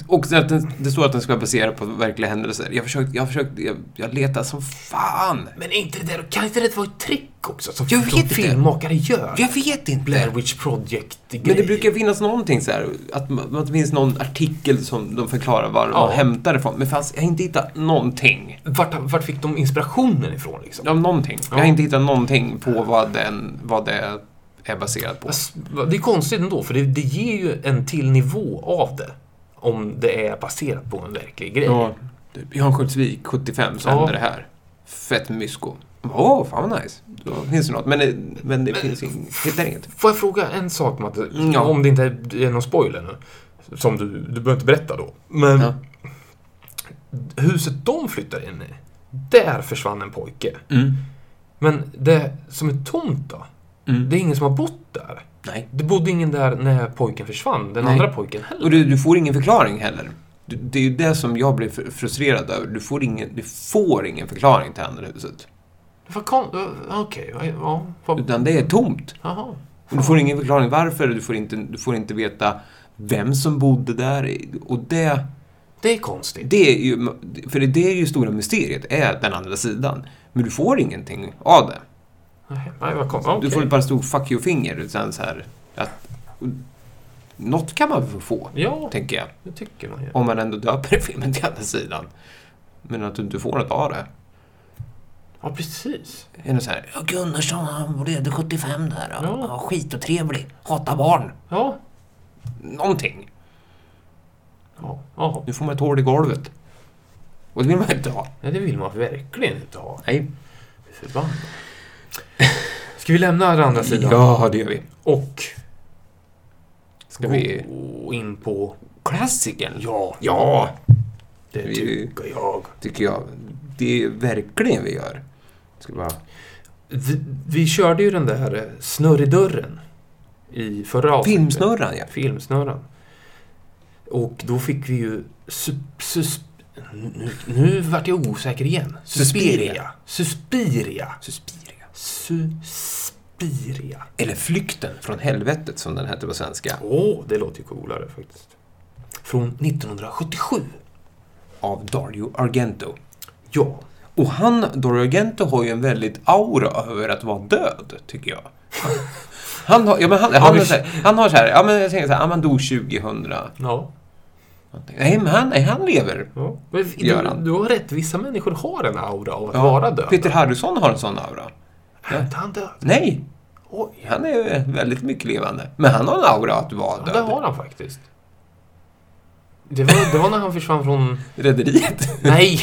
[SPEAKER 2] Och sen att den, det står att den ska vara baserad på verkliga händelser. Jag har försökt, jag, har försökt, jag, jag letar som fan.
[SPEAKER 3] Men är inte det där, kan inte det vara ett trick också? Som
[SPEAKER 2] Jag vet
[SPEAKER 3] som
[SPEAKER 2] inte.
[SPEAKER 3] filmmakare gör?
[SPEAKER 2] Jag vet inte.
[SPEAKER 3] Blair Witch Project-grej.
[SPEAKER 2] Men det brukar finnas någonting så här, att, man- att det finns någon artikel som de förklarar var
[SPEAKER 3] Ja.
[SPEAKER 2] de hämtar det ifrån. Men fanns, jag har inte hittat någonting.
[SPEAKER 3] vart, vart fick de inspirationen ifrån liksom?
[SPEAKER 2] Ja, någonting. Jag
[SPEAKER 3] Ja.
[SPEAKER 2] har inte hittat någonting på vad, den, vad det är baserat på.
[SPEAKER 3] Ass- Alltså, va- Det är konstigt ändå, för det, det ger ju en till nivå av det. Om det är baserat på en verklig grej.
[SPEAKER 2] Ja, typ, I Örnsköldsvik 75 så
[SPEAKER 3] Ja.
[SPEAKER 2] hände det här. Fett mysko. Åh, fan vad nice. Då finns det något. Men, det- men det finns inget. Hittar inget.
[SPEAKER 3] Får jag fråga en sak Matte?
[SPEAKER 2] Mm, ja.
[SPEAKER 3] Om det inte är någon spoiler nu. Som du, du behöver inte berätta då. Men
[SPEAKER 2] Ja.
[SPEAKER 3] huset de flyttar in i, där försvann en pojke.
[SPEAKER 2] Mm.
[SPEAKER 3] Men det som är tomt då?
[SPEAKER 2] Mm.
[SPEAKER 3] Det är ingen som har bott där.
[SPEAKER 2] Nej.
[SPEAKER 3] Det bodde ingen där när pojken försvann, den
[SPEAKER 2] Nej.
[SPEAKER 3] andra pojken heller.
[SPEAKER 2] Och du, du får ingen förklaring heller. Du, det är ju det som jag blir fr- frustrerad över. Du får ingen, du får ingen förklaring till andra huset.
[SPEAKER 3] Vad kon- eh, Okej, ja, ja. vad-
[SPEAKER 2] Utan det är tomt.
[SPEAKER 3] Jaha.
[SPEAKER 2] Och du får ingen förklaring varför, du får inte, du får inte veta vem som bodde där. Och det,
[SPEAKER 3] Det är konstigt.
[SPEAKER 2] det är ju, för det är ju stora mysteriet, är den andra sidan. Men du får ingenting av det.
[SPEAKER 3] Nej, nej, vad kon- okej.
[SPEAKER 2] Du får bara stor fuck you-finger. utan så här, att, och, något kan man väl få,
[SPEAKER 3] Ja,
[SPEAKER 2] tänker jag.
[SPEAKER 3] det tycker man ju.
[SPEAKER 2] Om man ändå döper filmen till andra sidan. Men att du inte får något av det.
[SPEAKER 3] Ja, precis.
[SPEAKER 2] Är det så här, ja Gunnarsson han levde 75 där.
[SPEAKER 3] Ja.
[SPEAKER 2] Ja. Ja, skitotrevlig. Hatar barn.
[SPEAKER 3] Ja.
[SPEAKER 2] Någonting.
[SPEAKER 3] Ja, ja.
[SPEAKER 2] Nu får man ett hål i golvet. Och det vill man inte ha.
[SPEAKER 3] Nej, det vill man verkligen inte ha.
[SPEAKER 2] Nej.
[SPEAKER 3] Förbannat. Ska vi lämna den andra sidan
[SPEAKER 2] Ja, det gör vi.
[SPEAKER 3] och
[SPEAKER 2] Ska vi...
[SPEAKER 3] gå in på...
[SPEAKER 2] Klassikern?
[SPEAKER 3] Ja,
[SPEAKER 2] Ja,
[SPEAKER 3] det
[SPEAKER 2] Vi-
[SPEAKER 3] tycker jag.
[SPEAKER 2] tycker jag. Det är verkligen vi gör. Ska bara...
[SPEAKER 3] Vi, vi körde ju den där eh, snurr i dörren i förra avsnittet.
[SPEAKER 2] Filmsnurran, ja.
[SPEAKER 3] Filmsnurran. Och då fick vi ju... Sup, sus, nu, nu vart jag osäker igen. Suspiria.
[SPEAKER 2] Suspiria.
[SPEAKER 3] Suspiria.
[SPEAKER 2] Suspiria.
[SPEAKER 3] Suspiria.
[SPEAKER 2] Eller Flykten från helvetet, som den heter på svenska.
[SPEAKER 3] Åh, det låter ju coolare faktiskt. Från 1977.
[SPEAKER 2] Av Dario Argento.
[SPEAKER 3] Ja.
[SPEAKER 2] Och han, Dario Argento, har ju en väldigt aura över att vara död, tycker jag. Han har, ja, men han, han, är så här, han har så här, ja men jag tänker så här, ja, man dog 2000.
[SPEAKER 3] Ja.
[SPEAKER 2] Nej, men han, nej, han lever.
[SPEAKER 3] ja. Men Du,
[SPEAKER 2] Göran.
[SPEAKER 3] du har rätt, vissa människor har en aura av att vara döda.
[SPEAKER 2] Peter Harrison har en sån aura.
[SPEAKER 3] Är inte han död?
[SPEAKER 2] Nej,
[SPEAKER 3] Oj,
[SPEAKER 2] han är väldigt mycket levande. Men han har en aura att vara
[SPEAKER 3] ja, det
[SPEAKER 2] död.
[SPEAKER 3] har han faktiskt. Det var, det var när han försvann från...
[SPEAKER 2] Rederiet. <laughs>
[SPEAKER 3] Nej!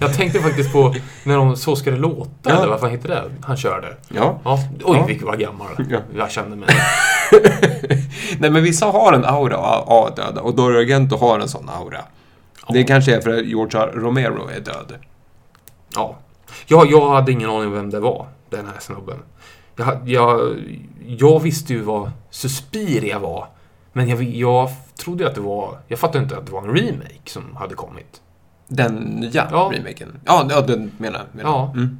[SPEAKER 3] Jag tänkte faktiskt på när de Så ska det låta,
[SPEAKER 2] Ja.
[SPEAKER 3] eller vad fan heter det? Han körde.
[SPEAKER 2] Ja.
[SPEAKER 3] Ja, oj,
[SPEAKER 2] Ja.
[SPEAKER 3] vilken vad gammal.
[SPEAKER 2] Ja.
[SPEAKER 3] Jag kände mig.
[SPEAKER 2] Nej, men vissa har en aura av av döda och Dario Argento har en sån aura. Det kanske är för att George R. Romero är död.
[SPEAKER 3] Ja. ja. Jag hade ingen aning om vem det var, den här snubben. Jag, ha- jag, jag visste ju vad Suspiria var, men jag, jag trodde ju att det var... Jag fattade inte att det var en remake som hade kommit.
[SPEAKER 2] Den nya
[SPEAKER 3] Ja.
[SPEAKER 2] remaken. Ja, ja, den menar jag. menar jag.
[SPEAKER 3] Ja.
[SPEAKER 2] Mm.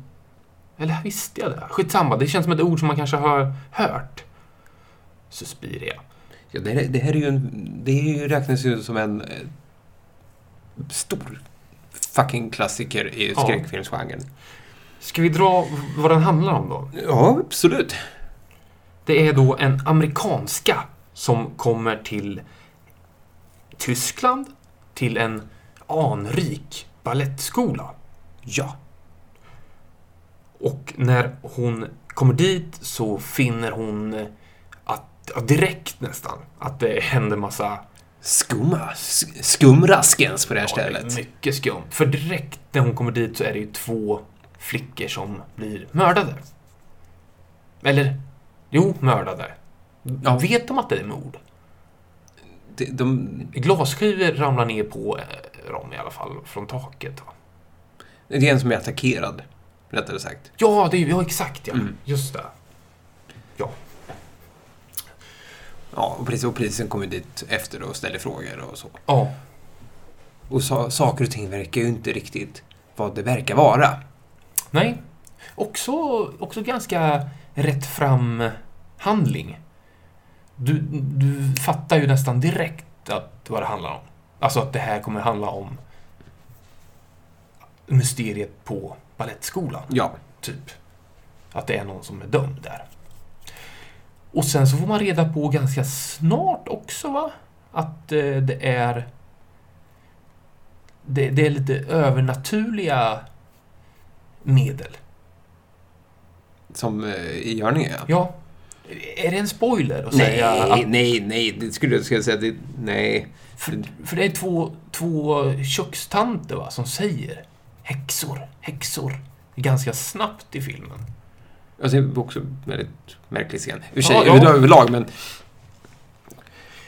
[SPEAKER 3] Eller visste jag det? Skitsamma, det känns som ett ord som man kanske har hört. Suspiria.
[SPEAKER 2] Ja, det, här, det här är ju en, det är ju, räknas ju som en eh, stor fucking klassiker i
[SPEAKER 3] Ja.
[SPEAKER 2] skräckfilmsgenren.
[SPEAKER 3] Ska vi dra vad den handlar om då?
[SPEAKER 2] Ja, absolut.
[SPEAKER 3] Det är då en amerikanska som kommer till Tyskland till en anrik ballettskola.
[SPEAKER 2] Ja.
[SPEAKER 3] Och när hon kommer dit så finner hon att, ja, direkt nästan, att det händer massa
[SPEAKER 2] Skumma, sk- skumraskens på det här
[SPEAKER 3] Ja, det är
[SPEAKER 2] stället.
[SPEAKER 3] mycket skumt. För direkt när hon kommer dit så är det ju två flickor som blir mördade. Eller, jo, mördade.
[SPEAKER 2] Ja.
[SPEAKER 3] Vet de att det är mord?
[SPEAKER 2] De, de,
[SPEAKER 3] Glasskivor ramlar ner på eh, dem i alla fall, från taket. Va?
[SPEAKER 2] det är en som är attackerad, rättare sagt.
[SPEAKER 3] Ja, det är, ju- ja, exakt ja.
[SPEAKER 2] Mm.
[SPEAKER 3] Just det. Ja.
[SPEAKER 2] Ja, och, precis, och polisen kommer dit efter och ställer frågor och så.
[SPEAKER 3] ja.
[SPEAKER 2] Och sa, saker och ting verkar ju inte riktigt vad det verkar vara.
[SPEAKER 3] Nej. Också, också ganska rätt fram handling. Du, du fattar ju nästan direkt att vad det handlar om. Alltså att det här kommer handla om mysteriet på Balettskolan.
[SPEAKER 2] Ja.
[SPEAKER 3] typ. Att det är någon som är dömd där. Och sen så får man reda på ganska snart också va? Att eh, det är det, det är lite övernaturliga medel.
[SPEAKER 2] Som eh, i Görninge, ja.
[SPEAKER 3] Ja. Är det en spoiler att
[SPEAKER 2] Nej,
[SPEAKER 3] säga? Att,
[SPEAKER 2] nej, nej. Det skulle jag skulle säga. Det, nej.
[SPEAKER 3] för, för det är två, två kökstanter va, som säger häxor, häxor. Ganska snabbt i filmen.
[SPEAKER 2] Alltså, det var också en väldigt märklig scen. I och för sig,
[SPEAKER 3] Ja, ja.
[SPEAKER 2] över- överlag, men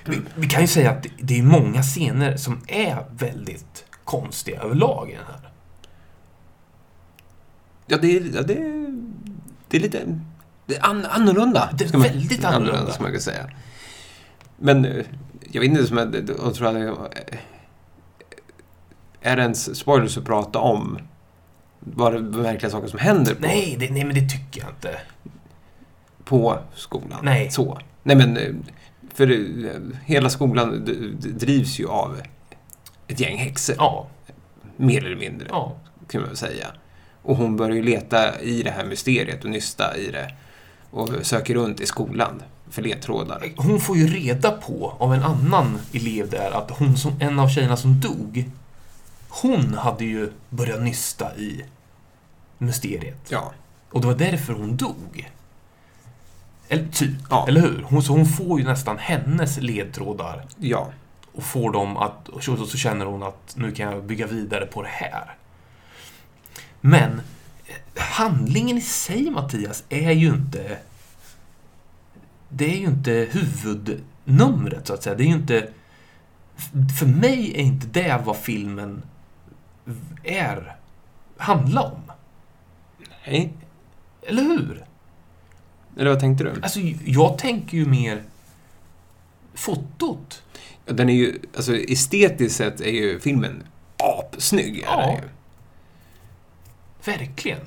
[SPEAKER 3] Vi, vi kan ju säga att det, det är många scener som är väldigt konstiga överlag i den här.
[SPEAKER 2] ja, det, är- ja, det, är- det är lite det är an, annorlunda.
[SPEAKER 3] Det är
[SPEAKER 2] ska man-
[SPEAKER 3] väldigt annorlunda.
[SPEAKER 2] Som man kan säga. Men eh, jag vet inte, som jag, jag tror att, eh, är det ens spoilers att prata om vad det märkliga saker som händer på,
[SPEAKER 3] Nej, det, nej men det tycker jag inte.
[SPEAKER 2] på skolan?
[SPEAKER 3] Nej.
[SPEAKER 2] Så. Nej, men eh, för eh, hela skolan d- d- drivs ju av ett gäng häxor,
[SPEAKER 3] Ja,
[SPEAKER 2] mer eller mindre.
[SPEAKER 3] ja.
[SPEAKER 2] kan man väl säga. Och hon börjar ju leta i det här mysteriet och nysta i det. Och söker runt i skolan för ledtrådar.
[SPEAKER 3] Hon får ju reda på av en annan elev där att hon som en av tjejerna som dog, hon hade ju börjat nysta i mysteriet.
[SPEAKER 2] Ja.
[SPEAKER 3] Och det var därför hon dog. Eller typ,
[SPEAKER 2] Ja.
[SPEAKER 3] eller hur? Hon, så hon får ju nästan hennes ledtrådar
[SPEAKER 2] Ja.
[SPEAKER 3] och får dem att, och så, så känner hon att nu kan jag bygga vidare på det här. Men eh, handlingen i sig, Mattias, är ju inte... Det är ju inte huvudnumret, så att säga. Det är ju inte... f- För mig är inte det vad filmen är, handlar om.
[SPEAKER 2] Nej.
[SPEAKER 3] Eller hur?
[SPEAKER 2] Eller vad tänkte du?
[SPEAKER 3] Alltså, jag tänker ju mer fotot.
[SPEAKER 2] Ja, Den är ju, alltså estetiskt sett är ju filmen apsnygg. är
[SPEAKER 3] Ja.
[SPEAKER 2] den ju.
[SPEAKER 3] Verkligen.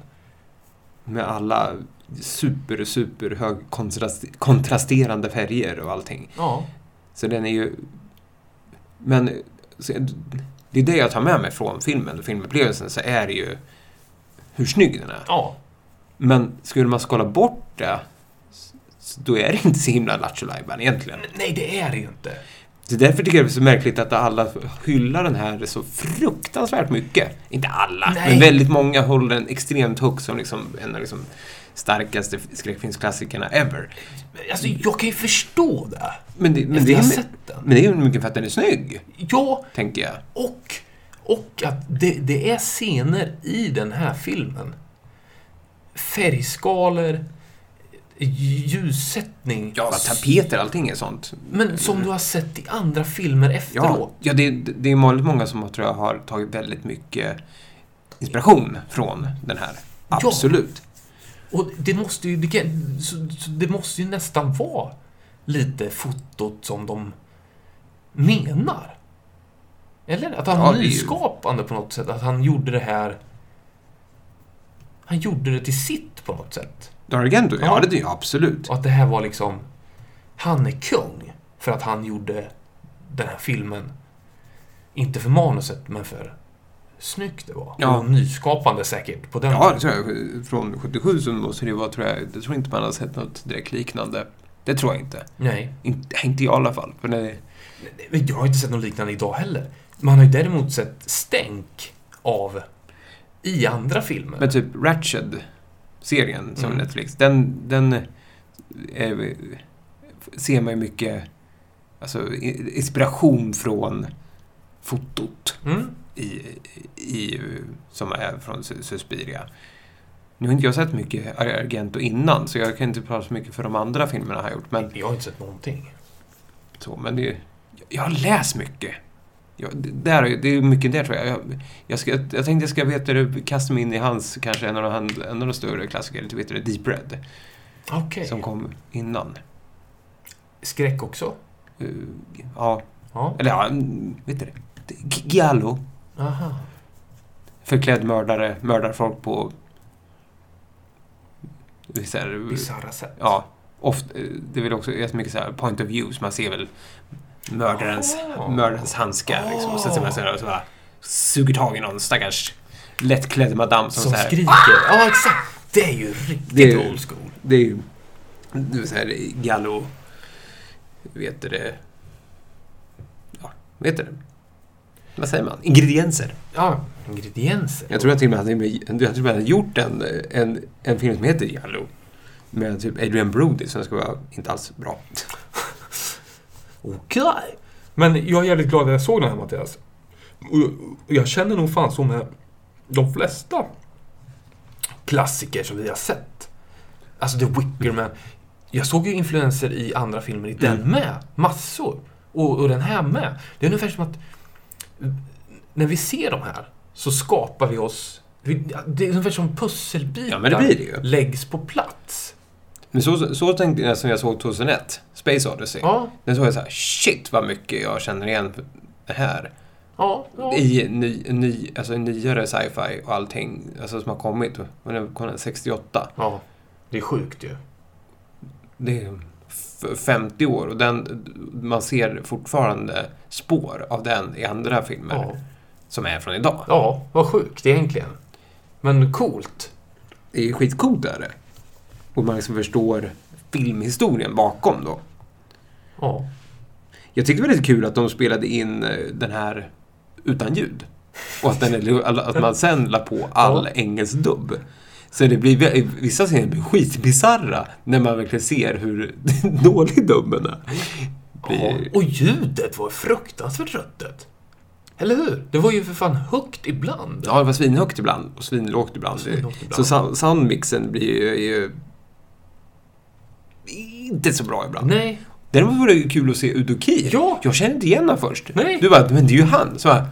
[SPEAKER 2] Med alla super, super hög kontrast, kontrasterande färger och allting.
[SPEAKER 3] Ja.
[SPEAKER 2] Så den är ju... Men så- det är det jag tar med mig från filmen och filmupplevelsen så är det ju hur snygg den är.
[SPEAKER 3] Ja.
[SPEAKER 2] Men skulle man skala bort det, s- s- då är det inte så himla lattjo Lajban egentligen.
[SPEAKER 3] Nej, det är det ju inte.
[SPEAKER 2] Så därför tycker jag det är så märkligt att alla hyllar den här så fruktansvärt mycket. Inte alla,
[SPEAKER 3] Nej.
[SPEAKER 2] men väldigt många håller den extremt högt som liksom en av liksom starkaste skräckfilmsklassikerna ever.
[SPEAKER 3] Alltså, jag kan ju förstå det.
[SPEAKER 2] Men det, men
[SPEAKER 3] Efter
[SPEAKER 2] det,
[SPEAKER 3] jag har
[SPEAKER 2] är,
[SPEAKER 3] sett den.
[SPEAKER 2] men det är ju mycket för att den är snygg,
[SPEAKER 3] Ja,
[SPEAKER 2] tänker jag.
[SPEAKER 3] och, och att det, det är scener i den här filmen. Färgskalor, ljussättning.
[SPEAKER 2] Ja, tapeter, allting är sånt.
[SPEAKER 3] Men som du har sett i andra filmer
[SPEAKER 2] Ja,
[SPEAKER 3] efteråt.
[SPEAKER 2] ja det, det är väldigt många som tror jag har tagit väldigt mycket inspiration från den här.
[SPEAKER 3] Ja.
[SPEAKER 2] Absolut.
[SPEAKER 3] Och det måste ju, det, kan, så, så det måste ju nästan vara lite fotot som de menar. Eller? Att han
[SPEAKER 2] Ja,
[SPEAKER 3] var
[SPEAKER 2] det är ju-
[SPEAKER 3] nyskapande på något sätt. Att han gjorde det här... Han gjorde det till sitt på något sätt.
[SPEAKER 2] Doragendo, ja,
[SPEAKER 3] Ja.
[SPEAKER 2] det är ju absolut.
[SPEAKER 3] Och att det här var liksom... Han är kung för att han gjorde den här filmen. Inte för manuset, men för snyggt det var.
[SPEAKER 2] Ja.
[SPEAKER 3] Och nyskapande säkert på den
[SPEAKER 2] Ja, det tror jag. Från 77 så måste det vara, tror jag, jag tror inte man har sett något direkt liknande. Det tror jag inte.
[SPEAKER 3] Nej.
[SPEAKER 2] Inte, inte jag i alla fall. För det,
[SPEAKER 3] Men jag har inte sett något liknande idag heller. Man har ju däremot sett stänk av i andra filmer.
[SPEAKER 2] men typ Ratched-serien som
[SPEAKER 3] Mm.
[SPEAKER 2] Netflix, den, den eh, ser man ju mycket alltså, i- inspiration från fotot.
[SPEAKER 3] Mm.
[SPEAKER 2] i, i, som är från Sus- Suspiria. Nu har inte jag sett mycket Argento innan, så jag kan inte prata så mycket för de andra filmerna han har gjort. Men,
[SPEAKER 3] Jag har inte sett någonting.
[SPEAKER 2] så, men det, jag har läst mycket. Jag, det, där, är- det är mycket där tror jag. Jag, jag, ska, jag tänkte jag ska vet du, kasta mig in i hans, kanske en av, han, en av de större klassikerna, du vet det, Deep Red,
[SPEAKER 3] Okej.
[SPEAKER 2] som kom innan.
[SPEAKER 3] Skräck också?
[SPEAKER 2] Eh, ja,
[SPEAKER 3] Ja.
[SPEAKER 2] eller ja, mm, vet du det? G- Giallo,
[SPEAKER 3] Aha.
[SPEAKER 2] förklädd mördare, mördar folk på... Så här,
[SPEAKER 3] Bisarra sätt.
[SPEAKER 2] Ja, ofta, det är väl också jättemycket så här point of views. Man ser väl mördarens,
[SPEAKER 3] Ah.
[SPEAKER 2] mördarens handskar. Liksom. Och så
[SPEAKER 3] Ah.
[SPEAKER 2] ser man så här och så bara suger tag i någon stackars lättklädd madam som,
[SPEAKER 3] Som
[SPEAKER 2] så här,
[SPEAKER 3] skriker. Ja, exakt. Det är ju riktigt
[SPEAKER 2] Det är-
[SPEAKER 3] old school.
[SPEAKER 2] Det är ju det är så här gallo... Vet du det? Ja, vet du det? Vad säger man? Ingredienser.
[SPEAKER 3] Ja, ingredienser.
[SPEAKER 2] Jag tror jag till och med hade, jag tror jag hade gjort en, en, en film som heter Gallo. Med typ Adrian Brody som ska vara inte alls bra.
[SPEAKER 3] Okej. Men jag är jävligt glad att jag såg den här Mattias. Och jag- och jag känner nog fan så med de flesta klassiker som vi har sett. Alltså The Wicker Man. Jag såg ju influenser i andra filmer i den
[SPEAKER 2] Mm.
[SPEAKER 3] med. Massor. Och, och den här med. Det är ungefär som att eh, när vi ser de här så skapar vi oss... vi- Det är ungefär som pusselbitar
[SPEAKER 2] Ja, men det blir det ju.
[SPEAKER 3] läggs på plats.
[SPEAKER 2] Men så, så tänkte jag som jag såg 2001, Space Odyssey.
[SPEAKER 3] Ja,
[SPEAKER 2] Den såg jag så här, shit vad mycket jag känner igen det här.
[SPEAKER 3] ja, ja.
[SPEAKER 2] I ny, ny, alltså nyare sci-fi och allting alltså, som har kommit. Och den kom den 68.
[SPEAKER 3] ja. Det är sjukt ju.
[SPEAKER 2] Det är f- 50 år och den, man ser fortfarande spår av den i andra filmer
[SPEAKER 3] Ja.
[SPEAKER 2] som är från idag.
[SPEAKER 3] Ja, vad sjukt egentligen. Men coolt.
[SPEAKER 2] Det är ju skitcoolt där. det. Och man liksom förstår filmhistorien bakom då.
[SPEAKER 3] Ja.
[SPEAKER 2] Jag tyckte det var lite kul att de spelade in eh, den här utan ljud. Och att, den, är- att man sen la på all
[SPEAKER 3] Ja.
[SPEAKER 2] engelsk dubb. Så det blir, vä- vissa scener blir skitbisarra när man verkligen ser hur <laughs> dålig dubben är.
[SPEAKER 3] ja.
[SPEAKER 2] Blir,
[SPEAKER 3] Och ljudet var fruktansvärt röttet. Eller hur? Det var ju för fan högt ibland.
[SPEAKER 2] ja, det var svinhögt ibland och svinlågt ibland.
[SPEAKER 3] Svinlågt ibland.
[SPEAKER 2] Så sound- soundmixen blir ju, är ju inte så bra ibland.
[SPEAKER 3] Nej.
[SPEAKER 2] Däremot var det ju kul att se Udo Kier.
[SPEAKER 3] Ja.
[SPEAKER 2] Jag kände inte igen honom först.
[SPEAKER 3] Nej.
[SPEAKER 2] Du bara, men det är ju han. Så bara,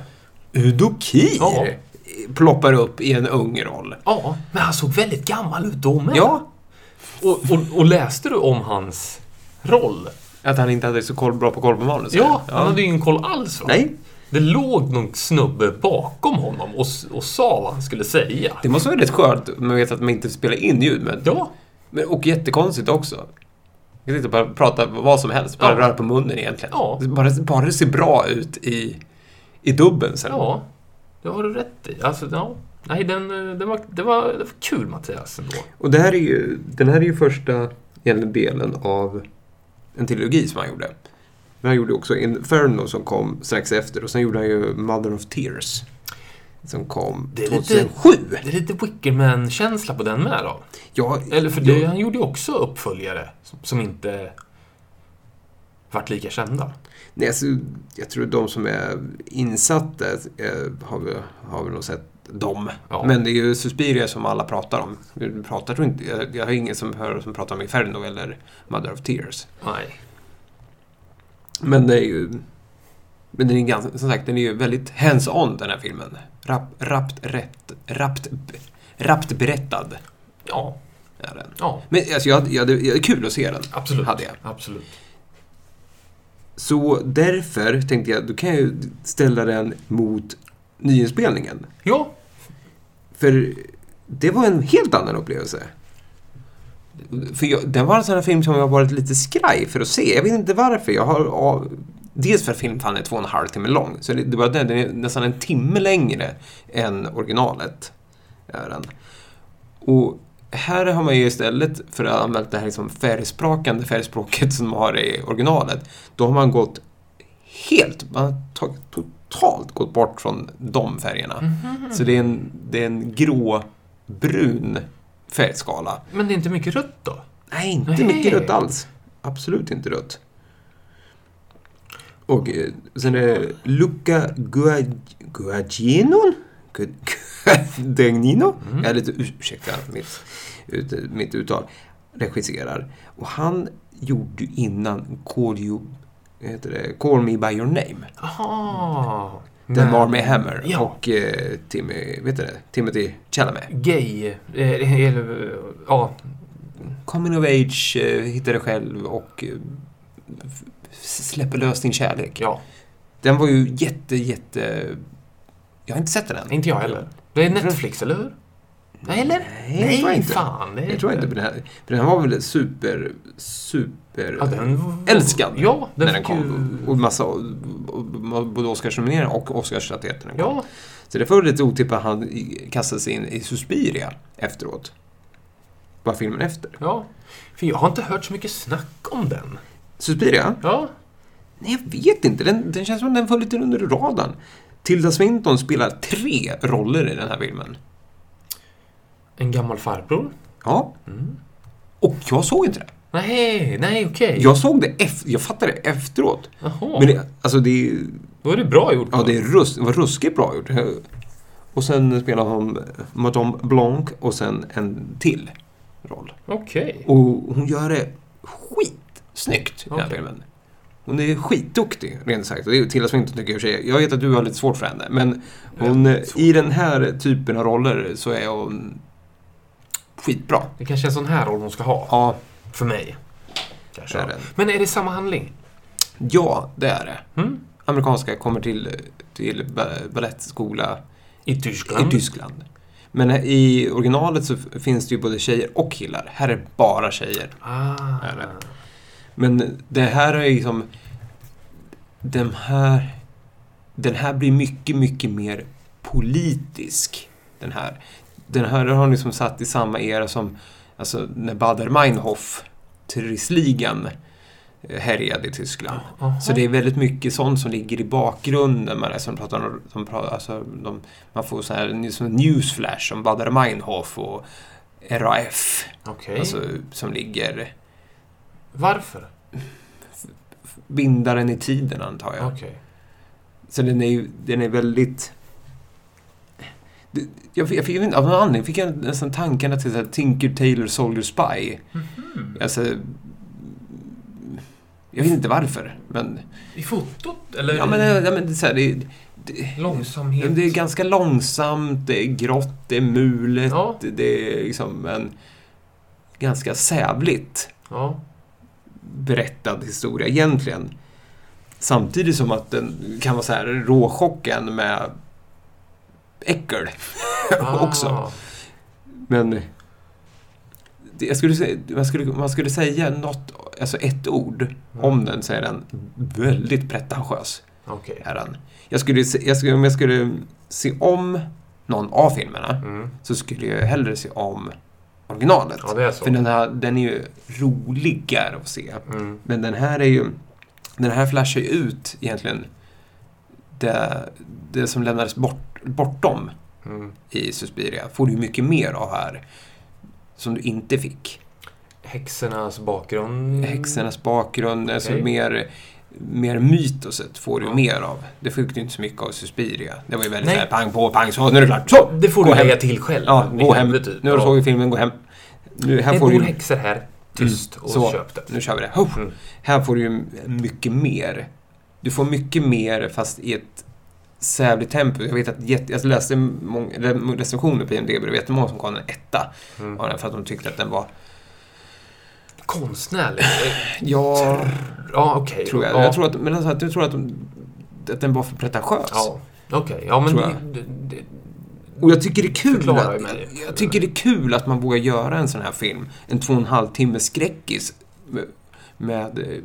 [SPEAKER 2] Udo Kier
[SPEAKER 3] Ja.
[SPEAKER 2] ploppar upp i en ung roll.
[SPEAKER 3] Ja, men han såg väldigt gammal ut då med.
[SPEAKER 2] Ja,
[SPEAKER 3] Och, och, och läste du om hans roll?
[SPEAKER 2] att han inte hade så koll, bra på koll på manus.
[SPEAKER 3] Ja, han hade ju ingen koll alls va?
[SPEAKER 2] Nej,
[SPEAKER 3] Det låg någon snubbe bakom honom och, s- och sa vad han skulle säga.
[SPEAKER 2] det måste vara rätt skönt om man vet att man inte spelar in ljud. Men,
[SPEAKER 3] Ja.
[SPEAKER 2] men, och jättekonstigt också. Jag kan inte bara prata vad som helst, bara
[SPEAKER 3] Ja.
[SPEAKER 2] röra på munnen egentligen.
[SPEAKER 3] Ja.
[SPEAKER 2] Bara, bara det ser bra ut i, i dubben sen.
[SPEAKER 3] Ja, det har du rätt i. Alltså, ja. Nej, den, eh, den var, det, var, det var kul Mattias ändå.
[SPEAKER 2] Och det här är ju, den här är ju första egentligen delen av en trilogi som han gjorde. Men han gjorde också Inferno som kom strax efter och sen gjorde han ju Mother of Tears. Som kom
[SPEAKER 3] Det är lite-
[SPEAKER 2] 2007.
[SPEAKER 3] Det är lite Wickerman-känsla på den med då.
[SPEAKER 2] Ja,
[SPEAKER 3] Eller för det,
[SPEAKER 2] ja.
[SPEAKER 3] han gjorde ju också uppföljare som, som inte vart lika kända.
[SPEAKER 2] Nej, alltså, jag tror de som är insatta eh, har, väl- har väl nog sett dem.
[SPEAKER 3] Ja.
[SPEAKER 2] Men det är ju Suspiria som alla pratar om. Du pratar, tror inte, jag, jag har ingen som hör som pratar om Inferno eller Mother of Tears.
[SPEAKER 3] Nej.
[SPEAKER 2] Men det är ju... Men den är ganska, som sagt, den är ju väldigt hands-on den här filmen. Rapp, rappt, rätt, rappt, rappt berättad
[SPEAKER 3] Ja,
[SPEAKER 2] är den.
[SPEAKER 3] ja.
[SPEAKER 2] Men alltså, jag, hade- jag, hade- jag hade kul att se den.
[SPEAKER 3] Absolut.
[SPEAKER 2] Hade jag.
[SPEAKER 3] Absolut.
[SPEAKER 2] Så därför tänkte jag, då kan jag ju ställa den mot nyinspelningen.
[SPEAKER 3] Ja,
[SPEAKER 2] För det var en helt annan upplevelse. För jag, den var en sån här film som jag varit lite skraj för att se. Jag vet inte varför. Jag har, av, dels för att filmen fan är två och en halv timme lång. Så det, det var den, den är nästan en timme längre än originalet. Är den. Och här har man ju istället för att använda det här liksom färgsprakande färgspråket som de har i originalet. Då har man gått helt, man har tagit, totalt gått bort från de färgerna. Så det är en, det är en grå-brun färgskala.
[SPEAKER 3] men det är inte mycket rött då?
[SPEAKER 2] Nej, inte
[SPEAKER 3] Nej.
[SPEAKER 2] mycket rött alls. Absolut inte rött. Och eh, sen är det Luca Guaginon. Guadagnino. Jag är lite urs- ursäkta mitt, ut- mitt uttal. Regisserar. Och han gjorde ju innan Call, you, heter det, Call Me By Your Name.
[SPEAKER 3] Aha.
[SPEAKER 2] Den var med Hammer
[SPEAKER 3] Ja.
[SPEAKER 2] och eh, Timmy, vet du det? Timothy Chalamet.
[SPEAKER 3] Gay. eh, Eller, eh, ja.
[SPEAKER 2] Coming of Age, eh, hittar dig själv och eh, f- släpper lös din kärlek.
[SPEAKER 3] ja.
[SPEAKER 2] Den var ju jätte, jätte... Jag har inte sett den än.
[SPEAKER 3] Inte jag heller. Det är Netflix, eller hur? Nej, eller?
[SPEAKER 2] Nej, jag tror inte.
[SPEAKER 3] fan. Det är
[SPEAKER 2] Jag tror inte på den här. För den här var väl super, super...
[SPEAKER 3] Ja, den...
[SPEAKER 2] Älskad
[SPEAKER 3] Ja, den,
[SPEAKER 2] när den
[SPEAKER 3] fick
[SPEAKER 2] kom.
[SPEAKER 3] Ju...
[SPEAKER 2] Och massa... och- och- Både Oscarsnomineringar och Oscarsstatyetter den kom.
[SPEAKER 3] Ja,
[SPEAKER 2] Så det var lite otippat att han i- kastade sig in i Suspiria efteråt. Bara filmen efter.
[SPEAKER 3] ja. För jag har inte hört så mycket snack om den.
[SPEAKER 2] Suspiria?
[SPEAKER 3] Ja,
[SPEAKER 2] Nej, jag vet inte. Den, den känns som att den föll lite under radarn. Tilda Swinton spelar tre roller i den här filmen.
[SPEAKER 3] en gammal farbror.
[SPEAKER 2] Ja.
[SPEAKER 3] Mm.
[SPEAKER 2] Och jag såg inte det.
[SPEAKER 3] Nej, nej, okej.
[SPEAKER 2] Jag såg det efter, jag fattade det efteråt.
[SPEAKER 3] Jaha,
[SPEAKER 2] Men det, alltså det, är-
[SPEAKER 3] då är det bra gjort.
[SPEAKER 2] ja, det, är rus, det var ruskigt bra gjort. Och sen spelar hon Madame Blanc och sen en till roll.
[SPEAKER 3] Okej.
[SPEAKER 2] Och hon gör det skitsnyggt i den här
[SPEAKER 3] Okej.
[SPEAKER 2] filmen. Hon är skitduktig, rent sagt. Och det är ju Tilda Swinton tycker jag i och för sig. Jag vet att du har lite svårt för henne, men hon, eh,
[SPEAKER 3] Väldigt svårt.
[SPEAKER 2] i den här typen av roller så är hon skitbra.
[SPEAKER 3] Det kanske är en sån här roll hon ska ha.
[SPEAKER 2] Ja,
[SPEAKER 3] För mig.
[SPEAKER 2] det
[SPEAKER 3] Kanske.
[SPEAKER 2] är det.
[SPEAKER 3] Men är det samma handling?
[SPEAKER 2] Ja, det är det.
[SPEAKER 3] Mm?
[SPEAKER 2] Amerikanska kommer till, till ba- balettskola
[SPEAKER 3] I Tyskland?
[SPEAKER 2] i Tyskland. Men i originalet så f- finns det ju både tjejer och killar. Här är bara tjejer.
[SPEAKER 3] Ah.
[SPEAKER 2] Är det. Men det här är liksom... Den här... Den här blir mycket, mycket mer politisk. Den här. Den här har liksom satt i samma era som alltså, när Bader-Meinhof, terroristligan, eh, härjade i Tyskland.
[SPEAKER 3] Aha.
[SPEAKER 2] Så det är väldigt mycket sånt som ligger i bakgrunden. Man, som pratar om, som pratar, alltså, de, man får så här, som newsflash om Bader-Meinhof och RAF,
[SPEAKER 3] Okej.
[SPEAKER 2] alltså, som ligger
[SPEAKER 3] Varför?
[SPEAKER 2] bindaren i tiden antar jag.
[SPEAKER 3] Okej.
[SPEAKER 2] Så den är ju den är väldigt... Det- Jag fick, jag fick, av någon anledning fick jag nästan tankarna till så här Tinker Tailor Soldier Spy.
[SPEAKER 3] Mhm.
[SPEAKER 2] Alltså, jag vet inte varför, men...
[SPEAKER 3] I fotot? Eller
[SPEAKER 2] Ja, men, eh, ja, men det, är så här, det, det, Ja,
[SPEAKER 3] långsamhet?
[SPEAKER 2] men Det är ganska långsamt, det är grått, det är mulet,
[SPEAKER 3] Ja.
[SPEAKER 2] det är liksom en ganska sävligt
[SPEAKER 3] Ja.
[SPEAKER 2] berättad historia egentligen. Samtidigt som att den kan vara så här råchocken med äckel <laughs> <laughs> också.
[SPEAKER 3] Ah.
[SPEAKER 2] Men det- jag skulle, säga- man, skulle, man skulle säga något, alltså ett ord
[SPEAKER 3] Mm.
[SPEAKER 2] om den så är den väldigt pretentiös.
[SPEAKER 3] Okej.
[SPEAKER 2] Är den. Jag skulle, se- jag skulle, om jag skulle se om någon av filmerna
[SPEAKER 3] Mm.
[SPEAKER 2] så skulle jag hellre se om originalet.
[SPEAKER 3] Ja, det är så.
[SPEAKER 2] För den, här, den är ju roligare att se.
[SPEAKER 3] Mm.
[SPEAKER 2] Men den här är ju... Den här flashar ju ut egentligen det, det som lämnades bort, bortom
[SPEAKER 3] Mm.
[SPEAKER 2] i Suspiria får du ju mycket mer av här som du inte fick.
[SPEAKER 3] Häxornas bakgrund.
[SPEAKER 2] Häxornas bakgrund, alltså
[SPEAKER 3] Mm. Okej.
[SPEAKER 2] mer, mer mytoset får du
[SPEAKER 3] Ja.
[SPEAKER 2] mer av. Det fick du inte så mycket av Suspiria. Det var ju väldigt
[SPEAKER 3] Nej.
[SPEAKER 2] såhär pang på, pang så, nu är det klart. Så!
[SPEAKER 3] Det får
[SPEAKER 2] Gå
[SPEAKER 3] du
[SPEAKER 2] hem.
[SPEAKER 3] lägga till själv.
[SPEAKER 2] Ja,
[SPEAKER 3] I
[SPEAKER 2] gå hem.
[SPEAKER 3] huvudet, typ.
[SPEAKER 2] Nu har du
[SPEAKER 3] Ja.
[SPEAKER 2] såg filmen, gå hem. Nu, här
[SPEAKER 3] Det
[SPEAKER 2] får
[SPEAKER 3] bor
[SPEAKER 2] du, ju-
[SPEAKER 3] häxor här. Tyst och
[SPEAKER 2] Så.
[SPEAKER 3] köp det.
[SPEAKER 2] nu kör vi det. Ho!
[SPEAKER 3] Mm.
[SPEAKER 2] Här får du ju mycket mer. Du får mycket mer fast i ett sävligt tempo. Jag vet att jätte, jag läste många eller recensioner på IMDB och det var jättemånga som gav den en etta
[SPEAKER 3] Mm.
[SPEAKER 2] av den för att de tyckte att den var...
[SPEAKER 3] Konstnärligt.
[SPEAKER 2] Ja,
[SPEAKER 3] Ja, okej.
[SPEAKER 2] tror jag.
[SPEAKER 3] Ja.
[SPEAKER 2] Jag tror att, men alltså, att jag tror att, de, att den var för pretentiös.
[SPEAKER 3] Ja, okej. Ja, men
[SPEAKER 2] Tror jag.
[SPEAKER 3] det, det, det,
[SPEAKER 2] Och jag tycker det är kul
[SPEAKER 3] Förklara
[SPEAKER 2] att,
[SPEAKER 3] mig.
[SPEAKER 2] jag tycker det är kul att man vågar göra en sån här film. En två och en halv timme skräckis med, med eh,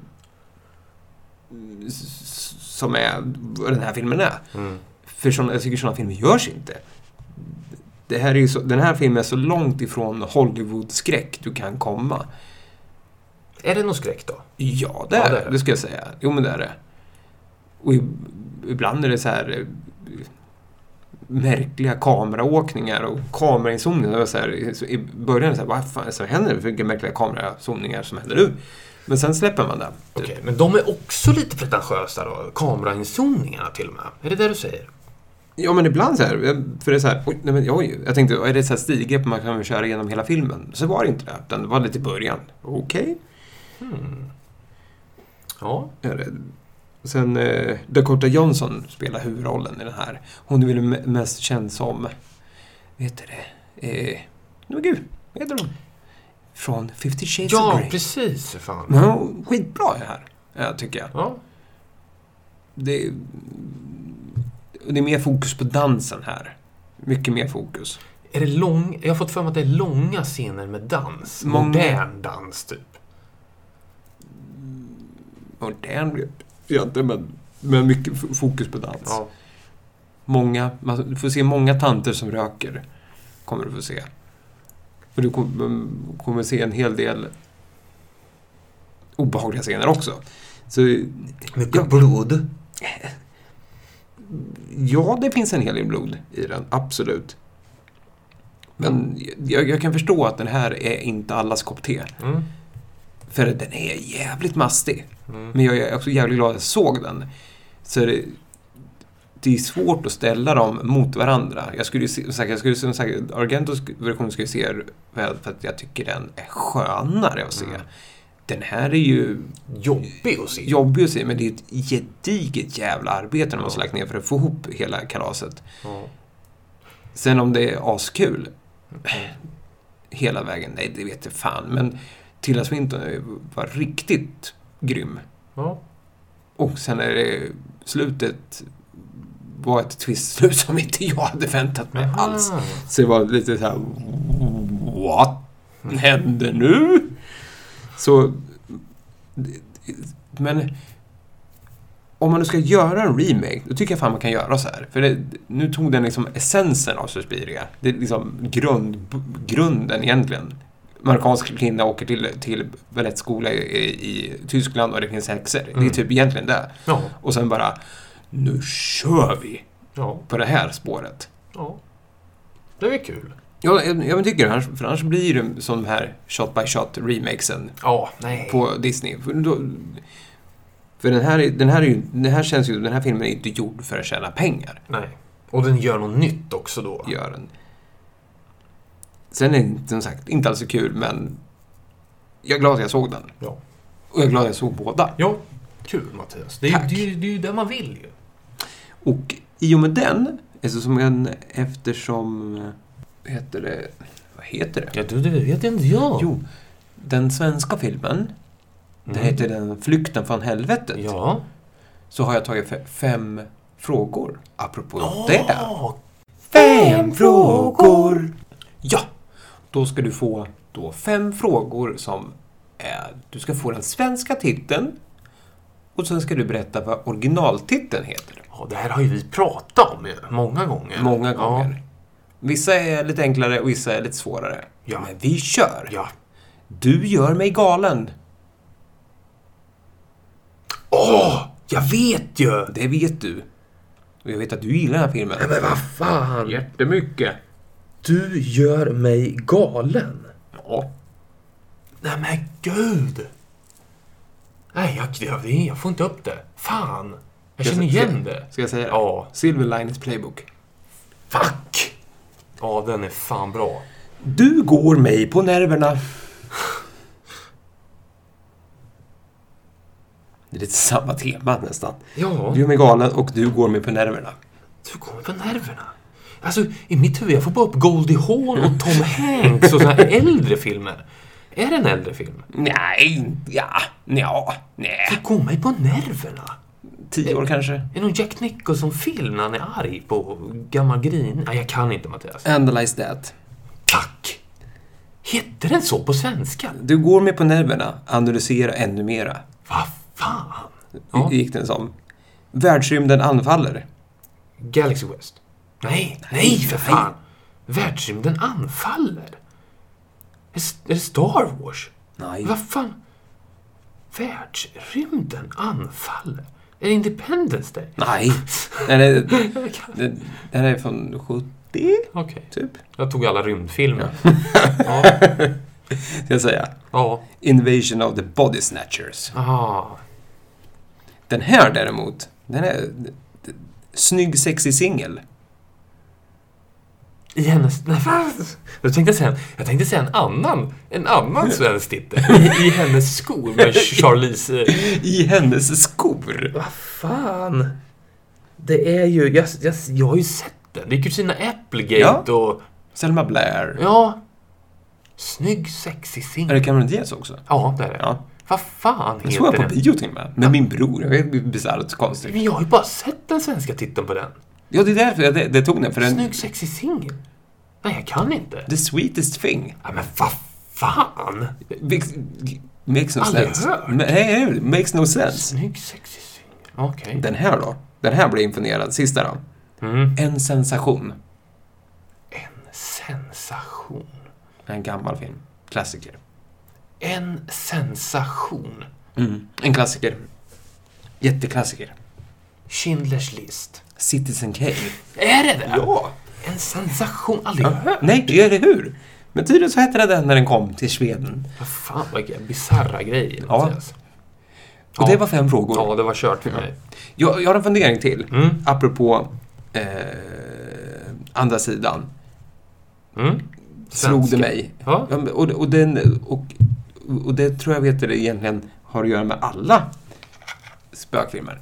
[SPEAKER 2] s- s- som är vad den här filmen är.
[SPEAKER 3] Mm.
[SPEAKER 2] För såna, jag tycker sådana filmer görs inte. Det här är ju så, den här filmen är så långt ifrån Hollywood-skräck du kan komma.
[SPEAKER 3] Är det någon skräck då?
[SPEAKER 2] Typ. Ja, det
[SPEAKER 3] Ja,
[SPEAKER 2] är
[SPEAKER 3] det
[SPEAKER 2] det.
[SPEAKER 3] är det.
[SPEAKER 2] Det ska jag säga. Jo, men det är det. Och i- ibland är det så här eh, märkliga kameraåkningar och kamerainzoomningar. Det var Så här, så I början är det så här, vad fan är det som händer? Vilka märkliga kamerazoomningar som händer nu? Men sen släpper man det. typ.
[SPEAKER 3] Okej, men de är också lite pretentiösa då. Kamerainzoomningarna till och med. Är det det du säger?
[SPEAKER 2] Ja, men ibland så här. eh, För det är så här, oj, nej, men, oj. Jag tänkte, är det så här stilgrepp man kan köra igenom hela filmen? Så var det inte det, utan det var lite i början. Okej.
[SPEAKER 3] Hmm. Ja.
[SPEAKER 2] Ja, det- Sen eh, Dakota Johnson spelar huvudrollen i den här. Hon är väl me- mest känd som... Vet du det? Eh, men gud, vad heter hon? Från 50 Shades of
[SPEAKER 3] Ja,
[SPEAKER 2] Grey.
[SPEAKER 3] precis för
[SPEAKER 2] Men
[SPEAKER 3] fan.
[SPEAKER 2] hon är skitbra i det här, eh, tycker jag.
[SPEAKER 3] Ja.
[SPEAKER 2] Det är, det är mer fokus på dansen här. Mycket mer fokus.
[SPEAKER 3] Är det lång... Jag har fått för mig att det är långa scener med dans.
[SPEAKER 2] Många.
[SPEAKER 3] Modern dans, typ.
[SPEAKER 2] Modern vet jag inte, men, men mycket f- fokus på dans.
[SPEAKER 3] Ja.
[SPEAKER 2] Många, man, du får se många tanter som röker. Kommer du få se. Och du kommer, kommer se en hel del obehagliga scener också. Så
[SPEAKER 3] Mycket blod.
[SPEAKER 2] <laughs> ja, det finns en hel del blod i den, absolut. Men jag, jag kan förstå att den här är inte allas kopp te.
[SPEAKER 3] Mm.
[SPEAKER 2] För den är jävligt mastig.
[SPEAKER 3] Mm.
[SPEAKER 2] Men jag är också jävligt glad att jag såg den. Så det, det är svårt att ställa dem mot varandra. Jag skulle ju se, som sagt, jag skulle, som sagt, Argentos version skulle jag se väl för att jag tycker den är skönare att se.
[SPEAKER 3] Mm.
[SPEAKER 2] Den här är ju
[SPEAKER 3] Jobbig att se.
[SPEAKER 2] jobbig att se, men det är ett gediget jävla arbete de
[SPEAKER 3] Ja.
[SPEAKER 2] måste lagt ner för att få ihop hela kalaset.
[SPEAKER 3] Ja.
[SPEAKER 2] Sen om det är askul hela vägen, nej det vet jag fan. Men Tilda Swinton var riktigt grym.
[SPEAKER 3] ja.
[SPEAKER 2] Och sen är det slutet var ett twistslut som inte jag hade väntat mig alls.
[SPEAKER 3] Ah.
[SPEAKER 2] Så det var lite så här What hände nu? Så... Men... Om man nu ska göra en remake, då tycker jag fan man kan göra så här. För det, nu tog den liksom essensen av Suspiria. Det är liksom grund, grunden egentligen. Marokkansk kvinna åker till, till balettskola i, i Tyskland och det finns häxor. Det är
[SPEAKER 3] Mm.
[SPEAKER 2] typ egentligen det.
[SPEAKER 3] Ja.
[SPEAKER 2] Och sen bara, nu kör vi
[SPEAKER 3] Ja.
[SPEAKER 2] på det här spåret.
[SPEAKER 3] Ja. Det är kul.
[SPEAKER 2] Ja, jag, jag tycker det. annars- För annars blir det som de här shot by shot remakesen
[SPEAKER 3] Ja, nej.
[SPEAKER 2] på Disney. För, då, för den, här, är- den, här är ju, den här känns ju, den här filmen är inte gjord för att tjäna pengar.
[SPEAKER 3] Nej. Och den gör något nytt också då.
[SPEAKER 2] Gör den. Sen är den som sagt inte alls så kul, men jag är glad att jag såg den.
[SPEAKER 3] Ja.
[SPEAKER 2] Och jag är glad att jag såg båda.
[SPEAKER 3] Ja, kul Mattias. Det är,
[SPEAKER 2] Tack.
[SPEAKER 3] ju- det, är, ju- det är ju det man vill ju.
[SPEAKER 2] Och i och med den, eftersom, en, eftersom eh, vad heter det, vad heter det?
[SPEAKER 3] Ja, du, det vet inte jag.
[SPEAKER 2] Jo, den svenska filmen, den heter den Flykten från helvetet.
[SPEAKER 3] Mm. Ja.
[SPEAKER 2] Så har jag tagit fe- fem frågor apropå det.
[SPEAKER 3] Ja.
[SPEAKER 2] Ja! Då ska du få då fem frågor som är, du ska få den svenska titeln och sen ska du berätta vad originaltiteln heter.
[SPEAKER 3] Ja, det här har ju vi pratat om ju, många gånger.
[SPEAKER 2] Många
[SPEAKER 3] Ja.
[SPEAKER 2] gånger. Vissa är lite enklare och vissa är lite svårare.
[SPEAKER 3] Ja.
[SPEAKER 2] Men vi kör!
[SPEAKER 3] Ja.
[SPEAKER 2] Du gör mig galen.
[SPEAKER 3] Åh, jag vet ju!
[SPEAKER 2] Det vet du. Och jag vet att du gillar den här filmen.
[SPEAKER 1] Nej men vad fan!
[SPEAKER 2] Jättemycket.
[SPEAKER 1] Du gör mig galen.
[SPEAKER 2] Ja.
[SPEAKER 3] Nej men gud! Nej, jag, jag, jag får inte upp det. Fan! Jag
[SPEAKER 2] Ska
[SPEAKER 3] känner
[SPEAKER 2] jag-
[SPEAKER 3] igen det.
[SPEAKER 2] Ska jag säga det?
[SPEAKER 3] Ja,
[SPEAKER 2] Silver Linings Playbook.
[SPEAKER 3] fuck! Ja, den är fan bra.
[SPEAKER 2] Du går mig på nerverna. Det är lite samma tema nästan.
[SPEAKER 3] Ja,
[SPEAKER 2] Du gör mig galen och du går mig på nerverna.
[SPEAKER 3] du kommer på nerverna. Alltså, i mitt huvud, jag får bara upp Goldie Hawn och <laughs> Tom Hanks och såna här äldre filmer. Är det en äldre film?
[SPEAKER 2] Nej, ja, ja, nej.
[SPEAKER 3] Det går mig på nerverna.
[SPEAKER 2] Tio år kanske.
[SPEAKER 3] Är det någon Jack Nicholson-film när han är arg på gammal grin? Nej, jag kan inte Mattias.
[SPEAKER 2] Analyze that.
[SPEAKER 3] Tack! Heter den så på svenska?
[SPEAKER 2] Du går mig på nerverna, analysera ännu mera.
[SPEAKER 3] Vad fan?
[SPEAKER 2] Ja. Gick den som. Världsrymden anfaller.
[SPEAKER 3] Galaxy West. Nej, nej för fan! Världsrymden anfaller. Är s- är det Star Wars?
[SPEAKER 2] Nej.
[SPEAKER 3] Vad fan? Världsrymden anfaller? Är det Independence Day?
[SPEAKER 2] Nej. Nej, <laughs> det,
[SPEAKER 3] Jag kan-
[SPEAKER 2] det, det här är från 70,
[SPEAKER 3] <laughs> Okej,
[SPEAKER 2] typ.
[SPEAKER 3] jag tog alla rymdfilmer. <laughs> Ja.
[SPEAKER 2] Ska jag säga.
[SPEAKER 3] ja.
[SPEAKER 2] Invasion of the Body Snatchers.
[SPEAKER 3] Aha.
[SPEAKER 2] Den här däremot, den är... d- d- Snygg, sexig singel.
[SPEAKER 3] I hennes... <laughs> Nej, fan. jag, tänkte säga, jag tänkte säga en annan, en <laughs> annan svensk titel. I, I hennes skor med Charlize... eh,
[SPEAKER 2] I hennes skor.
[SPEAKER 1] Vad fan? Det är ju... Jag, jag,
[SPEAKER 3] Jag har ju sett den. Det är Christina Applegate och...
[SPEAKER 2] Selma Blair.
[SPEAKER 3] Ja. Snygg, sexig
[SPEAKER 2] Är
[SPEAKER 3] singel.
[SPEAKER 2] det Cameron Diaz också?
[SPEAKER 3] Ja, det är det.
[SPEAKER 2] Ja.
[SPEAKER 3] Vad fan
[SPEAKER 2] Jag såg
[SPEAKER 3] heter
[SPEAKER 2] den på
[SPEAKER 3] den?
[SPEAKER 2] bio till och med. Med min bror. Det är bisarrt konstigt.
[SPEAKER 3] Men jag har ju bara sett den svenska titeln på den.
[SPEAKER 2] Ja, det är därför jag det, det tog den. För den...
[SPEAKER 3] Snygg, sexig singel. Nej, jag kan inte.
[SPEAKER 2] The sweetest thing.
[SPEAKER 3] Ja, men vad fan!
[SPEAKER 2] Makes, makes no
[SPEAKER 3] Aldrig
[SPEAKER 2] sense.
[SPEAKER 3] hört.
[SPEAKER 2] Men- Nej, nej, makes no sense.
[SPEAKER 3] Snygg, sexig singel. Okej.
[SPEAKER 2] Den här då? Den här blir jag imponerad. Sista då.
[SPEAKER 3] Mm.
[SPEAKER 2] En sensation.
[SPEAKER 3] Sensation.
[SPEAKER 2] En gammal film. Klassiker.
[SPEAKER 3] En sensation.
[SPEAKER 2] Mm. En klassiker. Jätteklassiker.
[SPEAKER 3] Schindler's list.
[SPEAKER 2] Citizen Kane.
[SPEAKER 3] Är det det?
[SPEAKER 2] Ja.
[SPEAKER 3] En sensation. Aldrig hört.
[SPEAKER 2] Nej, eller hur? Men tydligen så hette den när den kom till Sveden.
[SPEAKER 3] Vad fan, vilka bisarra grejer.
[SPEAKER 2] Ja.
[SPEAKER 3] Mattias.
[SPEAKER 2] Och
[SPEAKER 3] Ja.
[SPEAKER 2] det var fem frågor.
[SPEAKER 3] Ja, det var kört för mig.
[SPEAKER 2] Jag, jag har en fundering till.
[SPEAKER 3] Mm.
[SPEAKER 2] Apropå eh, andra sidan.
[SPEAKER 3] Mm.
[SPEAKER 2] Slog
[SPEAKER 3] Svenska.
[SPEAKER 2] det mig.
[SPEAKER 3] Ja.
[SPEAKER 2] Ja, men- och, och, den, och, och det tror jag vet att det egentligen har att göra med alla spökfilmer.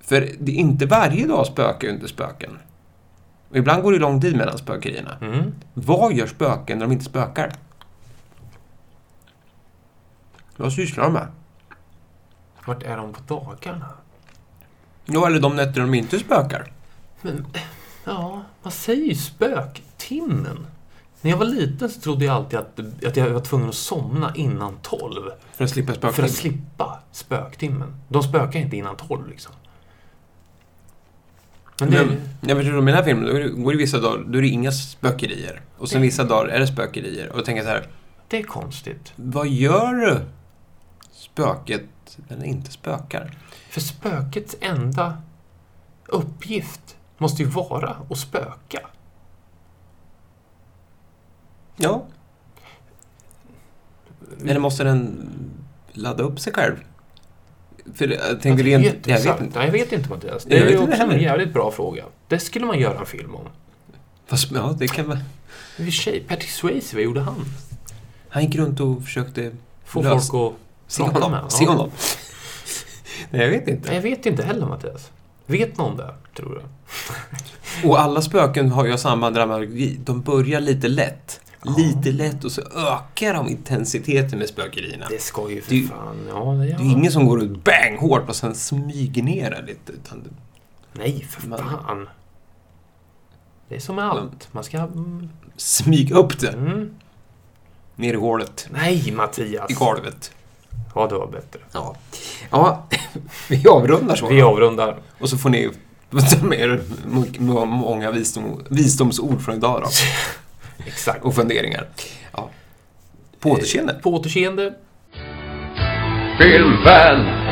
[SPEAKER 2] För det är inte varje dag spöke under spöken. Och ibland går det lång tid mellan spökerierna.
[SPEAKER 3] Mm.
[SPEAKER 2] Vad gör spöken när de inte spökar? Vad sysslar de med?
[SPEAKER 3] Vart är de på dagarna?
[SPEAKER 2] Ja, eller de nätter de inte spökar.
[SPEAKER 3] Men, ja, man säger ju spöktimmen. När jag var liten så trodde jag alltid att, att jag var tvungen att somna innan tolv.
[SPEAKER 2] För att slippa
[SPEAKER 3] För
[SPEAKER 2] spöka.
[SPEAKER 3] att slippa spöktimmen. De spökar inte innan tolv liksom. Men det,
[SPEAKER 2] Men, jag vet inte, i mina filmer då är det- går det vissa dagar, då är det inga spökerier. Och sen vissa dagar är det spökerier. Och jag tänker så här,
[SPEAKER 3] det är konstigt.
[SPEAKER 2] Vad gör spöket när det inte spökar?
[SPEAKER 3] För spökets enda uppgift måste ju vara att spöka.
[SPEAKER 2] Ja. Eller måste den ladda upp sig själv? För jag tänker
[SPEAKER 3] Alltså,
[SPEAKER 2] rent... Jag vet
[SPEAKER 3] jätteintressant.
[SPEAKER 2] inte.
[SPEAKER 3] Nej, jag vet inte Mattias.
[SPEAKER 2] Jag
[SPEAKER 3] Det är
[SPEAKER 2] vet
[SPEAKER 3] ju
[SPEAKER 2] inte
[SPEAKER 3] också
[SPEAKER 2] heller.
[SPEAKER 3] en jävligt bra fråga. Det skulle man göra en film om.
[SPEAKER 2] Fast, ja, det kan vara...
[SPEAKER 3] I och för sig, Patrick Swayze, vad gjorde han?
[SPEAKER 2] Han gick runt och försökte
[SPEAKER 3] Få
[SPEAKER 2] Lös.
[SPEAKER 3] folk att...
[SPEAKER 2] se
[SPEAKER 3] Prata
[SPEAKER 2] honom.
[SPEAKER 3] med honom.
[SPEAKER 2] Se honom. <laughs> Nej, jag vet
[SPEAKER 3] Nej,
[SPEAKER 2] inte.
[SPEAKER 3] jag vet inte heller Mattias. Vet någon det, tror du?
[SPEAKER 2] Och alla spöken har ju samma dramaturgi. De börjar lite lätt. Lite lätt och så ökar de intensiteten med spökerierna.
[SPEAKER 3] Det ska ju för
[SPEAKER 2] Det-
[SPEAKER 3] fan... Ja, det gör
[SPEAKER 2] Det är ingen som går ut bang hårt och sen smyger ner det lite. Utan det-
[SPEAKER 3] Nej, för
[SPEAKER 2] Man-
[SPEAKER 3] fan. Det är som med allt. Man ska... mm,
[SPEAKER 2] Smyg upp det
[SPEAKER 3] Mm.
[SPEAKER 2] ner i hålet.
[SPEAKER 3] Nej, Mattias!
[SPEAKER 2] I golvet.
[SPEAKER 3] Ja, det var bättre.
[SPEAKER 2] Ja. Ja, <laughs> vi avrundar så.
[SPEAKER 3] Vi avrundar.
[SPEAKER 2] Och så får ni ta med er må- må- många visdom, visdomsord från idag då.
[SPEAKER 3] Exakt.
[SPEAKER 2] Och funderingar. Ja. På återseende.
[SPEAKER 3] På återseende.
[SPEAKER 4] Filmvän